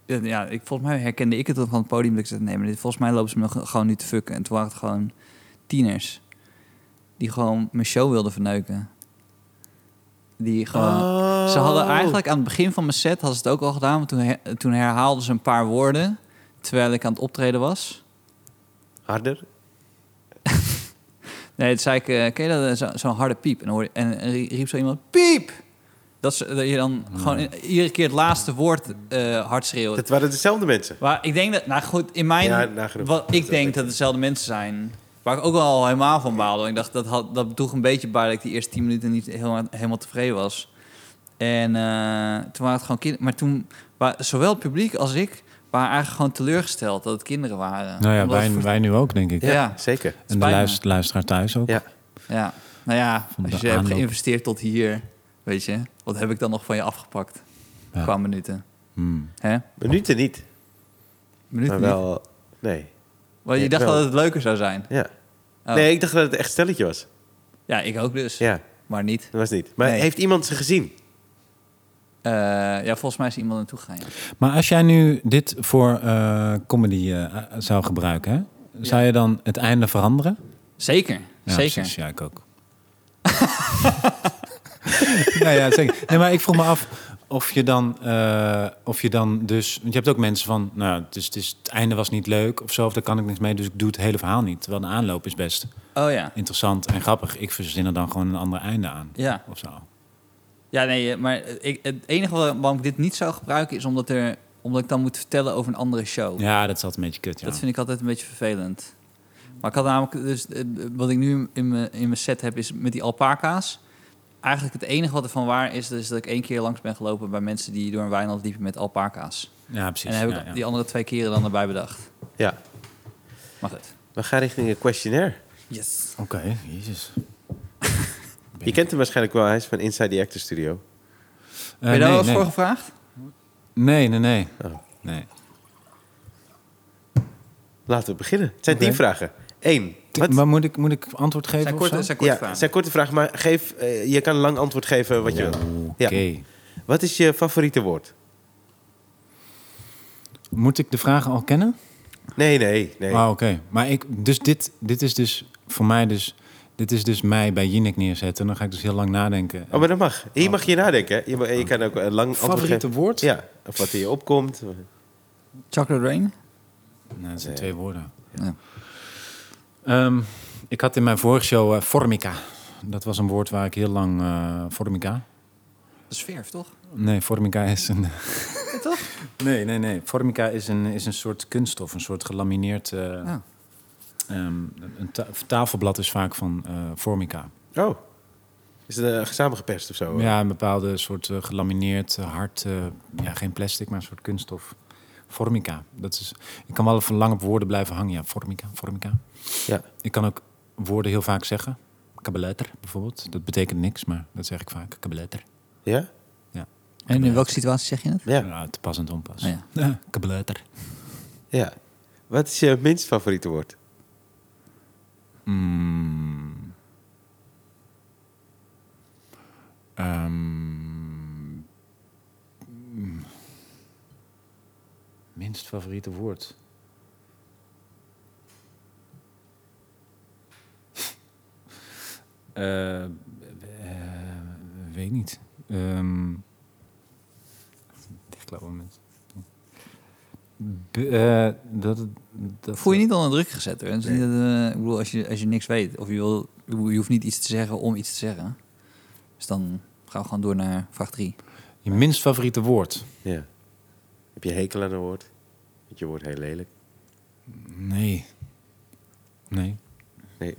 [SPEAKER 2] ja, ja, ik, volgens mij herkende ik het dan van het podium. Dat ik zei, nee, maar dit, volgens mij lopen ze me ge- gewoon nu te fucken. En toen waren het gewoon tieners. Die gewoon mijn show wilden verneuken. Die gewoon... Ze hadden eigenlijk aan het begin van mijn set... hadden ze het ook al gedaan. Want toen, her- toen herhaalden ze een paar woorden... terwijl ik aan het optreden was.
[SPEAKER 1] Harder.
[SPEAKER 2] Nee, toen zei ik, eh, ken je dat, eh, zo- zo'n harde piep? En, dan hoorde, en, en rie- riep zo iemand, piep! Dat, is- eh, dat je dan gewoon in- iedere keer het laatste woord eh, hard schreeuwt.
[SPEAKER 1] Dat waren dezelfde mensen.
[SPEAKER 2] Maar ik denk dat, nou goed, in mijn,
[SPEAKER 1] Ja, nagenoeg.
[SPEAKER 2] wat ik denk dat het dezelfde mensen zijn. Waar ik ook wel helemaal van baalde. want Ik dacht, dat, had, dat droeg een beetje bij dat ik die eerste tien minuten niet helemaal, helemaal tevreden was. En eh, toen waren het gewoon kinderen. Maar toen, waren zowel het publiek als ik, waren eigenlijk gewoon teleurgesteld dat het kinderen waren.
[SPEAKER 3] Nou ja,
[SPEAKER 2] Omdat het
[SPEAKER 3] wij, wij nu ook, denk ik.
[SPEAKER 2] Ja.
[SPEAKER 1] Zeker.
[SPEAKER 3] En de
[SPEAKER 2] Spijt me.
[SPEAKER 3] luister- luisteraar thuis ook.
[SPEAKER 1] Ja.
[SPEAKER 2] Ja, nou ja,
[SPEAKER 3] Van
[SPEAKER 2] als
[SPEAKER 3] de
[SPEAKER 2] je hebt
[SPEAKER 3] aanloop.
[SPEAKER 2] geïnvesteerd tot hier, weet je, wat heb ik dan nog van je afgepakt?
[SPEAKER 3] Ja.
[SPEAKER 2] Qua minuten.
[SPEAKER 3] Hmm.
[SPEAKER 2] Hè?
[SPEAKER 1] Minuten niet.
[SPEAKER 2] Minuten
[SPEAKER 1] Maar
[SPEAKER 2] niet.
[SPEAKER 1] wel... Nee.
[SPEAKER 2] Want je
[SPEAKER 1] Ja,
[SPEAKER 2] dacht
[SPEAKER 1] wel.
[SPEAKER 2] dat het leuker zou zijn.
[SPEAKER 1] Ja.
[SPEAKER 2] Oh.
[SPEAKER 1] Nee, ik dacht dat het echt stelletje was.
[SPEAKER 2] Ja, ik ook dus.
[SPEAKER 1] Ja,
[SPEAKER 2] Maar niet.
[SPEAKER 1] dat was niet. Maar
[SPEAKER 2] Nee.
[SPEAKER 1] heeft iemand ze gezien?
[SPEAKER 2] Eh, ja, volgens mij is iemand naartoe gegaan. ja.
[SPEAKER 3] Maar als jij nu dit voor eh, comedy eh, zou gebruiken, hè, zou je dan het einde veranderen?
[SPEAKER 2] Zeker,
[SPEAKER 3] Ja,
[SPEAKER 2] zeker.
[SPEAKER 3] precies. ja, ik ook. *laughs* nou ja, zeker. Nee, maar ik vroeg me af of je dan, eh, of je dan dus... Want je hebt ook mensen van, nou, het, is, het, is, het einde was niet leuk of zo, of daar kan ik niks mee, dus ik doe het hele verhaal niet. Terwijl de aanloop is best
[SPEAKER 2] Oh ja.
[SPEAKER 3] interessant en grappig. Ik verzin er dan gewoon een ander einde aan.
[SPEAKER 2] Ja,
[SPEAKER 3] Of zo.
[SPEAKER 2] ja nee, eh, maar ik, het enige wa- waarom ik dit niet zou gebruiken is omdat, er, omdat ik dan moet vertellen over een andere show.
[SPEAKER 3] Ja, dat is altijd een beetje kut, ja.
[SPEAKER 2] Dat vind ik altijd een beetje vervelend. Maar ik had namelijk, dus, eh, wat ik nu in mijn in mijn set heb, is met die alpaca's. Eigenlijk het enige wat ervan waar is, is dat ik één keer langs ben gelopen bij mensen die door een weiland liepen met alpaca's.
[SPEAKER 3] Ja, precies.
[SPEAKER 2] en dan heb
[SPEAKER 3] ja,
[SPEAKER 2] ik
[SPEAKER 3] ja.
[SPEAKER 2] die andere twee keren dan erbij bedacht.
[SPEAKER 1] Ja.
[SPEAKER 2] Maar goed.
[SPEAKER 1] We gaan richting een questionnaire.
[SPEAKER 2] Yes.
[SPEAKER 3] Oké, jezus.
[SPEAKER 1] Je kent hem waarschijnlijk wel. Hij is van Inside the Actors Studio.
[SPEAKER 2] Ben je daar
[SPEAKER 3] Eh, nee,
[SPEAKER 2] wel eens
[SPEAKER 3] nee.
[SPEAKER 2] voor gevraagd?
[SPEAKER 3] Nee, nee, nee.
[SPEAKER 1] Oh.
[SPEAKER 3] nee.
[SPEAKER 1] Laten we beginnen. Het zijn
[SPEAKER 3] Oké.
[SPEAKER 1] tien vragen. Eén. Wat?
[SPEAKER 3] Maar moet ik, moet ik antwoord geven
[SPEAKER 2] Zijn
[SPEAKER 3] of
[SPEAKER 2] korte,
[SPEAKER 3] zo?
[SPEAKER 2] zijn korte
[SPEAKER 1] Ja, het
[SPEAKER 2] vragen.
[SPEAKER 1] zijn korte vragen, maar geef, eh, je kan een lang antwoord geven wat je wil.
[SPEAKER 3] Oké.
[SPEAKER 1] Ja. Wat is je favoriete woord?
[SPEAKER 3] Moet ik de vragen al kennen?
[SPEAKER 1] Nee, nee, nee.
[SPEAKER 3] Ah, oké. Maar ik, dus dit, dit is dus voor mij dus... Dit is dus mij bij Jinek neerzetten. En dan ga ik dus heel lang nadenken.
[SPEAKER 1] Oh, maar dat mag. Je mag je nadenken. hè. Je, mag- je kan ook een lang antwoord
[SPEAKER 3] Ah. Favoriete
[SPEAKER 1] geven.
[SPEAKER 3] woord?
[SPEAKER 1] Ja, of wat in je opkomt.
[SPEAKER 2] Chocolate Rain?
[SPEAKER 3] Nou, dat
[SPEAKER 1] Nee.
[SPEAKER 3] zijn twee woorden.
[SPEAKER 2] Ja.
[SPEAKER 3] Ehm, ik had in mijn vorige show eh, formica. Dat was een woord waar ik heel lang... eh, formica?
[SPEAKER 2] Dat is verf, toch?
[SPEAKER 3] Nee, formica is een...
[SPEAKER 2] Ja, toch?
[SPEAKER 3] *laughs* Nee, nee, nee. Formica is een, is een soort kunststof. Een soort gelamineerd... eh,
[SPEAKER 2] Ja.
[SPEAKER 3] ehm, een ta- tafelblad is vaak van eh, formica.
[SPEAKER 1] Oh. Is het eh, samengeperst of zo?
[SPEAKER 3] Ja, een bepaalde soort eh, gelamineerd, eh, hard, eh, ja, geen plastic, maar een soort kunststof. Formica. Dat is, ik kan wel even lang op woorden blijven hangen. Ja, formica, formica.
[SPEAKER 1] Ja.
[SPEAKER 3] Ik kan ook woorden heel vaak zeggen. Kabeletter bijvoorbeeld. Dat betekent niks, maar dat zeg ik vaak. Kabeletter.
[SPEAKER 1] Ja?
[SPEAKER 3] Ja.
[SPEAKER 2] En in welke situatie zeg je het?
[SPEAKER 1] Ja.
[SPEAKER 3] Ja, te pas en te onpas.
[SPEAKER 2] Oh ja.
[SPEAKER 3] *laughs* Kabeleuter.
[SPEAKER 1] ja. Wat is je minst favoriete woord?
[SPEAKER 3] Mm. Ehm. Mm. Minst favoriete woord. *laughs* Eh, eh, weet niet. Ehm dichtklauwen mensen. B- eh, dat, het- dat,
[SPEAKER 2] Voel je niet onder druk gezet hoor. Het is niet dat, eh, ik bedoel, als je, als je niks weet of je, wil, je hoeft niet iets te zeggen om iets te zeggen. Dus dan gaan we gewoon door naar vraag 3.
[SPEAKER 3] Je minst favoriete woord?
[SPEAKER 1] Ja. Heb je hekel aan een woord? Vind je woord heel lelijk?
[SPEAKER 3] Nee. Nee.
[SPEAKER 1] *laughs* Nee.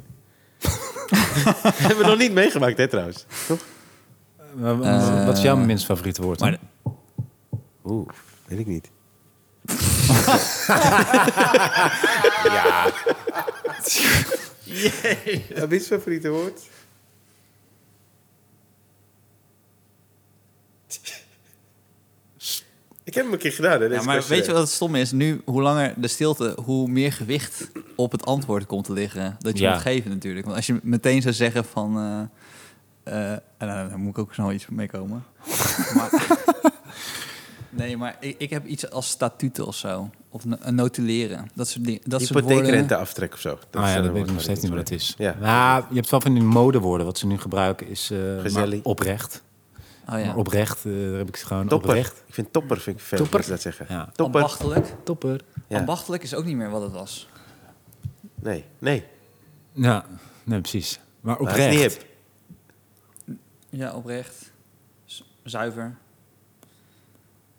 [SPEAKER 1] Hebben we nog niet meegemaakt, hè, trouwens? Toch?
[SPEAKER 3] Eh,
[SPEAKER 1] Eh,
[SPEAKER 3] wat is jouw minst favoriete woord? dan?
[SPEAKER 1] Oeh, weet ik *laughs* niet. ja. Jee. Wat is favoriete woord? Ik heb hem een keer gedaan, hè?
[SPEAKER 2] Ja,
[SPEAKER 1] deze
[SPEAKER 2] maar
[SPEAKER 1] kast,
[SPEAKER 2] weet je
[SPEAKER 1] hè.
[SPEAKER 2] wat het stom is? Nu, hoe langer de stilte, hoe meer gewicht op het antwoord komt te liggen. Dat je
[SPEAKER 3] Ja.
[SPEAKER 2] moet geven natuurlijk. Want als je meteen zou zeggen van... eh, eh, en dan- dan moet ik ook snel iets mee komen. maar, nee, maar ik, ik heb iets als statuten of zo. Of no- een notuleren. Dat soort dingen. Dat soort woorden.
[SPEAKER 1] Hypotheekrenteaftrek of zo.
[SPEAKER 3] Ah
[SPEAKER 1] is
[SPEAKER 3] ja,
[SPEAKER 1] dan
[SPEAKER 3] dat
[SPEAKER 1] een
[SPEAKER 3] weet ik nog
[SPEAKER 1] woord
[SPEAKER 3] steeds niet
[SPEAKER 1] waar
[SPEAKER 3] wat het is.
[SPEAKER 1] Ja.
[SPEAKER 3] Nou, je hebt wel van die modewoorden. Wat ze nu gebruiken is eh,
[SPEAKER 1] Gezellig.
[SPEAKER 3] maar oprecht.
[SPEAKER 2] Oh ja.
[SPEAKER 3] Maar oprecht, eh, daar heb ik ze gewoon
[SPEAKER 1] Topper.
[SPEAKER 3] oprecht.
[SPEAKER 1] Ik vind topper, vind ik veel
[SPEAKER 3] Topper?
[SPEAKER 1] mensen dat zeggen.
[SPEAKER 3] Ja.
[SPEAKER 1] Topper.
[SPEAKER 2] Ambachtelijk.
[SPEAKER 3] Topper.
[SPEAKER 1] Ja.
[SPEAKER 2] Ambachtelijk is ook niet meer wat het was.
[SPEAKER 1] Nee, nee.
[SPEAKER 3] Ja, nee, precies. Maar
[SPEAKER 1] Maar dat is niet
[SPEAKER 3] oprecht.
[SPEAKER 1] hip.
[SPEAKER 2] Ja, oprecht. Z- zuiver.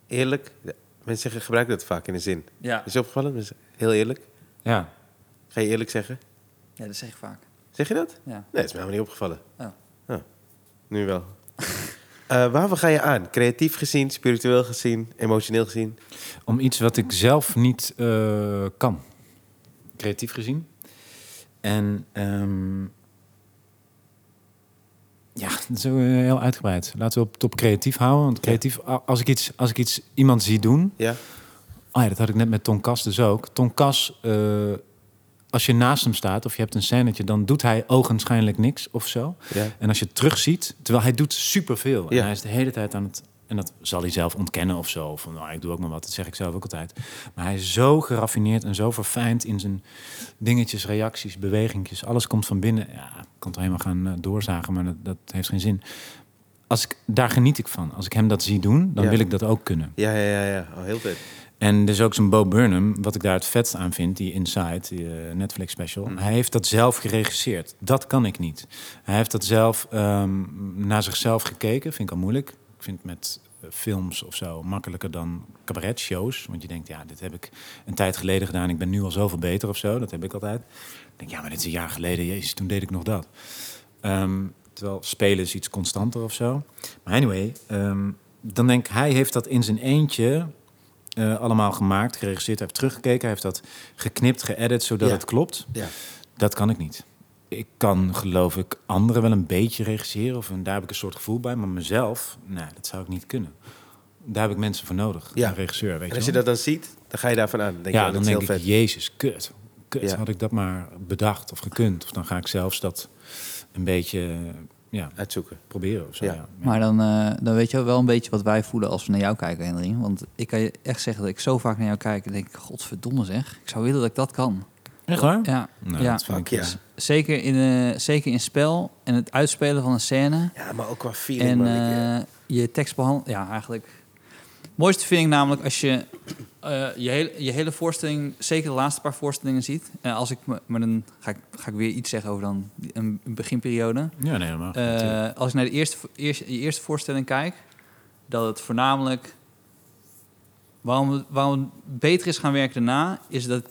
[SPEAKER 1] Eerlijk. Ja, Mensen zeggen, gebruik dat vaak in een zin.
[SPEAKER 2] Ja.
[SPEAKER 1] Is je opgevallen? Mensen- Heel eerlijk.
[SPEAKER 3] Ja.
[SPEAKER 1] Ga je eerlijk zeggen?
[SPEAKER 2] ja, dat zeg ik vaak.
[SPEAKER 1] Zeg je dat?
[SPEAKER 2] Ja.
[SPEAKER 1] Nee, is mij helemaal niet opgevallen.
[SPEAKER 2] Oh.
[SPEAKER 1] Oh, Nu wel. *laughs* Eh waarvoor ga je aan? Creatief gezien, spiritueel gezien, emotioneel gezien?
[SPEAKER 3] Om iets wat ik zelf niet eh, kan. Creatief gezien. En ehm, ja, *laughs* dat is ook, eh, heel uitgebreid. Laten we op top creatief houden. Want creatief, a- als ik iets, als ik iets iemand zie doen.
[SPEAKER 1] Ja?
[SPEAKER 3] Oh ja, dat had ik net met Ton Kas dus ook. Ton Kas, eh, als je naast hem staat of je hebt een scènetje, dan doet hij ogenschijnlijk niks of zo.
[SPEAKER 1] Ja.
[SPEAKER 3] En als je het terugziet, terwijl hij doet superveel.
[SPEAKER 1] Ja.
[SPEAKER 3] En hij is de hele tijd aan het... En dat zal hij zelf ontkennen of zo. Van, nou, ik doe ook maar wat. Dat zeg ik zelf ook altijd. Maar hij is zo geraffineerd en zo verfijnd in zijn dingetjes, reacties, bewegingjes. Alles komt van binnen. Ja, ik kan het wel helemaal gaan eh, doorzagen, maar dat, dat heeft geen zin. Als ik, daar geniet ik van. Als ik hem dat zie doen, dan
[SPEAKER 1] Ja.
[SPEAKER 3] wil ik dat ook kunnen.
[SPEAKER 1] Ja, ja, ja. ja. Oh, heel vet.
[SPEAKER 3] En dus ook zo'n Bo Burnham, wat ik daar het vetst aan vind, die Inside, die eh, Netflix special.
[SPEAKER 1] Hmm.
[SPEAKER 3] Hij heeft dat zelf geregisseerd. Dat kan ik niet. Hij heeft dat zelf ehm, naar zichzelf gekeken. Vind ik al moeilijk. Ik vind het met eh, films of zo makkelijker dan cabaret-shows. Want je denkt, ja, dit heb ik een tijd geleden gedaan. Ik ben nu al zoveel beter of zo. Dat heb ik altijd. Ik denk, ja, maar dit is een jaar geleden. Jezus, toen deed ik nog dat. Ehm, terwijl spelen is iets constanter of zo. Maar anyway, ehm, dan denk ik, hij heeft dat in zijn eentje eh, allemaal gemaakt, geregisseerd. Hij heeft teruggekeken, hij heeft dat geknipt, geëdit, zodat
[SPEAKER 1] Ja.
[SPEAKER 3] het klopt.
[SPEAKER 1] Ja.
[SPEAKER 3] Dat kan ik niet. Ik kan, geloof ik, anderen wel een beetje regisseren. Of en daar heb ik een soort gevoel bij. Maar mezelf, nee, dat zou ik niet kunnen. Daar heb ik mensen voor nodig.
[SPEAKER 1] Ja.
[SPEAKER 3] Een regisseur, weet
[SPEAKER 1] En als
[SPEAKER 3] je
[SPEAKER 1] je
[SPEAKER 3] wel.
[SPEAKER 1] dat dan ziet, dan ga je daarvan aan. Dan denk
[SPEAKER 3] ja,
[SPEAKER 1] je, oh,
[SPEAKER 3] dan
[SPEAKER 1] dat is
[SPEAKER 3] denk
[SPEAKER 1] heel
[SPEAKER 3] ik,
[SPEAKER 1] vet.
[SPEAKER 3] jezus, kut. Kut,
[SPEAKER 1] Ja.
[SPEAKER 3] had ik dat maar bedacht of gekund. Of dan ga ik zelfs dat een beetje ja,
[SPEAKER 1] Uitzoeken.
[SPEAKER 3] proberen of zo.
[SPEAKER 1] Ja.
[SPEAKER 3] Ja. Ja.
[SPEAKER 2] Maar dan, eh, dan weet je wel een beetje wat wij voelen als we naar jou kijken, Henry. Want ik kan je echt zeggen dat ik zo vaak naar jou kijk en denk, godverdomme zeg. Ik zou willen dat ik dat kan.
[SPEAKER 3] Echt waar?
[SPEAKER 2] Ja,
[SPEAKER 3] Nou,
[SPEAKER 2] ja.
[SPEAKER 3] dat vind
[SPEAKER 1] Fuck
[SPEAKER 3] ik-
[SPEAKER 1] ja.
[SPEAKER 2] Zeker, in, eh, zeker in spel en het uitspelen van een scène.
[SPEAKER 1] Ja, maar ook qua feeling,
[SPEAKER 2] En
[SPEAKER 1] man. Ik, eh,
[SPEAKER 2] eh, je tekstbehandeling, ja eigenlijk. Mooiste vind ik namelijk als je eh, je, hele, je hele voorstelling, zeker de laatste paar voorstellingen ziet. En als ik, me- maar dan ga ik, ga ik weer iets zeggen over dan die- een een beginperiode.
[SPEAKER 3] Ja, nee, helemaal. goed,
[SPEAKER 2] Eh,
[SPEAKER 3] natuurlijk.
[SPEAKER 2] als ik naar de eerste, eerste, je eerste voorstelling kijk, dat het voornamelijk. Waarom, het- waarom het beter is gaan werken daarna, is dat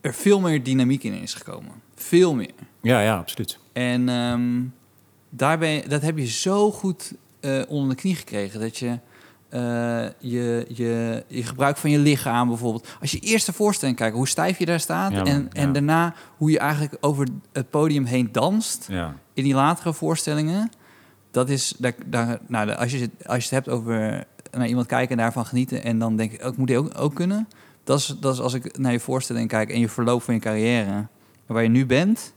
[SPEAKER 2] er veel meer dynamiek in is gekomen. Veel meer.
[SPEAKER 3] ja, ja, absoluut.
[SPEAKER 2] En ehm, daar ben je- dat heb je zo goed eh, onder de knie gekregen. Dat je, eh, je, je, je gebruik van je lichaam bijvoorbeeld. Als je eerst de voorstelling kijkt, hoe stijf je daar staat.
[SPEAKER 3] Ja, man,
[SPEAKER 2] en, en
[SPEAKER 3] ja.
[SPEAKER 2] daarna hoe je eigenlijk over het podium heen danst
[SPEAKER 3] Ja.
[SPEAKER 2] in die latere voorstellingen. dat is, daar, daar, nou, de- als, je, het- als je het hebt over naar iemand kijken en daarvan genieten... en dan denk ik, ook moet die ook, ook kunnen. Dat is, dat is als ik naar je voorstelling kijk en je verloop van je carrière. Waar je nu bent.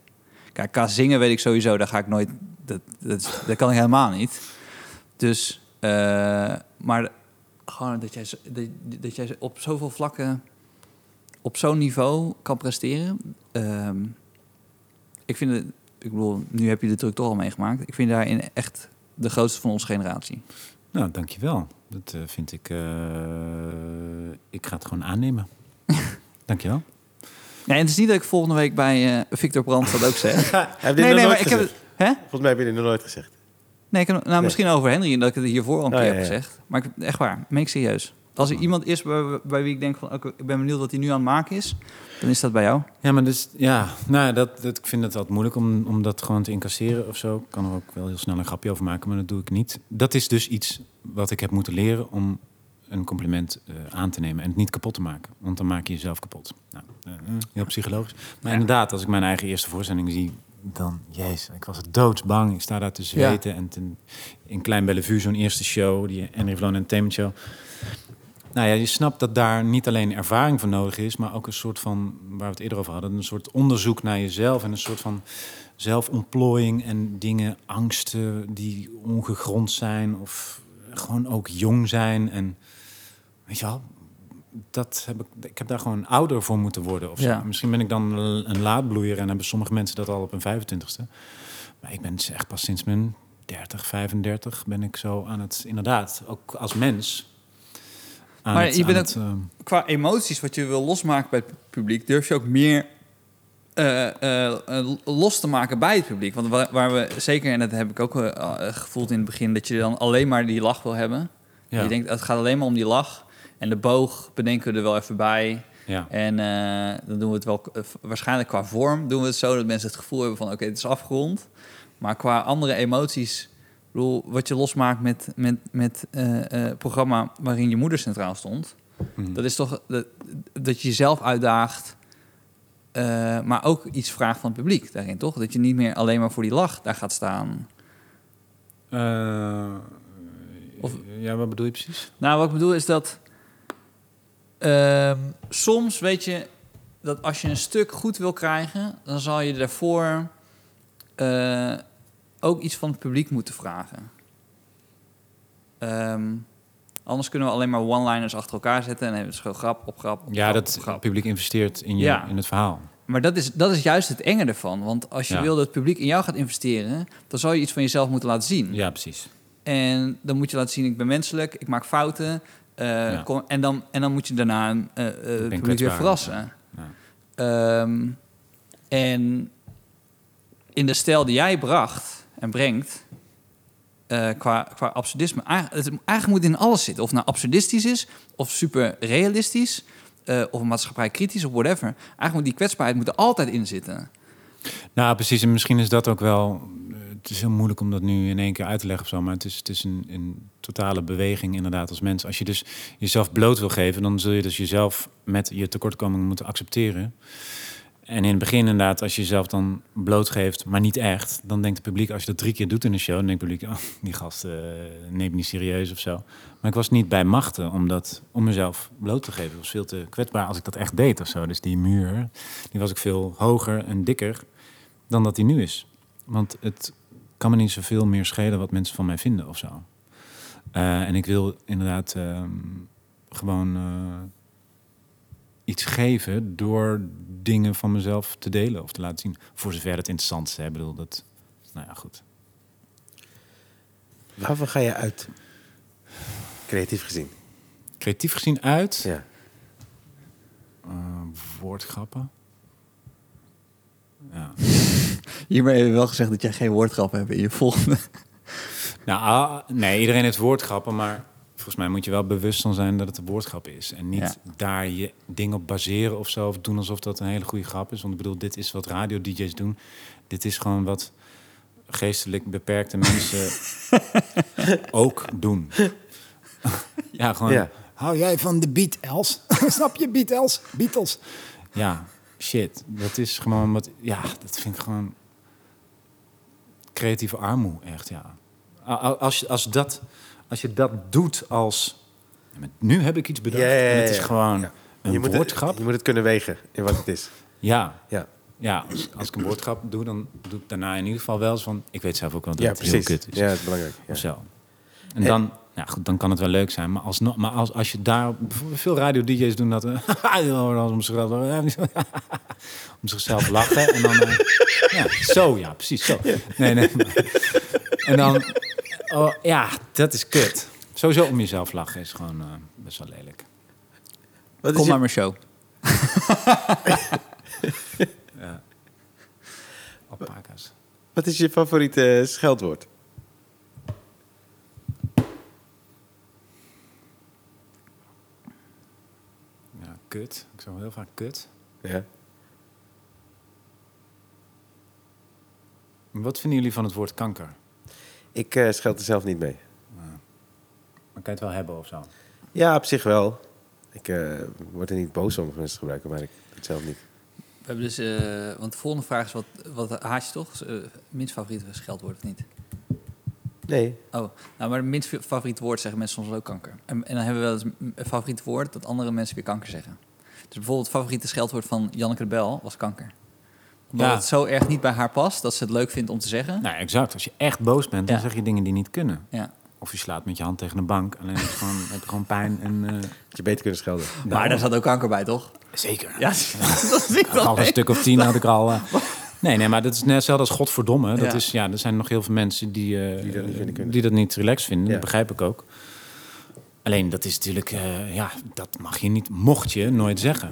[SPEAKER 2] Kijk, qua zingen weet ik sowieso, daar ga ik nooit... Dat, dat, is- dat kan ik helemaal niet. Dus, eh, maar gewoon dat jij, zo- dat, dat jij op zoveel vlakken, op zo'n niveau kan presteren. Ehm, ik vind het, ik bedoel, nu heb je de druk toch al meegemaakt. Ik vind daarin echt de grootste van onze generatie.
[SPEAKER 3] Nou, dankjewel. Dat eh, vind ik... eh, ik ga het gewoon *laughs* aannemen. dankjewel.
[SPEAKER 2] Nee, en het is niet dat ik volgende week bij eh Victor Brandt dat ook
[SPEAKER 1] *laughs*
[SPEAKER 2] zeg.
[SPEAKER 1] Heb je
[SPEAKER 2] nee,
[SPEAKER 1] dit nog
[SPEAKER 2] nee,
[SPEAKER 1] nooit
[SPEAKER 2] maar ik heb
[SPEAKER 1] gezegd?
[SPEAKER 2] het. Hè?
[SPEAKER 1] Volgens mij heb je dit nog nooit gezegd.
[SPEAKER 2] Nee, ik heb, nou, misschien over Henry, dat ik het hiervoor al een
[SPEAKER 1] Oh,
[SPEAKER 2] keer
[SPEAKER 1] ja, Oh.
[SPEAKER 2] heb
[SPEAKER 1] ja.
[SPEAKER 2] gezegd. Maar ik, echt waar, meen ik serieus. Als er iemand is bij, bij wie ik denk van, oké, ik ben benieuwd wat hij nu aan het maken is, dan is dat bij jou.
[SPEAKER 3] Ja, maar dus... Ja, nou, ja, dat, dat, ik vind het altijd moeilijk om, om dat gewoon te incasseren of zo. Ik kan er ook wel heel snel een grapje over maken, maar dat doe ik niet. Dat is dus iets wat ik heb moeten leren om een compliment eh, aan te nemen en het niet kapot te maken. Want dan maak je jezelf kapot. Nou, eh, heel psychologisch. Maar inderdaad, als ik mijn eigen eerste voorstelling zie, dan, jezus, ik was doodsbang. Ik sta daar te zweten en ten, in Klein Bellevue, zo'n eerste show, die Henry Vloon Entertainment Show. Nou ja, je snapt dat daar niet alleen ervaring voor nodig is, maar ook een soort van, waar we het eerder over hadden, een soort onderzoek naar jezelf en een soort van zelfontplooiing en dingen, angsten die ongegrond zijn of gewoon ook jong zijn. En weet je wel, dat heb ik, ik heb daar gewoon ouder voor moeten worden. Of zo.
[SPEAKER 2] Ja.
[SPEAKER 3] Misschien ben ik dan een een laadbloeier en hebben sommige mensen dat al op hun 25ste. Maar ik ben dus echt pas sinds mijn 30, 35 ben ik zo aan het, inderdaad, ook als mens. aan
[SPEAKER 2] Maar
[SPEAKER 3] het-
[SPEAKER 2] je bent
[SPEAKER 3] aan het, ehm,
[SPEAKER 2] qua emoties wat je wil losmaken bij het publiek, durf je ook meer eh, eh, eh, los te maken bij het publiek. Want waar, waar we zeker, en dat heb ik ook eh, eh, gevoeld in het begin, dat je dan alleen maar die lach wil hebben.
[SPEAKER 3] ja,
[SPEAKER 2] Je denkt, het gaat alleen maar om die lach. En de boog bedenken we er wel even bij.
[SPEAKER 3] ehm, ja.
[SPEAKER 2] En eh, dan doen we het wel, eh, waarschijnlijk qua vorm doen we het zo dat mensen het gevoel hebben van oké, het is afgerond. Maar qua andere emoties, ik bedoel, wat je losmaakt met, met, met eh, eh, programma waarin je moeder centraal stond.
[SPEAKER 3] Mhm.
[SPEAKER 2] Dat is toch dat, dat je jezelf uitdaagt, eh, maar ook iets vraagt van het publiek daarin, toch? Dat je niet meer alleen maar voor die lach daar gaat staan.
[SPEAKER 3] Eh,
[SPEAKER 2] Of-
[SPEAKER 3] ja, wat bedoel je precies?
[SPEAKER 2] Nou, wat ik bedoel is dat ehm, soms weet je dat als je een stuk goed wil krijgen, dan zal je daarvoor eh, ook iets van het publiek moeten vragen. Ehm, anders kunnen we alleen maar one-liners achter elkaar zetten en dan hebben we het gewoon grap op grap. Op
[SPEAKER 3] Ja,
[SPEAKER 2] grap
[SPEAKER 3] dat
[SPEAKER 2] op
[SPEAKER 3] het
[SPEAKER 2] grap.
[SPEAKER 3] publiek investeert in, je,
[SPEAKER 2] Ja.
[SPEAKER 3] in het verhaal.
[SPEAKER 2] Maar dat is, dat is juist het enge ervan. Want als je
[SPEAKER 3] Ja.
[SPEAKER 2] wil dat het publiek in jou gaat investeren, dan zal je iets van jezelf moeten laten zien.
[SPEAKER 3] Ja, precies.
[SPEAKER 2] En dan moet je laten zien, ik ben menselijk, ik maak fouten. eh,
[SPEAKER 3] Ja.
[SPEAKER 2] kom- en, dan, en dan moet je daarna een eh, eh, het publiek weer
[SPEAKER 3] kwetsbaar,
[SPEAKER 2] verrassen. Ehm, en in de stijl die jij bracht en brengt, eh, qua, qua absurdisme... a- het- Eigenlijk moet het in alles zitten. Of het nou absurdistisch is, of super realistisch... eh, of maatschappijkritisch, of whatever. Eigenlijk moet die kwetsbaarheid moet er altijd in zitten.
[SPEAKER 3] Nou, precies. En misschien is dat ook wel. eh, Het is heel moeilijk om dat nu in één keer uit te leggen of zo. Maar het is, het is een, een totale beweging inderdaad als mens. Als je dus jezelf bloot wil geven, dan zul je dus jezelf met je tekortkomingen moeten accepteren. En in het begin inderdaad, als je jezelf dan blootgeeft, maar niet echt... dan denkt het publiek, als je dat drie keer doet in een show... dan denkt het publiek, oh, die gast eh neemt me niet serieus of zo. Maar ik was niet bij machten om, dat, om mezelf bloot te geven. Ik was veel te kwetsbaar als ik dat echt deed of zo. Dus die muur, die was ik veel hoger en dikker dan dat die nu is. Want het kan me niet zoveel meer schelen wat mensen van mij vinden of zo. Eh, en ik wil inderdaad ehm, gewoon eh, iets geven door dingen van mezelf te delen of te laten zien. Voor zover het interessant is. Hè. Ik bedoel, dat... Nou ja, goed.
[SPEAKER 1] Waarvan ga je uit? Creatief gezien.
[SPEAKER 3] Creatief gezien uit.
[SPEAKER 1] Ja.
[SPEAKER 3] Eh, woordgrappen. Ja.
[SPEAKER 2] Hiermee hebben we wel gezegd dat jij geen woordgrap hebt in je volgende.
[SPEAKER 3] Nou, ah, nee, iedereen heeft woordgrappen, maar volgens mij moet je wel bewust van zijn dat het een woordgrap is. En niet daar je ding op baseren of zo, of doen alsof dat een hele goede grap is. Want ik bedoel, dit is wat radio-dj's doen. Dit is gewoon wat geestelijk beperkte mensen ook doen. *laughs* ja, gewoon...
[SPEAKER 1] Ja.
[SPEAKER 3] Hou jij van de beat, Els? *laughs* Snap je, beat, Els? Beatles? Ja, shit. Dat is gewoon wat... Ja, dat vind ik gewoon... Creatieve armoe, echt, ja. Ah, a- a- als, je- als, dat, als je dat doet als... ja, maar Nu heb ik iets bedacht
[SPEAKER 1] Ja, ja, ja,
[SPEAKER 3] en het is
[SPEAKER 1] ja.
[SPEAKER 3] gewoon
[SPEAKER 1] Ja.
[SPEAKER 3] een
[SPEAKER 1] je moet het,
[SPEAKER 3] woordgrap.
[SPEAKER 1] je moet het kunnen wegen in wat het is.
[SPEAKER 3] Ja,
[SPEAKER 1] Ja.
[SPEAKER 3] ja als, als ik een woordgrap doe, dan doe ik daarna in ieder geval wel eens van... Ik weet zelf ook wel dat
[SPEAKER 1] Ja,
[SPEAKER 3] het
[SPEAKER 1] precies.
[SPEAKER 3] heel kut is.
[SPEAKER 1] Ja, dat is belangrijk. Ja.
[SPEAKER 3] Of zo. En dan, ja, goed, dan kan het wel leuk zijn. Maar, alsnog, maar als, als je daar... Veel radio-dj's doen dat. *laughs* eh, die horen als om zichzelf, *laughs* om zichzelf lachen. En dan... *laughs* eh, ja, zo, ja, precies zo. Nee, nee. En dan... Oh, ja, dat is kut. Sowieso om jezelf lachen is gewoon eh, best wel lelijk.
[SPEAKER 1] Wat is
[SPEAKER 2] Kom
[SPEAKER 1] je-
[SPEAKER 2] naar mijn show.
[SPEAKER 3] Alpaca's.
[SPEAKER 1] Wat is je favoriete eh, scheldwoord?
[SPEAKER 3] Ja, kut. Ik zou heel vaak kut.
[SPEAKER 1] Ja.
[SPEAKER 3] Wat vinden jullie van het woord kanker?
[SPEAKER 1] Ik eh, scheld er zelf niet mee.
[SPEAKER 3] Maar kan je het wel hebben of zo?
[SPEAKER 1] Ja, op zich wel. Ik eh, word er niet boos om als mensen het gebruiken, maar ik doe het zelf niet.
[SPEAKER 2] We hebben dus, eh, want de volgende vraag is wat, wat haat je toch? Eh, minst favoriet scheldwoord of niet?
[SPEAKER 1] Nee.
[SPEAKER 2] Oh, nou, maar minst favoriet woord zeggen mensen soms ook kanker. En, en dan hebben we wel eens een een favoriet woord dat andere mensen weer kanker zeggen. Dus bijvoorbeeld het favoriete scheldwoord van Janneke de Bel was kanker. Omdat
[SPEAKER 3] Ja.
[SPEAKER 2] het zo erg niet bij haar past dat ze het leuk vindt om te zeggen.
[SPEAKER 3] Nou, exact. Als je echt boos bent, dan
[SPEAKER 2] Ja.
[SPEAKER 3] zeg je dingen die niet kunnen.
[SPEAKER 2] Ja.
[SPEAKER 3] Of je slaat met je hand tegen een bank. Alleen het is gewoon, *laughs* heb je gewoon pijn. En, eh,
[SPEAKER 1] Had je beter kunnen schelden.
[SPEAKER 2] Maar daar zat ook kanker bij, toch?
[SPEAKER 3] Zeker.
[SPEAKER 2] Ja, *laughs* dat is niet
[SPEAKER 3] al een stuk of tien had ik al. eh. nee, nee, maar dat is net hetzelfde als godverdomme. Dat
[SPEAKER 2] Ja.
[SPEAKER 3] Is, ja, er zijn nog heel veel mensen die, eh,
[SPEAKER 1] Die dat niet vinden kunnen.
[SPEAKER 3] die dat niet relaxed vinden.
[SPEAKER 1] Ja.
[SPEAKER 3] Dat begrijp ik ook. Alleen dat is natuurlijk, eh, ja, dat mag je niet, mocht je nooit zeggen.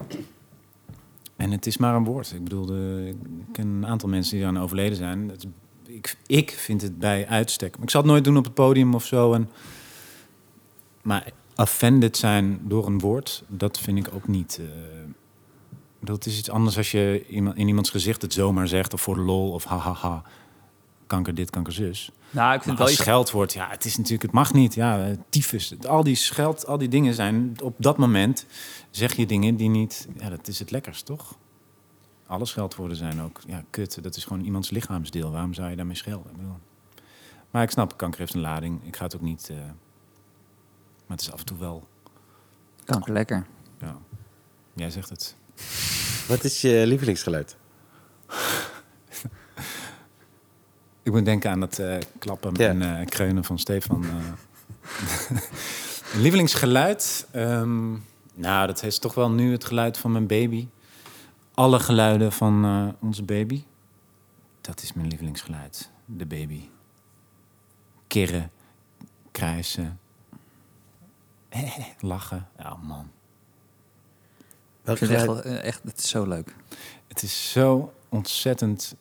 [SPEAKER 3] En het is maar een woord. Ik bedoel, de, ik ken een aantal mensen die aan overleden zijn. Het, ik, ik vind het bij uitstek. Maar ik zal het nooit doen op het podium of zo. En, maar offended zijn door een woord, dat vind ik ook niet. eh, dat is iets anders als je iemand, in iemands gezicht het zomaar zegt. Of voor de lol, of hahaha. Kanker dit, kanker zus.
[SPEAKER 2] Nou, ik
[SPEAKER 3] Maar
[SPEAKER 2] vind het
[SPEAKER 3] als
[SPEAKER 2] wel iets...
[SPEAKER 3] scheldwoord, ja, het is natuurlijk, het mag niet. Ja, eh, tyfus. Al die scheld, al die dingen zijn, op dat moment zeg je dingen die niet, ja, dat is het lekkerst, toch? Alle scheldwoorden zijn ook, ja, kut. Dat is gewoon iemands lichaamsdeel. Waarom zou je daarmee schelden? Ik bedoel. Maar ik snap, kanker heeft een lading. Ik ga het ook niet, eh, maar het is af en toe wel,
[SPEAKER 2] Kanker lekker.
[SPEAKER 3] ja. Jij zegt het.
[SPEAKER 1] Wat is je lievelingsgeluid?
[SPEAKER 3] Ik moet denken aan dat eh, klappen
[SPEAKER 1] Ja.
[SPEAKER 3] en eh, kreunen van Stefan. eh. *laughs* Een Lievelingsgeluid? ehm, nou, dat is toch wel nu het geluid van mijn baby. Alle geluiden van eh, onze baby. Dat is mijn lievelingsgeluid. De baby. Kirren, krijsen, *laughs* lachen. Ja, man.
[SPEAKER 1] Welk
[SPEAKER 2] Ik vind het echt,
[SPEAKER 1] geluid?
[SPEAKER 2] wel, eh, echt, het is zo leuk.
[SPEAKER 3] Het is zo ontzettend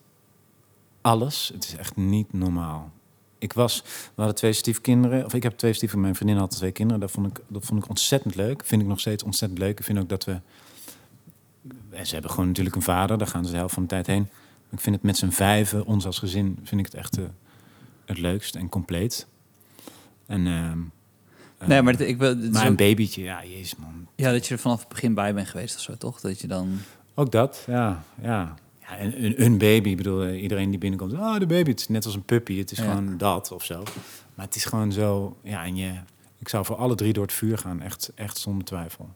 [SPEAKER 3] alles. Het is echt niet normaal. Ik was, we hadden twee stiefkinderen. Of ik heb twee stiefkinderen. Mijn vriendin had twee kinderen. Dat vond ik, dat vond ik ontzettend leuk. Vind ik nog steeds ontzettend leuk. Ik vind ook dat we... En ze hebben gewoon natuurlijk een vader. Daar gaan ze de helft van de tijd heen. Ik vind het met z'n vijven, ons als gezin, vind ik het echt eh, het leukst en compleet. En, ehm, eh,
[SPEAKER 2] nee, maar het- ik wil... het is
[SPEAKER 3] maar
[SPEAKER 2] ook-
[SPEAKER 3] een babytje, ja, jezus man.
[SPEAKER 2] Ja, dat je er vanaf het begin bij bent geweest of zo, toch? Dat je dan...
[SPEAKER 3] Ook dat, ja. ja. ja een, een- een baby, ik bedoel, eh, iedereen die binnenkomt, ah, de baby, het is net als een puppy, het is
[SPEAKER 2] Ja.
[SPEAKER 3] gewoon dat of zo. Maar het is gewoon zo, ja, en je, ik zou voor alle drie door het vuur gaan, echt, echt zonder twijfel.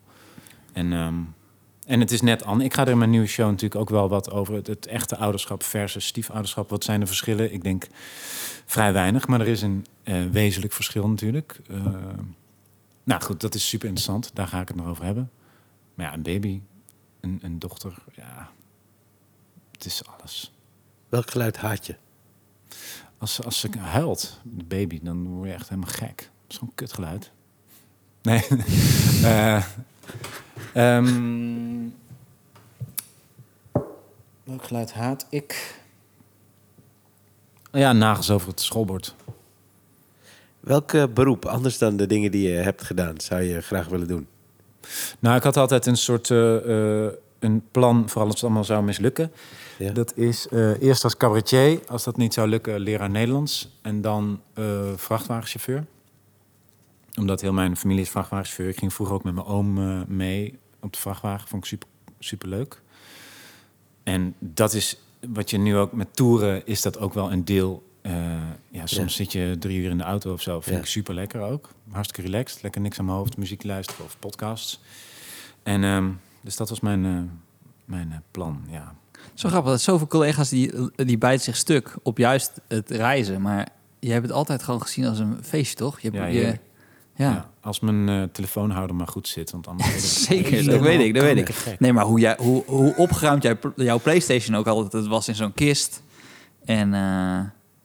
[SPEAKER 3] En, ehm, en het is net anders. Ik ga er in mijn nieuwe show natuurlijk ook wel wat over het, het echte ouderschap versus stiefouderschap. Wat zijn de verschillen? Ik denk vrij weinig, maar er is een eh, wezenlijk verschil natuurlijk. Eh, nou goed, dat is super interessant, daar ga ik het nog over hebben. Maar ja, een baby, een, een dochter, ja, het is alles.
[SPEAKER 1] Welk geluid haat je?
[SPEAKER 3] Als, ze- als ze huilt, de baby, dan word je echt helemaal gek. Dat is zo'n kutgeluid. Nee. *laughs* Eh, ehm, welk geluid haat ik? Ja, nagels over het schoolbord.
[SPEAKER 1] Welk eh, beroep, anders dan de dingen die je hebt gedaan, zou je graag willen doen?
[SPEAKER 3] Nou, ik had altijd een soort eh, eh, een plan voor alles wat allemaal zou mislukken.
[SPEAKER 1] Ja.
[SPEAKER 3] Dat is eh, eerst als cabaretier, als dat niet zou lukken, leraar Nederlands. En dan eh, vrachtwagenchauffeur. Omdat heel mijn familie is vrachtwagenchauffeur. Ik ging vroeger ook met mijn oom eh, mee op de vrachtwagen. Vond ik super, super leuk. En dat is wat je nu ook met toeren, is dat ook wel een deel Eh, ja, soms zit je drie uur in de auto of zo. Vind
[SPEAKER 1] Ja.
[SPEAKER 3] ik super lekker ook. Hartstikke relaxed. Lekker niks aan mijn hoofd. Muziek luisteren of podcasts. En ehm, dus dat was mijn, eh, mijn eh, plan. Ja.
[SPEAKER 2] Zo grappig dat zoveel collega's die, die bijten zich stuk op juist het reizen. Maar jij hebt het altijd gewoon gezien als een feestje, toch? Je hebt,
[SPEAKER 3] Ja,
[SPEAKER 2] je, ja.
[SPEAKER 3] heerlijk. Ja, Als mijn eh, telefoonhouder maar goed zit.
[SPEAKER 2] *laughs*
[SPEAKER 3] Want anders word ik
[SPEAKER 2] Zeker, dat
[SPEAKER 3] helemaal
[SPEAKER 2] weet ik, dat weet
[SPEAKER 3] knettergek.
[SPEAKER 2] ik. Nee, maar hoe, jij, hoe, hoe opgeruimd jij, jouw PlayStation ook altijd het was in zo'n kist. En eh,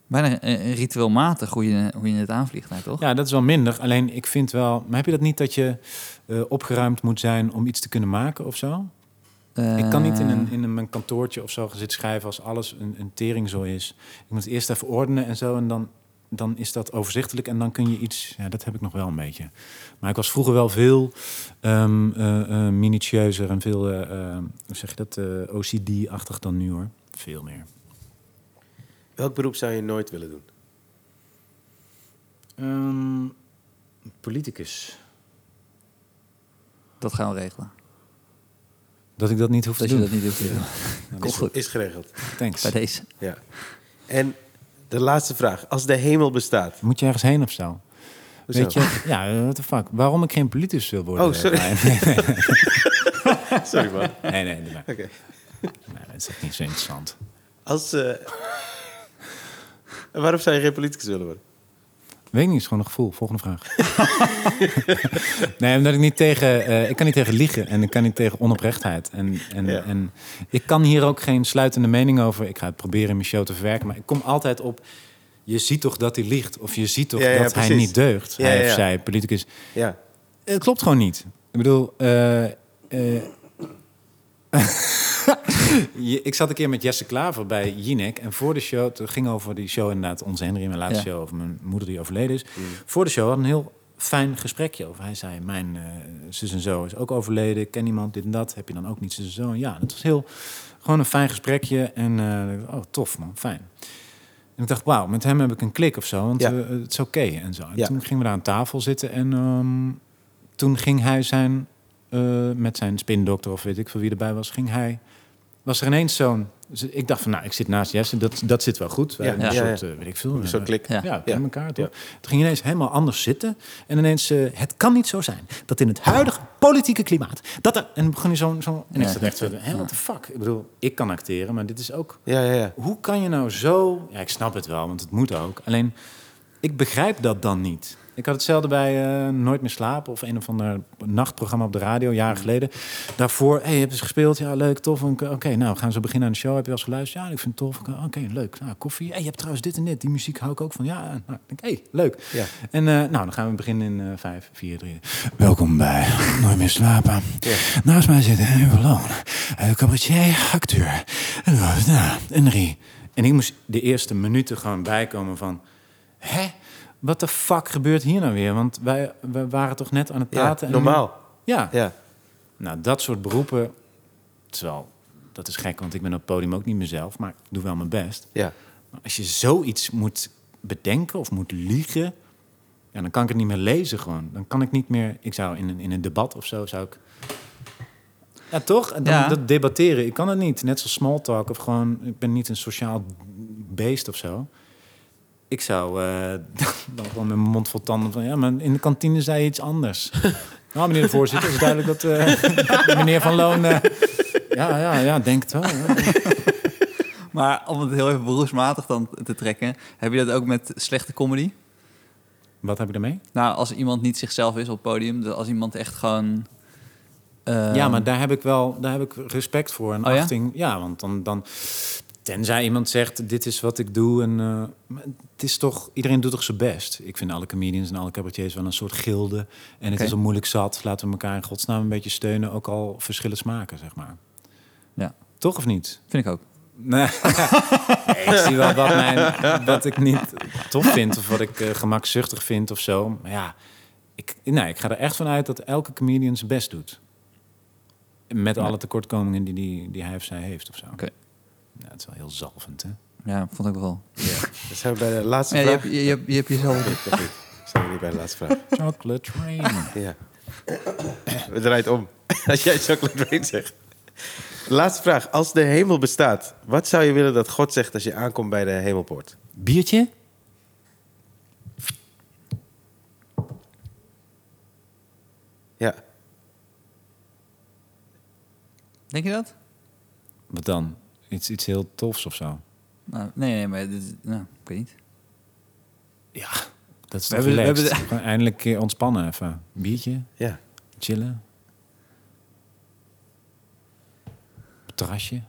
[SPEAKER 2] bijna eh, ritueelmatig hoe je, hoe je het aanvliegt, nou, toch?
[SPEAKER 3] Ja, dat is wel minder. Alleen ik vind wel... Maar heb je dat niet dat je eh, opgeruimd moet zijn om iets te kunnen maken of zo? Ik kan
[SPEAKER 2] Eh,
[SPEAKER 3] niet in, een, in een, mijn kantoortje of zo gaan zitten schrijven als alles een, een teringzooi is. Ik moet het eerst even ordenen en zo. En dan, dan is dat overzichtelijk. En dan kun je iets. Ja, dat heb ik nog wel een beetje. Maar ik was vroeger wel veel ehm eh, eh, minutieuzer en veel. eh, eh, hoe zeg je dat? eh, OCD-achtig dan nu hoor. Veel meer.
[SPEAKER 1] Welk beroep zou je nooit willen doen?
[SPEAKER 2] Ehm,
[SPEAKER 3] politicus.
[SPEAKER 2] Dat gaan we regelen.
[SPEAKER 3] Dat ik dat niet hoef
[SPEAKER 2] Dat
[SPEAKER 3] te
[SPEAKER 2] je
[SPEAKER 3] doen.
[SPEAKER 2] dat niet hoeft te doen.
[SPEAKER 3] Nou,
[SPEAKER 2] Komt
[SPEAKER 3] dat-
[SPEAKER 2] goed.
[SPEAKER 1] Is geregeld.
[SPEAKER 3] Thanks.
[SPEAKER 2] Bij deze.
[SPEAKER 1] Ja. En de laatste vraag. Als de hemel bestaat.
[SPEAKER 3] Moet je ergens heen of zo?
[SPEAKER 1] Hoezo?
[SPEAKER 3] Weet je, ja, eh, what the fuck. Waarom ik geen politicus wil worden?
[SPEAKER 1] Oh, sorry.
[SPEAKER 3] eh, Brian?
[SPEAKER 1] *laughs* Sorry man.
[SPEAKER 3] Nee, nee, nee. nee.
[SPEAKER 1] Oké.
[SPEAKER 3] Nee, dat is echt niet zo interessant.
[SPEAKER 1] Als... eh, En waarom zou je geen politicus willen worden?
[SPEAKER 3] Weet ik niet, is gewoon een gevoel. Volgende vraag.
[SPEAKER 1] *laughs*
[SPEAKER 3] nee, omdat ik niet tegen... eh, ik kan niet tegen liegen en ik kan niet tegen onoprechtheid. En, en,
[SPEAKER 1] Ja.
[SPEAKER 3] en ik kan hier ook geen sluitende mening over. Ik ga het proberen in mijn show te verwerken, maar ik kom altijd op... Je ziet toch dat hij liegt? Of je ziet toch
[SPEAKER 1] Ja, ja,
[SPEAKER 3] dat hij
[SPEAKER 1] precies.
[SPEAKER 3] niet deugt?
[SPEAKER 1] Ja,
[SPEAKER 3] hij
[SPEAKER 1] ja,
[SPEAKER 3] of
[SPEAKER 1] ja.
[SPEAKER 3] zij, politicus.
[SPEAKER 1] Ja.
[SPEAKER 3] Het klopt gewoon niet. Ik bedoel, eh, eh, *laughs* je- ik zat een keer met Jesse Klaver bij Jinek. En voor de show, het ging over die show inderdaad, onze Henry, mijn laatste
[SPEAKER 2] Ja.
[SPEAKER 3] show over mijn moeder die overleden is.
[SPEAKER 1] Mm.
[SPEAKER 3] Voor de show had een heel fijn gesprekje over. Hij zei, mijn eh, zus en zo is ook overleden. Ik ken iemand, dit en dat. Heb je dan ook niet zus en zo? En ja, dat was heel, gewoon een fijn gesprekje. En eh, oh, tof man, fijn. En ik dacht, wauw, met hem heb ik een klik of zo, want
[SPEAKER 1] Ja.
[SPEAKER 3] eh, het is oké en zo. En
[SPEAKER 1] Ja.
[SPEAKER 3] toen gingen we daar aan tafel zitten en ehm, toen ging hij zijn, eh, met zijn spindokter of weet ik veel wie erbij was, ging hij, was er ineens zo'n, dus ik dacht van, nou, ik zit naast Jesse, dat, dat zit wel goed. We
[SPEAKER 1] Ja.
[SPEAKER 3] hebben een
[SPEAKER 1] Ja,
[SPEAKER 3] soort, eh, weet ik veel.
[SPEAKER 1] Zo'n
[SPEAKER 3] eh,
[SPEAKER 1] klik.
[SPEAKER 2] Ja.
[SPEAKER 3] ja,
[SPEAKER 1] Ja.
[SPEAKER 3] in elkaar toch? Het ging ineens helemaal anders zitten. En ineens, eh, het kan niet zo zijn dat in het huidige politieke klimaat... Dat er, en begon hij zo'n... Zo, en ik
[SPEAKER 2] Ja.
[SPEAKER 3] zat echt zo, hé, what the fuck? Ik bedoel, ik kan acteren, maar dit is ook...
[SPEAKER 1] Ja, ja, ja.
[SPEAKER 3] Hoe kan je nou zo... Ja, ik snap het wel, want het moet ook. Alleen, ik begrijp dat dan niet. Ik had hetzelfde bij eh, Nooit meer slapen... of een of ander nachtprogramma op de radio, jaren geleden. Daarvoor, hey, heb je eens gespeeld? Ja, leuk, tof. En ik, Oké, nou, we gaan zo beginnen aan de show. Heb je wel eens geluisterd? Ja, ik vind het tof. Ik, Oké, leuk. Nou, koffie. Hey, je hebt trouwens dit en dit. Die muziek hou ik ook van. Ja, nou, ik denk, hey, leuk.
[SPEAKER 1] Ja.
[SPEAKER 3] En eh, nou, dan gaan we beginnen in eh, vijf, vier, drie. Welkom bij Nooit meer slapen. Naast mij zit Henry Verloon, eh, cabaretier, acteur. En, eh, nou, Henry. En ik moest de eerste minuten gewoon bijkomen van... Hè? Wat de fuck gebeurt hier nou weer? Want wij, wij waren toch net aan het
[SPEAKER 1] Ja,
[SPEAKER 3] praten. en nu-
[SPEAKER 1] normaal.
[SPEAKER 3] ja.
[SPEAKER 1] Ja.
[SPEAKER 3] Nou, dat soort beroepen... Terwijl, dat is gek, want ik ben op het podium ook niet mezelf. Maar ik doe wel mijn best.
[SPEAKER 1] Ja.
[SPEAKER 3] Maar als je zoiets moet bedenken of moet liegen, ja, dan kan ik het niet meer lezen gewoon. Dan kan ik niet meer. Ik zou in een, in een debat of zo zou ik. Ja, toch? Dan,
[SPEAKER 2] Ja.
[SPEAKER 3] Dat debatteren. Ik kan het niet. Net zoals small talk of gewoon. Ik ben niet een sociaal beest of zo. Ik zou eh, *laughs* dan gewoon met mijn mond vol tanden van ja, maar in de kantine zei je iets anders. nou, meneer de voorzitter, is duidelijk dat eh, *laughs* meneer Van Loon. eh, ja, ja, ja, denk het wel. ja.
[SPEAKER 2] Maar om het heel even beroepsmatig dan te trekken. Heb je dat ook met slechte comedy?
[SPEAKER 3] Wat heb ik daarmee?
[SPEAKER 2] Nou, als iemand niet zichzelf is op het podium. dus Als iemand echt gewoon... eh,
[SPEAKER 3] Ja, maar daar heb ik wel daar heb ik respect voor en
[SPEAKER 2] Oh ja?
[SPEAKER 3] achting. Ja, want dan, dan. Tenzij iemand zegt: Dit is wat ik doe. En, eh, maar het is toch. Iedereen doet toch zijn best. Ik vind alle comedians en alle cabaretiers wel een soort gilde. En het
[SPEAKER 2] Oké.
[SPEAKER 3] is al moeilijk zat. Laten we elkaar in godsnaam een beetje steunen. Ook al verschillen smaken, zeg maar.
[SPEAKER 2] Ja.
[SPEAKER 3] Toch of niet?
[SPEAKER 2] Vind ik ook.
[SPEAKER 3] Nee. *laughs* Nee, ik zie wel wat, mijn, wat ik niet tof vind of wat ik eh, gemakzuchtig vind of zo. Maar ja, ik, nee, ik ga er echt van uit dat elke comedian zijn best doet. Met alle tekortkomingen die, die, die hij of zij heeft of zo.
[SPEAKER 2] Oké.
[SPEAKER 3] Ja, het is wel heel zalvend, hè?
[SPEAKER 2] Ja, vond ik wel.
[SPEAKER 1] Dan zijn we bij de laatste
[SPEAKER 2] Ja, je,
[SPEAKER 1] vraag.
[SPEAKER 2] hebt, je, je hebt, je hebt jezelf...
[SPEAKER 1] Nee, *laughs* nog niet. Zijn we niet bij de laatste vraag.
[SPEAKER 3] Chocolate Train.
[SPEAKER 1] Ja. We draait om. *laughs* Als jij chocolate rain zegt. Laatste vraag. Als de hemel bestaat, wat zou je willen dat God zegt als je aankomt bij de hemelpoort?
[SPEAKER 3] Biertje?
[SPEAKER 1] Ja.
[SPEAKER 2] Denk je dat?
[SPEAKER 3] Wat dan? Iets, iets heel tofs of zo?
[SPEAKER 2] Nou, nee, nee, maar dit, is- nou, ik weet niet.
[SPEAKER 3] Ja, dat is
[SPEAKER 2] We
[SPEAKER 3] toch
[SPEAKER 2] hebben- we
[SPEAKER 3] relaxed.
[SPEAKER 2] hebben
[SPEAKER 3] Gewoon Eindelijk een keer ontspannen even. Biertje,
[SPEAKER 1] ja.
[SPEAKER 3] chillen. Op het Terrasje.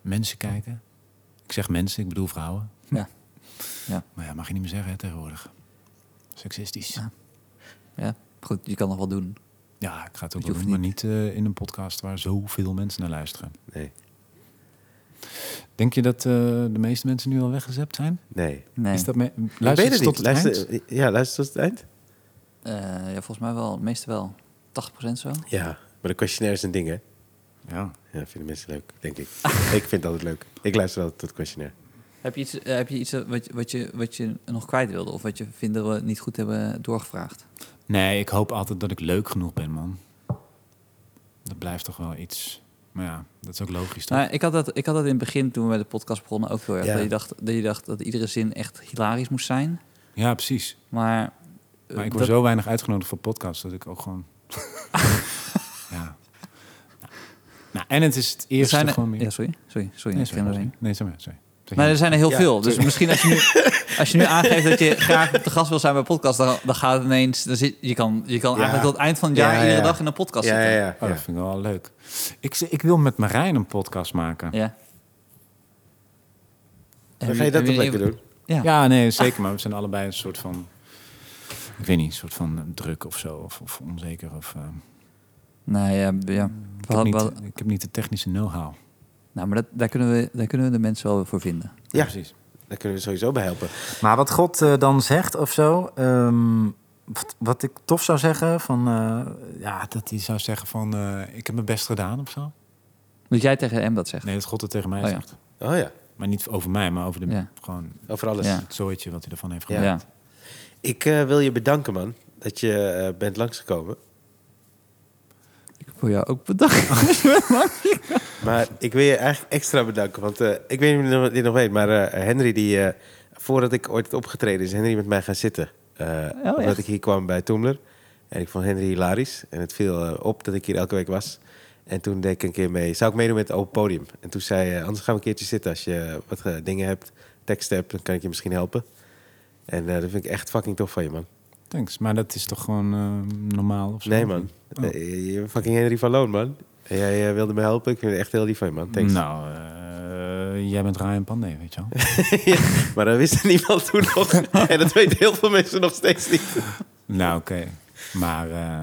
[SPEAKER 3] Mensen kijken. Ik zeg mensen, ik bedoel vrouwen.
[SPEAKER 2] Ja. Ja.
[SPEAKER 3] Maar ja, mag je niet meer zeggen hè, tegenwoordig. Sexistisch.
[SPEAKER 2] Ja. Ja, goed, je kan nog wel doen.
[SPEAKER 3] Ja, ik ga het ook
[SPEAKER 2] Je
[SPEAKER 3] wel
[SPEAKER 2] hoeft
[SPEAKER 3] doen, maar niet eh, in een podcast waar zoveel mensen naar luisteren.
[SPEAKER 1] Nee.
[SPEAKER 3] Denk je dat eh, de meeste mensen nu al weggezept zijn?
[SPEAKER 1] Nee.
[SPEAKER 2] Nee.
[SPEAKER 3] Is dat me-
[SPEAKER 1] Ik weet
[SPEAKER 3] Luister
[SPEAKER 1] het
[SPEAKER 3] tot
[SPEAKER 1] niet.
[SPEAKER 3] het eind?
[SPEAKER 1] Luister, ja, luister tot het eind.
[SPEAKER 2] Eh, ja, volgens mij wel. Meestal wel. 80% zo.
[SPEAKER 1] Ja. Maar de questionnaires en dingen.
[SPEAKER 3] Ja.
[SPEAKER 1] Ja, vinden mensen leuk, denk
[SPEAKER 3] *laughs*
[SPEAKER 1] ik. ik vind het altijd leuk. Ik luister altijd tot het questionnaire.
[SPEAKER 2] Heb je iets, eh, heb je iets eh, wat, je- wat, je, wat je nog kwijt wilde? Of wat je vindt dat we niet goed hebben doorgevraagd?
[SPEAKER 3] Nee, ik hoop altijd dat ik leuk genoeg ben, man. Dat blijft toch wel iets. Maar ja, dat is ook logisch, toch?
[SPEAKER 2] Nou, ik, had dat, ik had dat in het begin, toen we met de podcast begonnen, ook heel erg.
[SPEAKER 1] Ja.
[SPEAKER 2] Dat, je dacht, dat je dacht dat iedere zin echt hilarisch moest zijn.
[SPEAKER 3] Ja, precies.
[SPEAKER 2] Maar, eh,
[SPEAKER 3] Maar ik word
[SPEAKER 2] dat-
[SPEAKER 3] zo weinig uitgenodigd voor podcasts dat ik ook gewoon...
[SPEAKER 2] *laughs*
[SPEAKER 3] ja. Nou. Nou, en het is het
[SPEAKER 2] er
[SPEAKER 3] eerste
[SPEAKER 2] zijn er-
[SPEAKER 3] gewoon meer...
[SPEAKER 2] ja, sorry, sorry, sorry.
[SPEAKER 3] nee,
[SPEAKER 2] ik ging
[SPEAKER 3] sorry.
[SPEAKER 2] erheen.
[SPEAKER 3] Nee, sorry. sorry. Zeg
[SPEAKER 2] Maar
[SPEAKER 3] jij.
[SPEAKER 2] er zijn er heel
[SPEAKER 1] Ja,
[SPEAKER 2] veel. Dus misschien als je, nu,
[SPEAKER 1] *laughs*
[SPEAKER 2] als je nu aangeeft dat je graag te gast wil zijn bij podcast, dan, dan gaat het ineens. Dan zit, je kan, je kan
[SPEAKER 1] Ja.
[SPEAKER 2] eigenlijk tot het eind van het jaar
[SPEAKER 1] Ja, ja,
[SPEAKER 2] iedere
[SPEAKER 1] ja.
[SPEAKER 2] dag in een podcast
[SPEAKER 1] Ja,
[SPEAKER 2] zitten.
[SPEAKER 1] ja,
[SPEAKER 2] Ja,
[SPEAKER 1] ja.
[SPEAKER 3] Oh,
[SPEAKER 1] ja.
[SPEAKER 3] dat vind ik wel leuk. Ik, z- ik wil met Marijn een podcast maken. Ja,
[SPEAKER 1] Dan ga je dat
[SPEAKER 2] Heb
[SPEAKER 1] ook
[SPEAKER 2] heb
[SPEAKER 1] lekker doen.
[SPEAKER 2] Ja.
[SPEAKER 3] nee, zeker. Maar we zijn allebei een soort van... Ik weet niet, een soort van eh, druk of zo. Of, of onzeker. Of, eh,
[SPEAKER 2] Nou ja, ja.
[SPEAKER 3] ik,
[SPEAKER 2] We
[SPEAKER 3] heb
[SPEAKER 2] hadden-
[SPEAKER 3] niet,
[SPEAKER 2] we hadden-
[SPEAKER 3] ik heb niet de technische know-how.
[SPEAKER 2] nou, maar dat, daar, kunnen we, daar kunnen we de mensen wel weer voor vinden.
[SPEAKER 1] Ja.
[SPEAKER 3] precies.
[SPEAKER 1] Daar kunnen we sowieso bij helpen.
[SPEAKER 3] Maar wat God eh, dan zegt of zo, ehm, wat, wat ik tof zou zeggen, van, eh, ja, dat hij zou zeggen van, eh, ik heb mijn best gedaan of zo.
[SPEAKER 2] Dat jij tegen hem dat zegt.
[SPEAKER 3] Nee, dat God het tegen mij
[SPEAKER 2] Oh ja.
[SPEAKER 3] zegt.
[SPEAKER 1] Oh ja,
[SPEAKER 3] Maar niet over mij, maar over de,
[SPEAKER 2] Ja.
[SPEAKER 3] gewoon
[SPEAKER 1] over alles.
[SPEAKER 2] Ja.
[SPEAKER 3] het zooitje wat hij ervan heeft
[SPEAKER 2] Ja.
[SPEAKER 3] gedaan.
[SPEAKER 1] Ik eh, wil je bedanken, man. Dat je eh, bent langsgekomen.
[SPEAKER 2] Ik voor jou ook bedankt.
[SPEAKER 1] *laughs* Maar ik wil je eigenlijk extra bedanken. Want eh, ik weet niet of je dit nog weet, maar eh, Henry, die, eh, voordat ik ooit had opgetreden, is Henry met mij gaan zitten. Eh omdat
[SPEAKER 2] echt?
[SPEAKER 1] ik hier kwam bij Toemler. En ik vond Henry hilarisch. En het viel eh, op dat ik hier elke week was. En toen deed ik een keer mee, zou ik meedoen met het open podium? En toen zei hij, eh, anders gaan we een keertje zitten. Als je eh, wat eh, dingen hebt, teksten hebt, dan kan ik je misschien helpen. En eh, dat vind ik echt fucking tof van je, man.
[SPEAKER 3] Thanks, maar dat is toch gewoon eh, normaal of zo?
[SPEAKER 1] Nee, man.
[SPEAKER 3] Oh.
[SPEAKER 1] Eh, Je je bent fucking Henry van Loon, man. Jij eh, wilde me helpen. Ik vind het echt heel lief van je, man. Thanks.
[SPEAKER 3] Nou, eh, jij bent Ryan Pandey, weet je wel.
[SPEAKER 1] *laughs* Maar dat wist niemand toen nog. en dat weten heel veel mensen nog steeds niet.
[SPEAKER 3] nou, oké. Maar eh,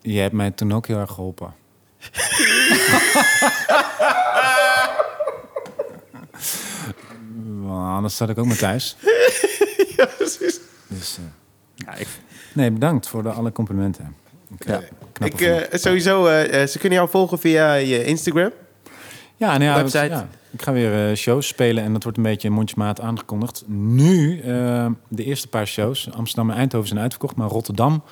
[SPEAKER 3] jij hebt mij toen ook heel erg
[SPEAKER 1] *laughs*
[SPEAKER 3] geholpen. Want anders zat ik ook maar thuis.
[SPEAKER 1] ja, precies.
[SPEAKER 3] Dus, eh,
[SPEAKER 2] Ja, ik,
[SPEAKER 3] nee, bedankt voor de, alle complimenten. Ik, eh,
[SPEAKER 2] Ja.
[SPEAKER 3] knap
[SPEAKER 1] Ik,
[SPEAKER 3] ervan.
[SPEAKER 1] eh, sowieso, eh, eh, ze kunnen jou volgen via je Instagram.
[SPEAKER 3] Ja, nou ja, dat-
[SPEAKER 1] Website.
[SPEAKER 3] ja. ik ga weer eh, shows spelen en dat wordt een beetje mondjesmaat aangekondigd. Nu, eh, de eerste paar shows, Amsterdam en Eindhoven zijn uitverkocht, maar Rotterdam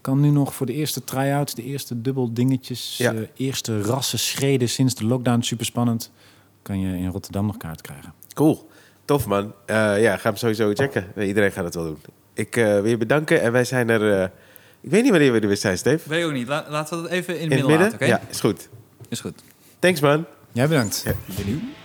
[SPEAKER 3] kan nu nog voor de eerste try-outs, de eerste dubbel dingetjes, eh,
[SPEAKER 1] Ja.
[SPEAKER 3] eerste rassen schreden sinds de lockdown, super spannend. Kan je in Rotterdam nog kaart krijgen.
[SPEAKER 1] Cool. Tof, man. Eh, ja, ga hem sowieso checken. Eh, Iedereen gaat het wel doen. Ik eh, wil je bedanken. En wij zijn er... eh, ik weet niet wanneer we er weer zijn, Steve.
[SPEAKER 2] weet ook niet. La- laten we dat even in het
[SPEAKER 1] In het
[SPEAKER 2] midden
[SPEAKER 1] midden?
[SPEAKER 2] laten, oké?
[SPEAKER 1] Ja, is goed.
[SPEAKER 2] Is goed.
[SPEAKER 1] Thanks, man.
[SPEAKER 3] Jij bedankt.
[SPEAKER 1] Ja.
[SPEAKER 3] Benieuwd.